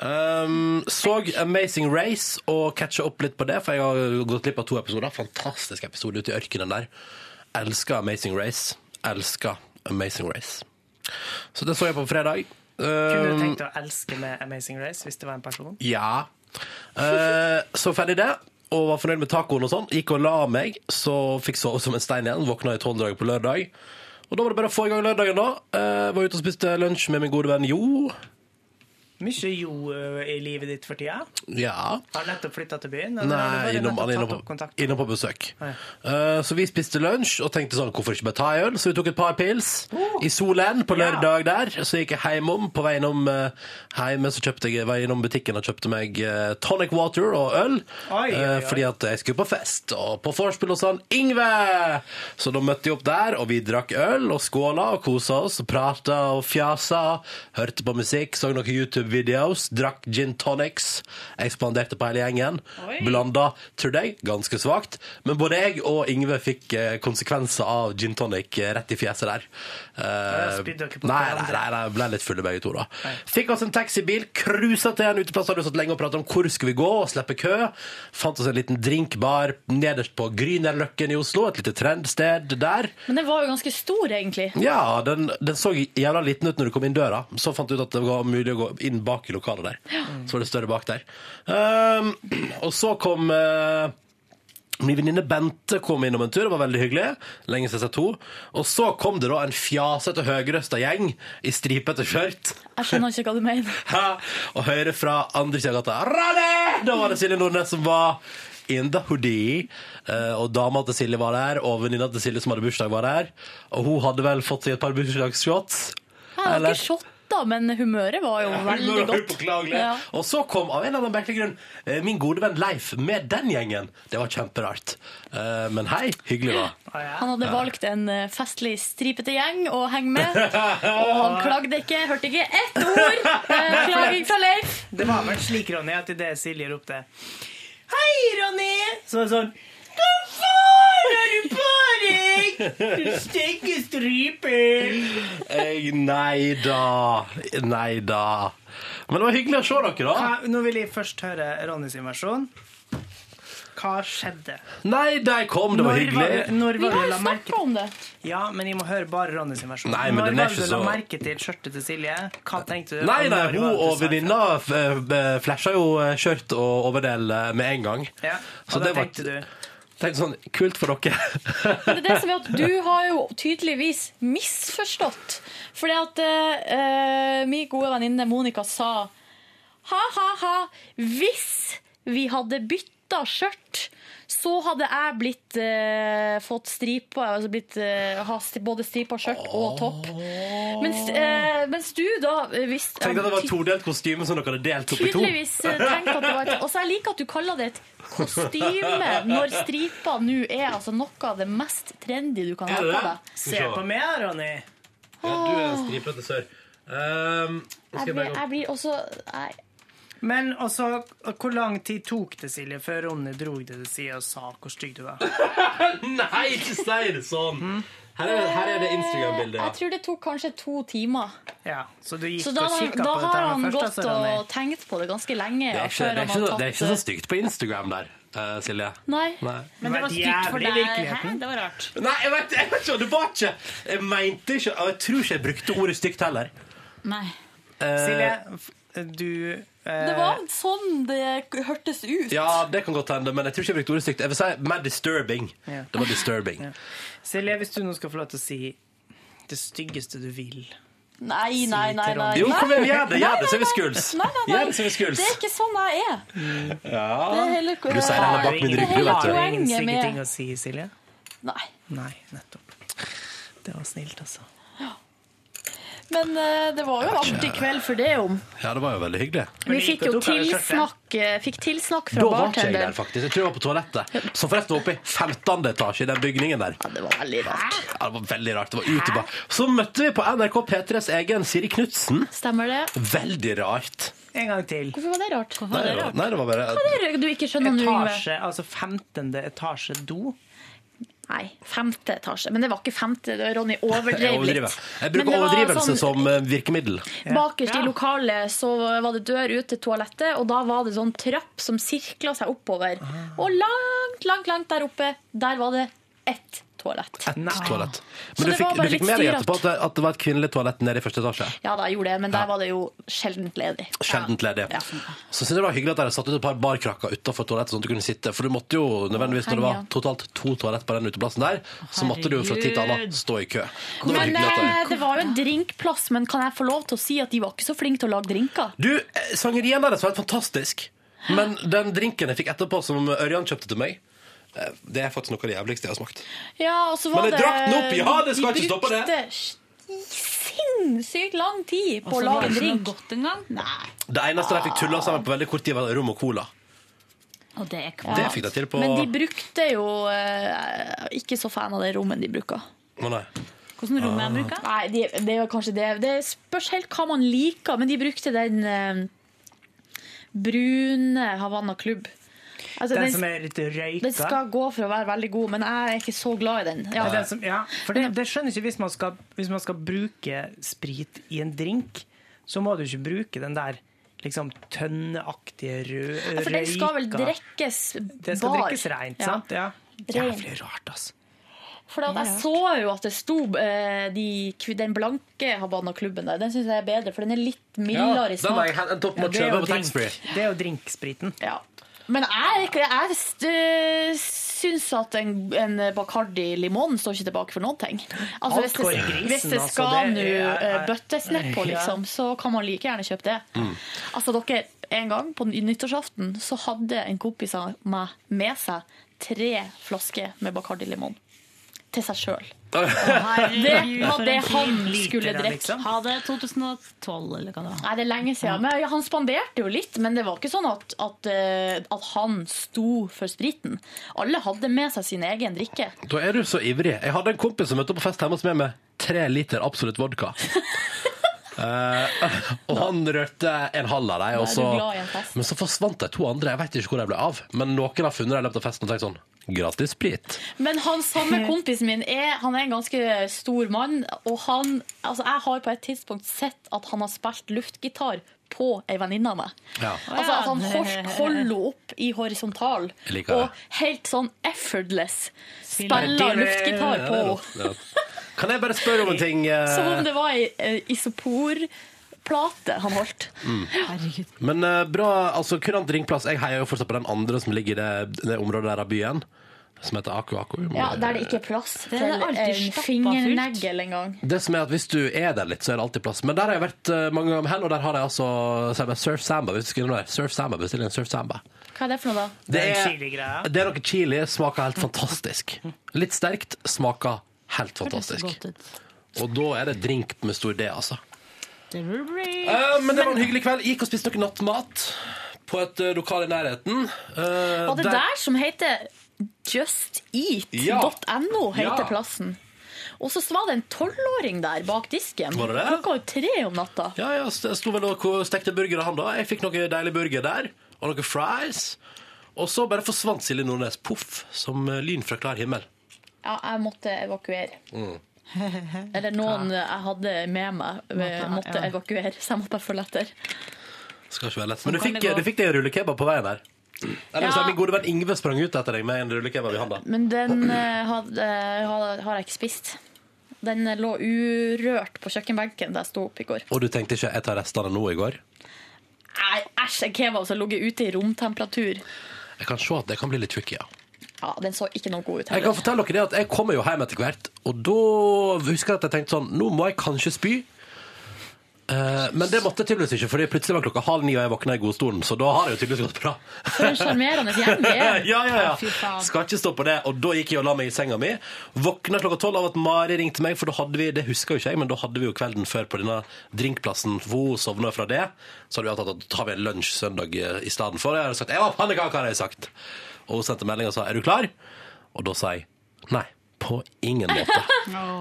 Um, så Amazing Race og catcha opp litt på det, for jeg har gått glipp av to episoder. Fantastisk episode ute i ørkenen der. Elsker Amazing Race. Elsker Amazing Race. Så det så jeg på på fredag. Kunne Um, du tenkt å elske med Amazing Race hvis det var en person? ja. Eh, så ferdig det, og var fornøyd med tacoen og sånn. Gikk og la meg, så fikk sove som en stein igjen. Våkna i tolvdraget på lørdag. Ehm, Og da var det bare å få i gang lørdagen, da. Eh, var ute og spiste lunsj med min gode venn Jo. Mye jo eh, i livet ditt for tida. Ja. Har nettopp flytta til byen. eller har Nei, du bare innom, han er nettopp innom, tatt opp på, kontakt? innom på besøk. Ja. Eh, så vi spiste lunsj og tenkte sånn, hvorfor ikke bare ta en øl? Så vi tok et par pils Oh. i solen på lørdag der. Så gikk jeg hjemom. På vei innom eh, hjemme så kjøpte jeg, var jeg innom butikken og kjøpte meg eh, tonic water og øl. Oi, oi, eh, oi. fordi at jeg skulle på fest. Og på vorspiel hos han Ingve! Så da møtte jeg opp der, og vi drakk øl og skåla og kosa oss. Og prata og fjasa. Hørte på musikk, så noen YouTube-videoes. Drakk gin tonics. Ekspanderte på hele gjengen. Blanda, tror jeg, ganske svakt. Men både jeg og Ingve fikk eh, konsekvenser av gin tonic eh, rett i fjeset der. Eh, spydde dere på nei, nei, hverandre. nei, nei, ble litt fulle begge to da. Fikk oss en taxibil, cruisa til en uteplass, hadde vi satt lenge og pratet om hvor skulle vi gå og slippe kø. Fant oss en liten drinkbar nederst på Grünerløkken i Oslo, et lite trendsted der. Men den var jo ganske stor, egentlig. Ja, den, den så jævla liten ut når du kom inn døra. Så fant du ut at det var mulig å gå inn bak i lokalet der. Så var det større bak der. Ehm, og så kom eh, Min venninne Bente kom innom en tur, det var veldig hyggelig. Lenge siden jeg har sett henne. Og så kom det da en fjasete, høyrøsta gjeng i stripete skjørt. Jeg skjønner ikke hva du mener. Ha! Og høre fra andre siden av gata Rane! Da var det Silje Nordnes som var in the hoodie. Eh, og dama til Silje var der, og venninna til Silje som hadde bursdag, var der. Og hun hadde vel fått seg et par bursdagsshots. Jeg har ikke shotta, men humøret var jo veldig godt. Upåklagelig. Ja. Og så kom av en eller annen merkelig grunn eh, min gode venn Leif med den gjengen. Det var kjemperart. Eh, men hei, hyggelig, da. Han hadde valgt en eh, festlig, stripete gjeng å henge med. Og han klagde ikke, hørte ikke ett ord eh, klaging fra Leif. Det var vel slik, Ronny, at idet Silje ropte Hei, Ronny! Så var det sånn Hva faen har du på deg? Du stygge striper! Eh, nei da. Nei da. Men det var hyggelig å se dere, da. Hva- Nå vil jeg først høre Ronny sin versjon. Hva skjedde? Nei, de kom, det var Når var hyggelig. det- Når Vi var har det jo la merke snakka om det. Ja, men jeg må høre bare Ronny sin versjon. Nei, men Når den er var ikke det du la så- merke til skjørtet til Silje? Hva tenkte du? Nei, Og nei, når hun var det du og sa venninna f- eh, flasha jo eh, skjørt og overdel eh, med en gang. Ja, Så og da det var- tenkte du Tenkte sånn, Kult for dere. Men det er det som er at du har jo tydeligvis misforstått. Fordi at eh, min gode venninne Monica sa ha-ha-ha, hvis vi hadde bytta skjørt, så hadde jeg blitt eh, fått stripa, altså blitt eh, ha stri- både stripa skjørt og topp. Mens, eh, mens du da eh, visst- Tenkte at det var ty- et todelt kostyme som dere hadde delt opp i to. Tydeligvis eh, tenkte at det var et Og så jeg liker at du kaller det et kostyme når stripa nå er altså noe av det mest trendy du kan ha Er det på det? deg. Se på meg, da, Ronny. Ja, du er en stripete sør. Um, skal Jeg jeg blir, bare gå- jeg blir også jeg, Men også, hvor lang tid tok det, Silje, før Ronny dro det til side og sa hvor stygg du var? Nei, ikke si det Mm. sånn! Her er, her er det Instagram-bildet. ja. jeg tror det tok kanskje to timer. Ja, så du gikk Så da, og har- kikket da på dette har her han først, gått altså, Ronny. og tenkt på det ganske Det lenge. er, ikke, før det, er han ikke, har så- det er ikke så tatt- stygt på Instagram der, eh, Silje. Nei. Nei. Men Det var stygt for jævlig i deg. virkeligheten. Hæ? Det var rart. Nei, jeg vet, jeg vet ikke, det var ikke Jeg mente ikke, og jeg tror ikke jeg brukte ordet stygt heller Nei. Eh, Silje, f- du eh, Det var sånn det hørtes ut. Ja, det kan godt hende, men jeg tror ikke jeg brukte ordet stygt Jeg vil si mer disturbing Ja. Det var disturbing Silje, hvis du nå skal få lov til å si det styggeste du vil Nei, nei, nei. nei, Jo, nei. kom igjen, gjør det, Nei, gjør det, nei, så vi nei. skuls Nei, nei, nei. Gjør det, så vi skuls Det er ikke sånn jeg er. Det er hele, Du sier det er bak min rygg, du vet Har du du ingen Poenget stygge med- ting å si, Silje? Nei. Nei, nettopp. Det var snilt, altså. Men eh, det var jo en artig kveld for det om. Ja, det var jo veldig hyggelig Vi fikk jo tok jeg det tilsnakk, eh, fikk tilsnakk fra Da var ikke jeg der bartenderen. faktisk, jeg tror jeg var på toalettet Som forresten var oppe i 15. etasje i den bygningen der Det var veldig rart. Ja, det var veldig rart, det var ute bare Så møtte vi på NRK P3s egen Siri Knudsen Stemmer det? Veldig rart En gang til. Hvorfor var det rart? Nei, det var, nei, det var bare Det er Du ikke skjønner nå, Yngve. Etasje, altså 15. etasje do. Nei, femte etasje. Men det var ikke femte, det var Ronny Jeg, overdrev litt. jeg Men bruker det var overdrivelse sånn- som eh, virkemiddel. Bakerst i lokalet så var det dør ut til toalettet, og da var det sånn trapp Ah. som sirkla seg oppover. Og langt, langt, langt der oppe, der var det ett toalett. Ett toalett. Ah. Så Men du det var fikk, bare du fikk litt med deg styr at- etterpå at det, at det var et kvinnelig toalett nede i første etasje. Ja da, jeg gjorde det, men der var det jo sjeldent ledig. Sjeldent ledig. Ja. Så synes jeg det var hyggelig at dere satt ut et par barkrakker utenfor toalettet, sånn at du kunne sitte. For du måtte jo nødvendigvis, når det var Herregud. totalt to toalett på den uteplassen der, så måtte du jo fra tid til annen stå i kø. Det var Men hyggelig at dere... eh, det var jo en drinkplass, men kan jeg få lov til å si at de var ikke så flinke til å lage drinker? Du, eh, sangerien deres var helt fantastisk. Men den drinken jeg fikk etterpå, som Ørjan kjøpte til meg, eh, det er faktisk noe av det jævligste jeg har smakt. Ja, og så var Men eh, jeg det drakk den opp, ja, det skal de ikke stoppe det. brukte s- Sinnssykt lang tid på Og å så var lage det sånn- en ikke noe drink. godt engang. Nei. Det eneste de fikk Ah. tulla sammen på veldig kort tid, var rom og cola. Og det er Det fikk de til på Men de brukte jo eh, Ikke så fan av det rommet de bruker. Å, nei. Hvordan rom Ah. er det bruker? Nei, de, det er kanskje det. Det spørs helt hva man liker, men de brukte den eh, brune Havanna klubb. Altså, Den den, som er litt røyka. den skal gå for å være veldig god, men jeg er ikke så glad i den. Ja. Den som, ja, for det, det skjønner jeg ikke hvis man, skal, hvis man skal bruke sprit i en drink, så må du ikke bruke den der liksom tønneaktige rø Ja, for den skal vel røyka. drikkes bar. Det skal drikkes rent, Ja. sant? Ja. Ren. Jævlig rart, altså. For at jeg så jo at det sto eh, de, kvi- Den blanke Havanna-klubben der, den syns jeg er bedre, for den er litt Ja, mildere i den var smak. jeg hendt opp med å Det er kjøpe jo på taxfree. drink- det er jo drinkspriten. Ja. Men jeg, jeg, jeg st- syns at en, en Bacardi limon står ikke tilbake for noen ting. Altså, Alt hvis, går i det, grisen, hvis det altså, skal det nå er- eh, bøttes nedpå, liksom, så kan man like gjerne kjøpe det. Mm. Altså, dere, En gang på nyttårsaften så hadde en kompis av meg med seg tre flasker med Bacardi limon til seg sjøl. Det var det han skulle Liter, drikke. liksom. Ha det 2012, eller hva det var. Nei, det er lenge siden. Men ja, han spanderte jo litt, men det var ikke sånn at, at, eh, at han sto for spriten. Alle hadde med seg sin egen drikke. Da er du så ivrig. Jeg hadde en kompis som møtte opp på fest hjemme hos meg med tre liter absolutt vodka. Eh, og han rørte en halv av dem, og er du så, glad i en fest. men så forsvant de to andre. Jeg vet ikke hvor de ble av. Men noen har funnet dem i løpet av festen og tenkt sånn Gratis sprit. Men han samme kompisen min er, han er en ganske stor mann, og han, altså jeg har på et tidspunkt sett at han har spilt luftgitar på ei venninne av meg. Ja. Altså at han holdt hollo opp i horisontal, Jeg liker det. og helt sånn effortless Spiller. spiller luftgitar på henne. Ja, det er rått. Kan jeg bare spørre om en ting? eh, Som om det var ei eh, isoporplate han holdt. Herregud. Men eh, bra, altså kurant ringplass. Jeg heier jo fortsatt på den andre som ligger i det, det området der av byen. Som heter Aku Aku. Ja, Der det ikke er plass er til alltid en stappa fingernegl engang. Det som er at Hvis du er der litt, så er det alltid plass. Men der har jeg vært eh, mange ganger med hell, og der har jeg altså så er det Surf Samba. Hvis du skal innom der, Surf Samba, Bestill en Surf Samba. Hva er det for noe, da? Det er en er, chili-greie. det er noe chili. Smaker helt fantastisk. Litt sterkt. Smaker helt fantastisk. Og da er det drink med stor D, altså. Det blir bra. Eh, men det var en hyggelig kveld. Gikk og spiste noe nattmat på et eh, lokal i nærheten. Eh, Var det der, som heter justeat.no, heter Ja. plassen. Og så var det en tolvåring der bak disken. Var det det? Klokka var jo tre om natta. Ja, ja, så jeg sto vel og ko- stekte burgere han da. Jeg fikk noe deilig burger der, og noen fries. Og så bare forsvant Silje Nordnes, poff, som eh, lyn fra klar himmel. Ja, jeg måtte evakuere. Mm. Eller noen jeg hadde med meg, eh, måtte ja. evakuere, så jeg måtte bare følge etter. Skal ikke være lett. Men du kan fikk, eh, det gå. du fikk deg en rullekebab på veien der. Eller hvis Ja. jeg- min gode venn Ingve sprang ut etter deg med en rullekebab i handa. Men den eh, had, eh, har har jeg ikke spist. Den eh, lå urørt på kjøkkenbenken da jeg sto opp i går. Og du tenkte ikke 'jeg tar restene nå' i går? Nei, æsj, en kebab som ligger ute i romtemperatur. Jeg kan se at det kan bli litt tricky, ja. Ja, Den så ikke noe god ut Jeg kan heller. fortelle dere det at jeg kommer jo hjem etter hvert, og da husker jeg at jeg tenkte sånn Nå må jeg kanskje spy. Eh, men det måtte jeg tydeligvis ikke, Fordi plutselig var klokka halv ni, og jeg våkna i godstolen. Så da har det jo tydeligvis gått bra. For en sjarmerende gjeng det ja, er. ja, fy ja. faen. Skal ikke stå på det. Og da gikk jeg og la meg i senga mi. Våkna klokka tolv av at Mari ringte meg, for da hadde vi det husker jo ikke jeg, men da hadde vi jo kvelden før på denne drinkplassen. Hvor hun sovna fra det. Så hadde vi avtalt at da tar vi en lunsj søndag eh, i stedet for. Jeg hadde sagt 'jeg var pannekake', hadde jeg sagt. Og hun sendte melding og sa 'er du klar?' Og da sa jeg nei. På ingen måte.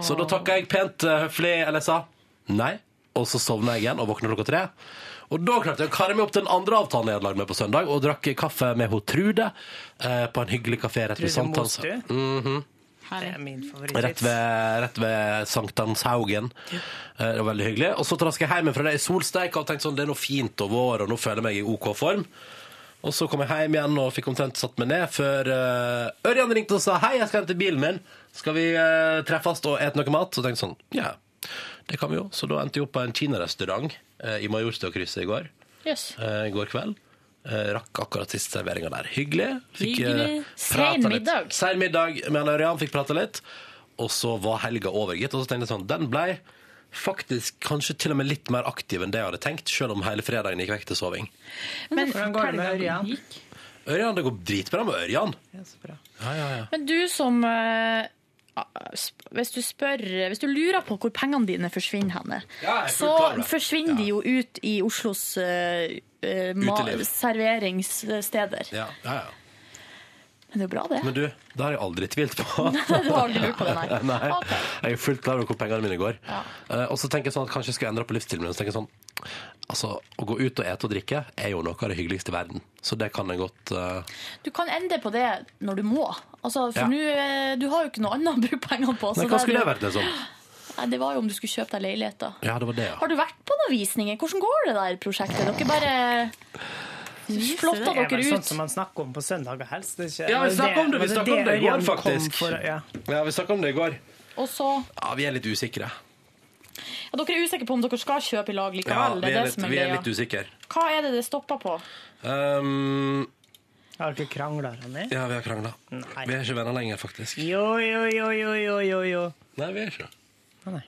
Så da takka jeg pent eh, høflig, eller jeg sa nei. Og så sovna jeg igjen og våkna klokka tre. Og da klarte jeg å karre meg opp til den andre avtalen jeg hadde lagd med på søndag, og drakk kaffe med hun Trude eh, på en hyggelig kafé rett ved Trude Sankthans. Mostu. Det Herlig. er min altså. Mhm. Rett favorittvits. ved, rett ved Sankthanshaugen. Eh, Det var veldig hyggelig. Og så traska jeg hjem fra det i solsteik og tenkte sånn, det er noe fint og vår, og nå føler jeg meg i OK form. Og så kom jeg hjem igjen og fikk omtrent satt meg ned før eh, Ørjan ringte og sa hei, jeg skal hente bilen min. Skal vi eh, treffes og ete noe mat? Så tenkte jeg sånn, ja, det kan vi jo. Så da endte jeg opp på en kinarestaurant eh, i Majorstuakrysset i går. Jøss. eh, i går kveld. Eh, rakk akkurat siste serveringa der. Hyggelig. eh, Hyggelig. prata Sen litt. middag. Sein middag med Ørjan, fikk prata litt. Og så var helga over, gitt. Og så tenkte jeg sånn, den blei faktisk kanskje til og med litt mer aktiv enn det jeg hadde tenkt, selv om hele fredagen gikk vekk til soving. Men Hvordan går det med Ørjan? Ørjan, det går dritbra med Ørjan. Ja, ja, ja. Men du som eh, sp- hvis du, spør, hvis du lurer på hvor pengene dine forsvinner henne, Ja, jeg er fullt så klar over det. forsvinner de jo ut i Oslos eh, eh, ma- Uteliv. serveringssteder. ja, ja, ja. Men det er jo bra, det. Men du, det har jeg aldri tvilt på. Du har aldri lurt på det, nei. Nei, Ok. Jeg er fullt klar over hvor pengene mine går. Ja. Eh, og så tenker jeg sånn at kanskje jeg skal endre på livsstilen min. Så tenker jeg sånn, altså, Å gå ut og ete og drikke er jo noe av det hyggeligste i verden. Så det kan jeg godt eh, Du kan endre på det når du må. Altså, for Ja. nå, eh, Du har jo ikke noe annet å bruke pengene på. så Nei, er hva skulle jo- det vært, liksom? Nei, det var jo om du skulle kjøpe deg leilighet. da. Ja, det var det, ja. Har du vært på noen visninger? Hvordan går det der prosjektet? Dere bare flotta Det er dere vel sånn ut. som man snakker om på søndager helst. Det er ikke- Ja, vi det- snakker om det, vi var snakker om det i går, Ørjan kom faktisk. for- ja. ja vi snakka om det i går. Og så ja, Ja, Vi er litt usikre. Dere er usikre på om dere skal kjøpe i lag Ja, likevel. vi det er er det litt, som er vi er greia. litt usikre. Hva er det det stopper på? Um, Har dere krangla, Ronny? ja, vi har krangla. Nei. Vi er ikke venner lenger, faktisk. Jo, jo, jo, jo, jo, jo. jo. Nei, vi er ikke det. Å, nei.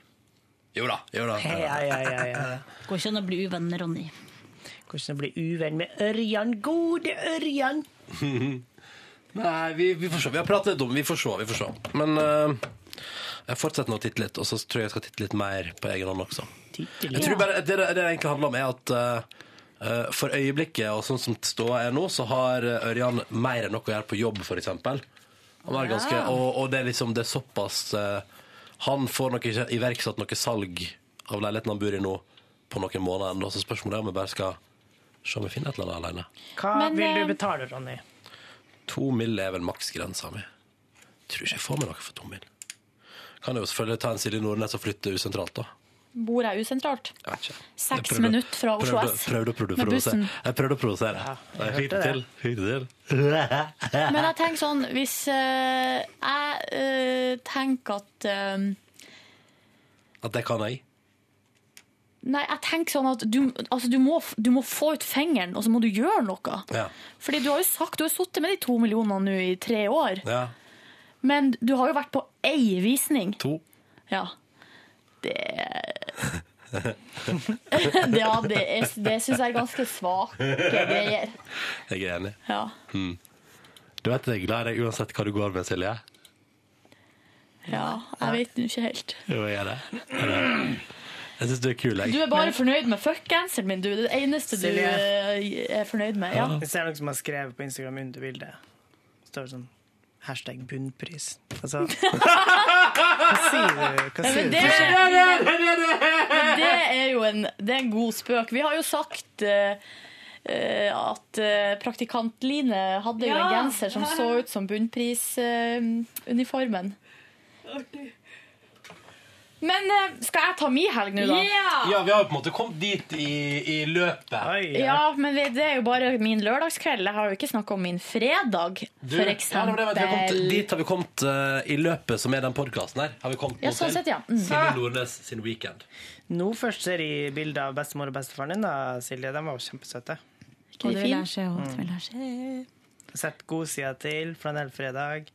Jo da. jo da. Ja, ja, ja, ja. Går ikke an å bli uvenner, Ronny. Hvordan bli uvenn med Ørjan? Gode Ørjan! Nei, vi, vi får se. Vi har pratet litt om det. Vi får se. Vi får se. Men eh, jeg fortsetter nå å titte litt, og så tror jeg jeg skal titte litt mer på egen hånd også. Jeg tror bare Det det det egentlig handler om, er at eh, eh, for øyeblikket, og sånn som ståa er nå, så har eh, Ørjan mer enn nok å gjøre på jobb, f.eks. Han er ganske, og, og det er liksom det er såpass eh, Han får nok ikke iverksatt noe salg av leiligheten han bor i nå, på noen måneder ennå, så spørsmålet er om vi bare skal se om vi finner et eller annet alene. Hva Men, vil eh, du betale, Ronny? To mill. er vel maksgrensa mi. Tror ikke jeg får meg noe for to mill. Kan jeg jo selvfølgelig ta en Silje Nordnes og flytte usentralt, da. Bor jeg usentralt? Jeg vet ikke. Seks Jeg prøvde- minutter fra Oslo prøvde- S. Prøvde, å prøvde, å Med provosere. bussen. Jeg prøvde å provosere. jeg fikk det hørte til. Fikk det til. Men jeg tenker sånn, hvis eh, jeg eh, tenker at eh, At det kan jeg. Nei, jeg tenker sånn at du, altså, du, må, du må få ut fingeren, og så må du gjøre noe. Ja. Fordi du har jo sagt, du har sittet med de to millionene nå i tre år, ja. men du har jo vært på ei visning. To. Ja. Det Ja, det, er- det syns jeg er ganske svake greier. Jeg er enig. Ja. Du vet jeg er glad i deg uansett hva du går med, Silje. ja, jeg vet nå ikke helt. Jo, jeg er det. Jeg er det. Jeg syns du er kul, Du jeg. er bare fornøyd med fuck-genseren min, du. Det er det eneste du Silje. eh, er fornøyd med. Ja. Jeg ser noen som har skrevet på Instagram under bildet. Det står sånn hashtag bunnpris. Altså Hva sier du? Hva sier Men du? det, men det er jo en, det er en god spøk. Vi har jo sagt eh, eh, at eh, praktikant Line hadde jo en Ja. genser som så ut som bunnprisuniformen. men eh, skal jeg ta mi helg nå, da? Ja, vi har jo på en måte kommet dit i, i løpet. Oi, ja. Ja, men det det er jo bare min lørdagskveld. Jeg har jo ikke snakka om min fredag, Du, for ja, det eksempel. var det vi har kommet- dit har vi kommet eh, i løpet, som er den podkasten her. Har vi kommet Ja, nå sånn til. sett, ja. Mm. Silje Nordnes sin weekend. Nå først ser jeg bilde av bestemor og bestefaren din, da, Silje. De var jo kjempesøte. Ikke det fint? Sett god side til, flanellfredag.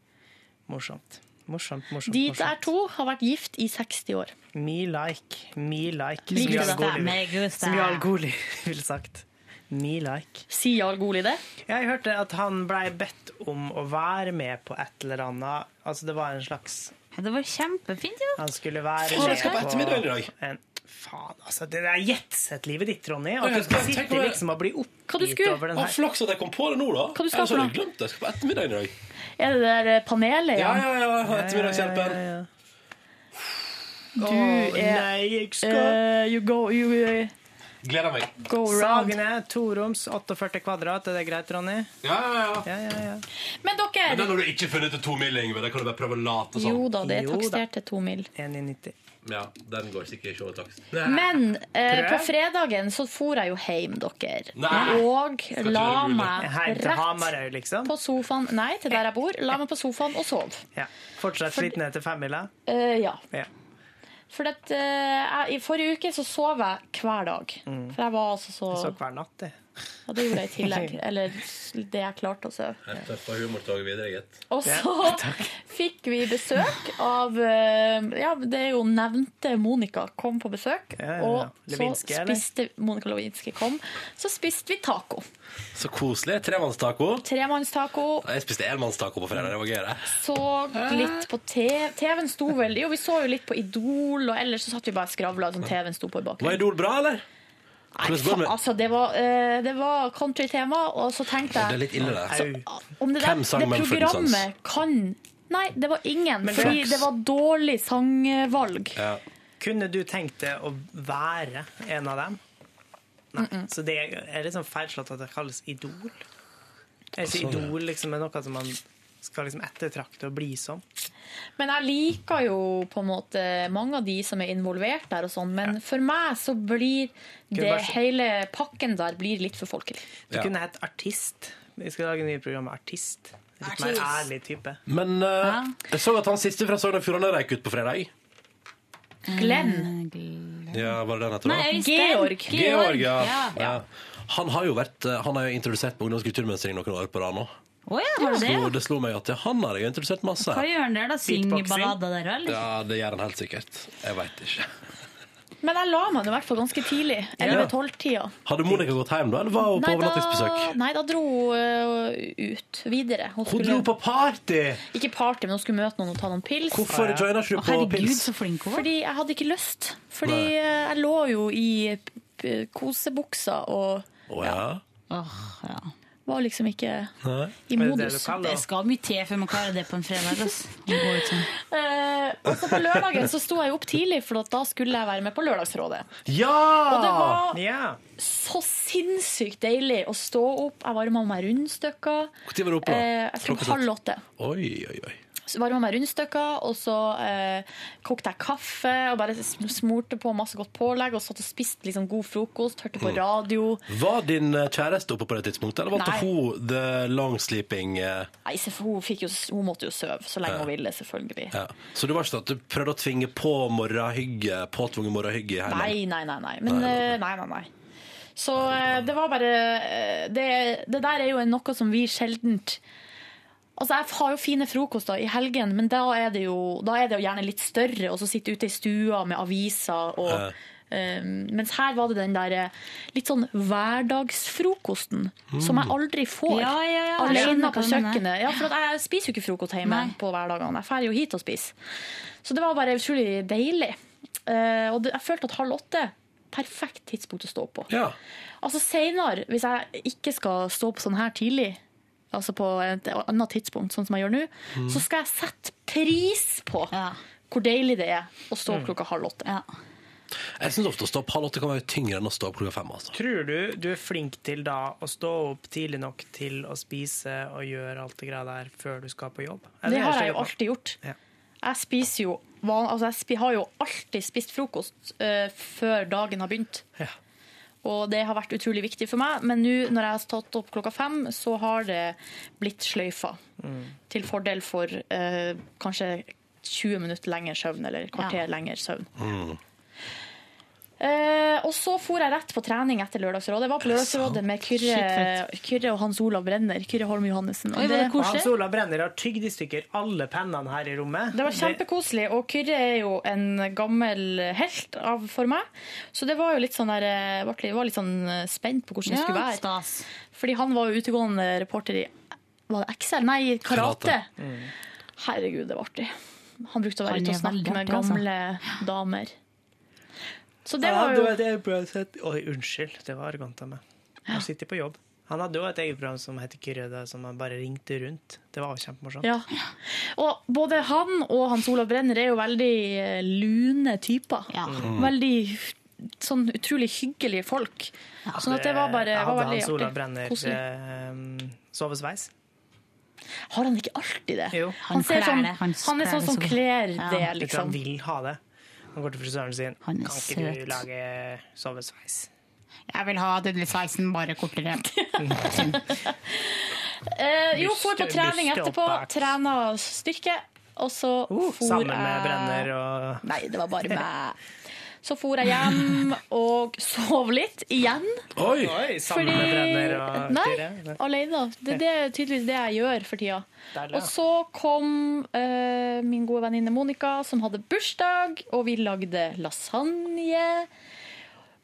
Morsomt. Morsomt, morsomt. De der morsomt. to har vært gift i 60 år. Me like, me like. som Liker du Jarl det? Goli- Meg gusta. Som Jarl Goli ville sagt. Me like. Sier Jarl Goli det? Jeg hørte at han blei bedt om å være med på et eller annet. Altså det var en slags Det var kjempefint, jo. Han skulle være Faen, med jeg skal på ettermiddagen i dag. en, Faen, altså. Det der jetsett-livet ditt, Ronny. At jeg du skal skal- tenk sitte om jeg- liksom og bli Hva du oppgitt skulle- over den Å, her. flaks at jeg kom på det nå, da. Hva du skal Ellers hadde for noe? jeg glemt det. Jeg skal på ettermiddagen i dag. Er det det der eh, panelet? Ja, Ja, ja, ja. Ettermiddagshjelpen. Du er Nei, jeg skal eh, you go, you, eh, Gleder meg. Sagene, toroms, 48 kvadrat. Er det greit, Ronny? Ja, ja, ja. Ja, ja, ja. Men Men den dere har du ikke funnet til to mil, Yngve. Den kan du bare prøve å late som. Jo da, det er Jo da. taksert til to mil. 1 i 90. Ja, den går sikkert ikke over takst. Men eh, Prøv. på fredagen så for jeg jo hjem, dere. Nei. Og ikke la det mulig? Hjem meg til rett Hamarøy, liksom. på sofaen Nei, til der jeg bor. La meg på sofaen og sove. Ja. Fortsatt litt ned til femmila. Eh, ja. Ja. For at, eh, jeg, I forrige uke så sov jeg hver dag. For jeg var altså så Så hver natt, det. Og det gjorde jeg i tillegg. Eller det jeg klarte å sove. Tøffa humortoget videre, gitt. Og så fikk vi besøk av eh, Ja, det er jo nevnte Monica kom på besøk. Ja, ja, ja. Og så Lewinsky, eller? spiste Monica Lewinsky kom. Så spiste vi taco. Så koselig. Tremannstaco. Tremannstaco. Jeg spiste enmannstaco på fredag. Det var gøy, det. Så litt på te- TV-en sto vel Jo, vi så jo litt på Idol, og ellers så satt vi bare og skravla. Sånn TV-en sto på i bakgrunnen. Var Idol bra, eller? Nei, Hvordan går det fa- med- altså, det var, eh, det var countrytema, og så Det tenkte er jeg "Ah, litt ille, det. Au. om det, der, Hvem sang det Mumford programmet kan Nei, det var ingen, fordi det var dårlig sangvalg. Ja. Kunne du tenkt deg å være en av dem? Nei. Så det er litt sånn feilslått at det kalles idol. Jeg sier idol liksom er noe som man skal liksom ettertrakte og bli som. Men jeg liker jo på en måte mange av de som er involvert der og sånn, men for meg så blir det vært så- hele pakken der blir litt for folkelig. Du Ja. kunne hett artist. Vi skal lage nye program med artist. Litt mer ærlig type. Men eh, jeg så at han siste fra Sogn og Fjordane røyk ut på fredag. Mm. Glenn. Ja, var det den heter da? Georg. Georg, ja. ja. Ja. Han har jo vært, eh, han er jo introdusert på ungdomskulturmønstring noen år på rad nå. Å ja, har du det? Så ja? det slo meg at ja, han har jeg jo introdusert masse. Hva gjør han der, da? Synger Beatboxing. ballader der, eller? Ja, det gjør han helt sikkert. Jeg veit ikke. Men jeg la meg nå i hvert fall ganske tidlig. 11-12-tida. Hadde Monica gått hjem da, eller var hun på overnattingsbesøk? nei, da dro hun ø, ut videre. Hun Hun skulle, dro på party! Ikke party, men hun skulle møte noen og ta noen pils. Hvorfor joina ikke du Å, på herregud, pils? så flink hun var. Fordi jeg hadde ikke lyst. Fordi eh, jeg lå jo i eh, kosebuksa og Å ja. Åh, ja. var liksom ikke Nei. i Er det det du modus. kaller Det det? skal mye til før man klarer det på en fredag. ass. Å gå ut sånn. Eh, og så på lørdagen så sto jeg jo opp tidlig, for at da skulle jeg være med på Lørdagsrådet. Og det Ja! var Ja. så sinnssykt deilig å stå opp. Jeg varma meg rundstykker. Når var du oppe? Eh, jeg tror Klokka halv åtte. Oi, oi, oi. Så varma meg rundstykker, og så eh, kokte jeg kaffe og bare sm- smurte på masse godt pålegg og satt og spiste liksom, god frokost, hørte Mm. på radio. Var din eh, kjæreste oppe på det tidspunktet, eller valgte Nei. hun the long sleeping? eh, Nei, så hun, fikk jo, hun måtte jo sove så lenge hun ville, selvfølgelig. Ja. Så det var ikke sånn at du prøvde å tvinge på morgenhygge, påtvunget morgenhygge i heimen? Nei, nei, nei. nei. Men, eh, nei, nei, nei. Så eh, det var bare eh, det, det der er jo noe som vi sjeldent Altså, Jeg har jo fine frokoster i helgen, men da er det jo, da er det jo gjerne litt større. Og så sitte ute i stua med aviser og eh, Mens her var det den der eh, litt sånn hverdagsfrokosten som jeg aldri får. Ja, ja, ja, jeg Alene skjønner på hva du mener. kjøkkenet. Eh, Ja, for at jeg spiser jo ikke frokost hjemme Nei. på hverdagene. Jeg drar jo hit og spiser. Så det var bare utrolig deilig. Eh, og det, jeg følte at halv åtte perfekt tidspunkt å stå på. Ja. Altså senere, hvis jeg ikke skal stå på sånn her tidlig, altså på et annet tidspunkt, sånn som jeg gjør nå, så skal jeg sette pris på Mm. Ja. Mm. hvor deilig det er å stå opp klokka halv åtte. Ja. Jeg syns ofte å stå opp halv åtte kan være tyngre enn å stå opp klokka fem. altså. Tror du du er flink til da å stå opp tidlig nok til å spise og gjøre alt det greia der før du skal på jobb? Eller Det er har ikke jeg jo på- alltid gjort. Ja. Jeg spiser jo van- altså jeg spi- har jo alltid spist frokost eh, før dagen har begynt. Ja. Og det har vært utrolig viktig for meg, men nå når jeg har stått opp klokka fem, så har det blitt sløyfa. Mm. Til fordel for eh, kanskje 20 minutter lenger søvn, eller et kvarter lenger søvn. Mm. Eh, og så for jeg rett på trening etter Lørdagsrådet. Jeg var på Lørdagsrådet med Kyrre, Kyrre og Hans Olav Brenner. Kyrre Holm Johannessen. Og Oi, var det Og Hans koselig? Olav Brenner har tygd i stykker alle pennene her i rommet. Det var kjempekoselig, og Kyrre er jo en gammel helt av for meg. Så det var jo litt sånn der, eh, ble- jeg var litt sånn eh, spent på hvordan det skulle Ja, være. stas. Fordi han var jo utegående reporter i var det XL? Nei, i karate. Karate. Herregud, det var artig. Han brukte å være Mm. Han ute er og snakke veldig med artig, altså. gamle damer. Så det Ja, var jo det er bra sett. Oi, unnskyld. Det var arrogant av meg. Han sitter på jobb. Han hadde jo et eget program som heter Kyrøda, som han bare ringte rundt. Det var jo kjempemorsomt. ja. Og både Mm. han og Hans Olav Brenner er jo veldig eh, lune typer. Ja. Veldig sånn utrolig hyggelige folk. Sånn at det var bare Jeg Eh, var Hadde han veldig Sola artig. Brenner Koselig. eh, sovesveis? Har han ikke alltid det? Jo. Han, ser kler sånn, det, han, han er kler sånn det som så godt. kler Ja. det, Jeg tror liksom. han vil ha det. Han går til frisøren sin. Han er kan ikke søt. du lage sovesveis? Jeg vil ha den sveisen bare kortere. Eh, jo, Buste- for på trening buste etterpå. oppbakt. Trener styrke. Og så Uh, Uh, for eh, Sammen jeg- med Brenner og Nei, det var bare meg. Så for jeg hjem og sov litt igjen. Oi! Oi, sammen med Brenner og Nei, Kyrre. alene. Det, det er tydeligvis det jeg gjør for tida. Deilig, ja. Og så kom eh, min gode venninne Monica, som hadde bursdag, og vi lagde lasagne.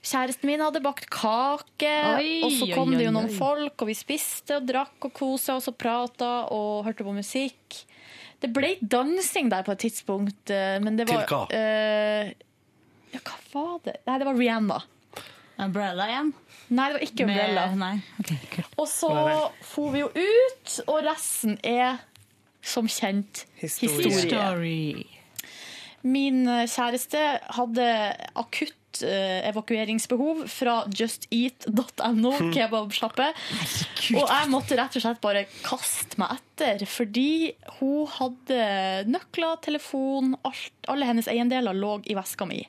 Kjæresten min hadde bakt kake, Oi, og så oi, kom det jo oi, noen oi. folk, og vi spiste og drakk og kosa oss og prata og hørte på musikk. Det ble dansing der på et tidspunkt, eh, men det Til var hva? eh, ja, hva var det? Nei, det var Rihanna. Umbrella igjen? Nei, det var ikke Med- Umbrella. nei, Og så for vi jo ut, og resten er som kjent historie. Min eh, kjæreste hadde akutt eh, evakueringsbehov fra justeat.no, kebabsjappe. Og jeg måtte rett og slett bare kaste meg etter, fordi hun hadde nøkler, telefon, alt, alle hennes eiendeler lå i veska mi.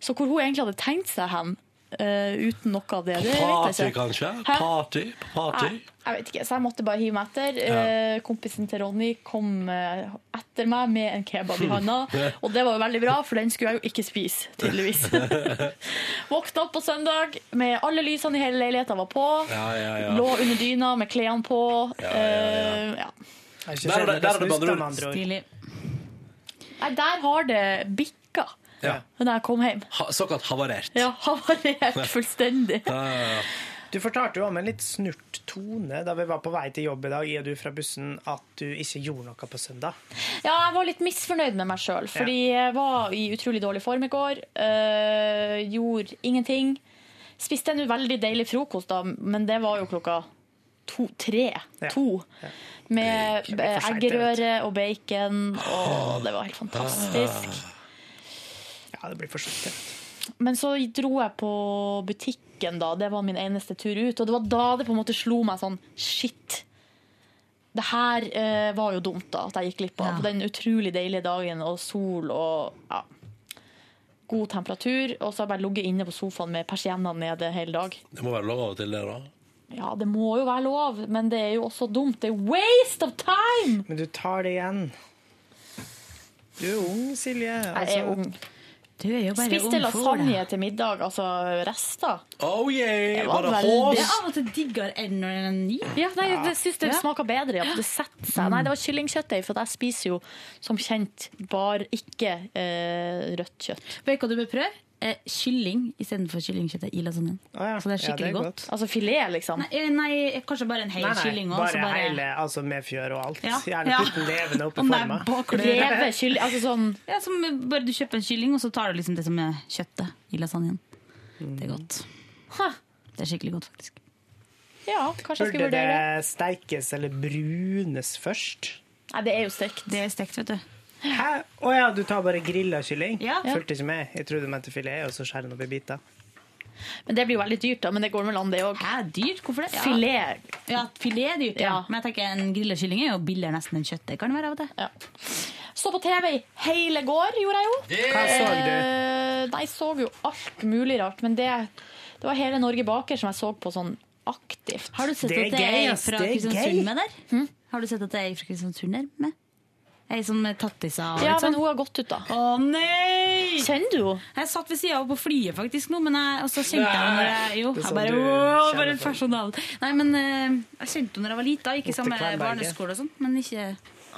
Så hvor hun egentlig hadde tenkt seg hen eh, uten noe av det, det vet Party, jeg ikke. kanskje? Hæ? Party? Party? Nei, jeg vet ikke, så jeg måtte bare hive meg etter. Ja. Eh, Kompisen til Ronny kom eh, etter meg med en kebab i handa, og det var jo veldig bra, for den skulle jeg jo ikke spise, tydeligvis. Våkna opp på søndag med alle lysene i hele leiligheta var på. Ja, ja, ja. Lå under dyna med klærne på. Ja, ja, ja, Eh, ja. Der er det- der er det med andre ord. Nei, der har det bikka Ja. da jeg kom hjem. Ha, såkalt havarert. Ja, havarert fullstendig. Du fortalte jo om en litt snurt tone da vi var på vei til jobb i dag, i og du fra bussen, at du ikke gjorde noe på søndag. Ja, jeg var litt misfornøyd med meg sjøl, fordi jeg var i utrolig dårlig form i går. øh, gjorde ingenting. Spiste en veldig deilig frokost, da, men det var jo klokka to, tre. To. Med Det eh, blir for sent, det, vet eggerøre og bacon, og det var helt fantastisk. Ja, det blir for sent. Men så dro jeg på butikken, da. Det var min eneste tur ut. Og det var da det på en måte slo meg sånn Shit. Det her eh, var jo dumt, da. At jeg gikk glipp av Ja. på den utrolig deilige dagen og sol og ja, god temperatur. Og så har jeg bare ligget inne på sofaen med persiennene nede hele dag. Det må være lov av og til, det, da. Ja, det må jo være lov, men det er jo også dumt. Det er waste of time! Men du tar det igjen. Du er ung, Silje. Altså, Jeg er ung. Spiste lasagne til middag, altså rester. Oh yeah! Det Var var det veldig- hås? Det er og til diggere enn når den er ny. Ja, nei, det syns det Ja. Mm. smaker bedre. Ja. Det setter seg. Nei, det var kyllingkjøttdeig, for jeg spiser jo som kjent bare ikke eh, rødt kjøtt. Vet du hva du bør prøve? Eh, kylling istedenfor kyllingkjøttet i lasagnen. Så det er skikkelig godt. Altså filet, liksom. Nei, nei, kanskje bare en hel kylling. også, bare, så bare- hele, altså med fjør og alt. Ja, Gjerne ja. putt den levende oppi Om det er forma. bakklør. Revet kylling, altså sånn Ja, som bare du kjøper en kylling, og så tar du liksom det som er kjøttet i lasagnen. Mm. Det er godt. Det er skikkelig godt, faktisk. Ja, kanskje jeg skal Burde vurdere det. det steikes eller brunes først? Nei, det er jo stekt. Det er stekt, vet du. Hæ? Å ja, du tar bare grilla kylling? Ja. Fulgte ikke med. Jeg trodde du mente filet, og så skjærer den opp i biter. Men det blir jo veldig dyrt, da. Men det går vel an, det òg. Hæ, dyrt? Hvorfor det? Ja. Filet. Ja, filet er dyrt, ja. Men jeg tenker en grilla kylling er jo billigere nesten enn kjøttet. Kan det være av og til? Ja. Så på TV i hele går, gjorde jeg jo. Hva så du? Eh, nei, jeg så jo alt mulig rart, men det, det var hele Norge baker som jeg så på sånn aktivt. Har du sett Det er at det gøy, er ass. fra Det er gøy. Kristiansund med der? Hm? Har du sett at det er fra Kristiansund der med? Ei som er tattisa og Ja, litt men sånn? hun har gått ut, da. Å nei! Kjenner du henne? Jeg satt ved siden av henne på flyet faktisk nå, men jeg, og så kjente jeg henne når jeg Jo, Det er jeg sånn bare du wow, kjenner bare en folk. personal. Nei, men eh, jeg kjente henne når jeg var lita. Gikk i Oppe i samme Kvernberget. barneskole og sånn, men ikke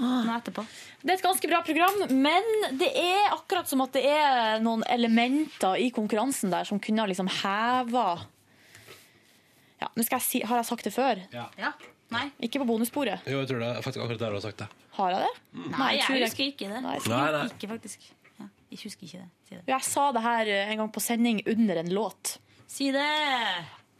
Ah. nå etterpå. Det er et ganske bra program, men det er akkurat som at det er noen elementer i konkurransen der som kunne ha liksom heva ja, nå skal jeg si, Har jeg sagt det før? Ja. Nei. Ikke på bonussporet. Jo, jeg tror det. er Faktisk akkurat der du har sagt det. Har jeg det? Mm. Nei, jeg husker ikke det. Nei, Nei, nei. Ikke faktisk. Ja, jeg husker ikke det. Si det. Jo, Jeg sa det her eh, en gang på sending under en låt. Si det!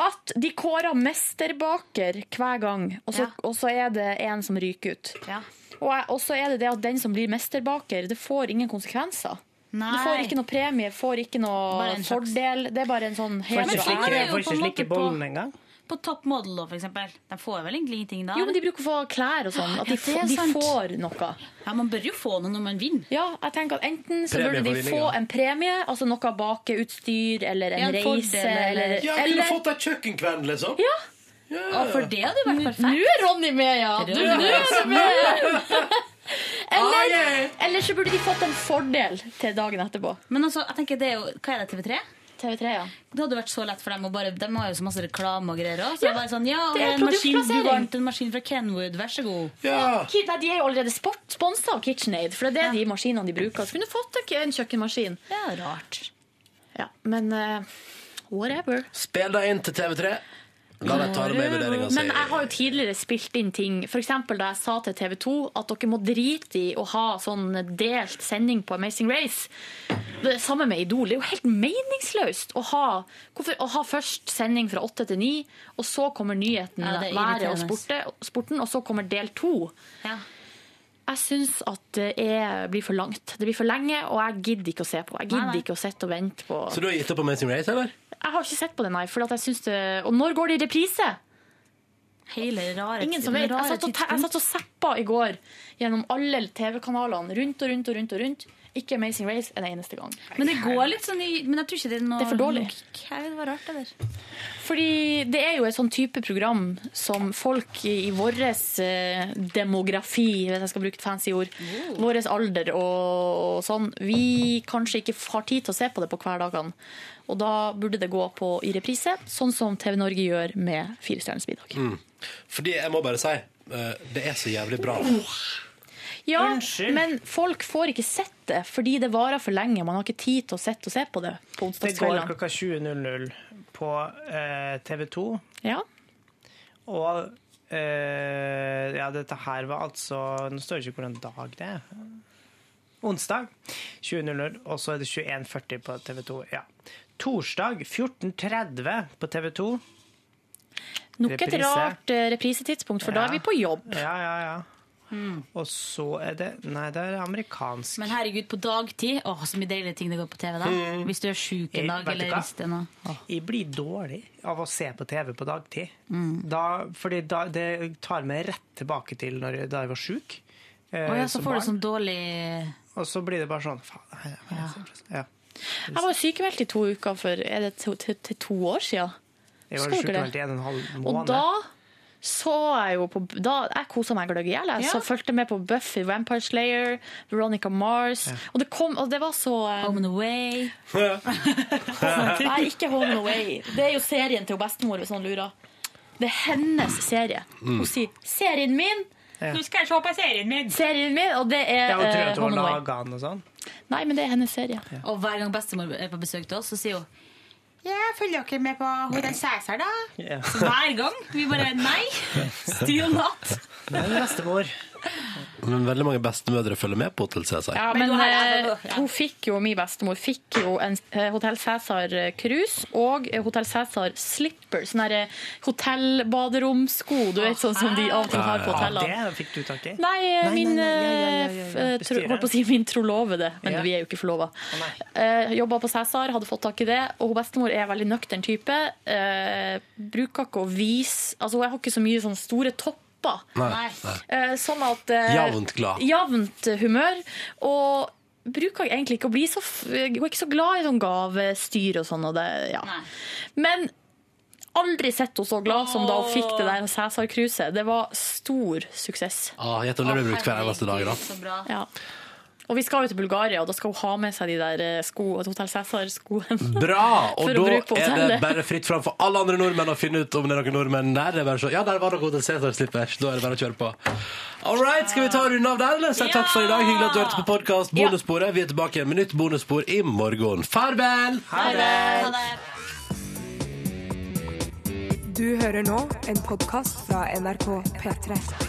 At de kårer mesterbaker hver gang, og så, Ja. og så er det en som ryker ut. Ja. Og, jeg, og så er det det at den som blir mesterbaker, det får ingen konsekvenser. Du får ikke noe premie, får ikke noe Bare en slags- fordel. Det er bare en sånn Men heder og slik er ære. det jo på en måte på- engang? På Top Model, da, for eksempel. De får vel egentlig ingenting da? Jo, men de bruker å få klær og sånn. At de, Ja, det er får- de sant. får noe. Ja, Man bør jo få noe når man vinner. Ja, jeg tenker at Enten så Premie burde for de vinning, få ja. en premie, altså noe bakeutstyr eller en, Ja, en reise fordel, eller- eller, Ja, Jeg kunne fått deg kjøkkenkvern, liksom. Ja. Ja. Å, for det hadde vært perfekt. Nå er Ronny med, ja! Det Du, er nå Ronny. er du med! Ah, Eller, yeah. eller så burde de fått en fordel til dagen etterpå. Men altså, jeg tenker det er jo, hva er det, TV3? TV3, ja Det hadde vært så lett for dem å bare De har jo så masse reklame og greier òg. Så Ja, det er bare sånn, ja, det det er er en maskin, du produktplassering. vant en maskin fra Kenwood, vær så god. Ja. Ki- Nei, de er jo allerede sponsa av KitchenAid, for det er det de maskinene de bruker. Så kunne du fått en k- en kjøkkenmaskin. Ja, rart. Ja, men eh, whatever. Spill deg inn til TV3. La deg ta det med i vurderinga si. Eh, Men jeg har jo tidligere spilt inn ting, f.eks. da jeg sa til TV 2 at dere må drite i å ha sånn delt sending på Amazing Race. Det samme med Idol. Det er jo helt meningsløst å ha, hvorfor, å ha først sending fra åtte til ni, og så kommer nyheten, Ja, det været er og irriterende. sporte, sporten, og så kommer del to. Ja. Jeg syns at det er, blir for langt. Det blir for lenge, og jeg gidder ikke å se på. Jeg Nei, gidder nei. ikke å sitte og vente på Så du har gitt opp Amazing Race, eller? Jeg har ikke sett på det, nei. Fordi at jeg synes det... Og når går det i reprise? Hele rare Ingen som vet. Jeg satt og, te- jeg satt og zappa i går gjennom alle TV-kanalene. Rundt og rundt og rundt og rundt. Ikke Amazing Race en eneste gang. Men det går litt sånn i Men jeg tror ikke det er noe Det er for dårlig. logikk her. Det var rart, eller? Fordi det er jo et sånn type program som folk i vår demografi, hvis jeg skal bruke et fancy ord, vår alder og, og sånn, vi kanskje ikke har tid til å se på det på hverdagene. Og da burde det gå på i reprise, sånn som TV Norge gjør med Fire stjerners middag. Mm. Fordi jeg må bare si, eh, det er så jævlig bra. Ja, men folk får ikke sett det fordi det varer for lenge. Man har ikke tid til å sette og se på det Det går på onsdagskveldene. klokka 20.00 på eh, TV 2. Ja. Og eh, ja, dette her var altså Nå står det ikke hvordan dag det er. Onsdag 20.00, og så er det 21.40 på TV 2. Ja. Torsdag 14.30 på TV 2. Nok et rart eh, reprisetidspunkt, for da er vi på jobb. Ja, ja, ja. Og så er det Nei, det er amerikansk. Hmm. Men herregud, på dagtid Å, så mye deilige ting det går på TV da. Mm. Hvis du er sjuk Jeg- en dag, vet du eller hva? hvis det er noe Jeg blir dårlig av å se på TV på dagtid. Hmm. Da, fordi da, det tar meg rett tilbake til når jeg, da jeg var sjuk. eh, Å ja, så som får barn. du sånn dårlig Og så blir det bare sånn Faen, nei, nei, nei, ja. Jeg var sykemeldt i to uker for er det to, til, til to år siden. Jeg var Husker dere sjukmeldt i en og en halv Og måned. da så jeg jo på da, Jeg kosa meg gløgg i hjel. Jeg Ja. så fulgte med på Buffy, Vampire Slayer, Veronica Mars. Og, det kom, og det var så eh, Home and Away. Nei, ikke Home and Away. Det er jo serien til bestemor, hvis noen lurer. Det er hennes serie. Mm. Hun sier 'serien min'. Ja. skal jeg se på serien min. Serien min, Og det er Jeg har jo trodd eh, at hun Home and Away. laga den og sånn. Nei, men det er hennes serie. Og hver gang bestemor er på besøk til oss, så sier hun Ja, følger dere med på Hotel Cæsar, da? Ja. Så hver gang vi bare Nei! Still not! Nei, bestemor. Men veldig mange bestemødre følger med på Hotell Cæsar. Ja, men, Men du har- eh, hun fikk jo, min bestemor fikk jo en eh, Hotel Cæsar eh, krus og eh, Hotel Cæsar slipper, sånne der, eh, hotellbaderomsko, du vet, sånn som de av og til har på hotellene. Ah, Ja, det fikk du tak i? Nei, eh, min eh, f- eh, tro- Bestyrer. holdt på å si min trolovede, men Ja. vi er jo ikke forlova. Eh, Jobba på Cæsar, hadde fått tak i det, og hun bestemor er en veldig nøktern type. Eh, bruker ikke å vise Altså, hun har ikke så mye sånne store topper. Nei. Nei. Eh, Sånn at eh, Jevnt glad. Jevnt humør. Og bruker egentlig ikke å bli så f- Hun er ikke så glad i sånn gavestyr og sånn. Og det, ja. Men aldri sett henne så glad som da hun fikk det der Cæsar-kruset. Det var stor suksess. Ah, Gjett om det blir brukt hver eneste dag, da. Ja. Og vi skal jo til Bulgaria, og da skal hun ha med seg de der eh, sko, Hotell Cæsar-skoene. Bra! Og For å da bruke på er det hotellet. bare fritt fram for alle andre nordmenn å finne ut om det er noen nordmenn der. Det er bare så, ja, der var det Hotell Cæsar slippers. Da er det bare å kjøre på. All right, skal vi ta og runde av der, eller? Så takk for i dag. Hyggelig at du hørte på podkast Bonussporet. Vi er tilbake igjen med nytt bonusspor i morgen. Farvel! Du hører nå en podkast fra NRK P3.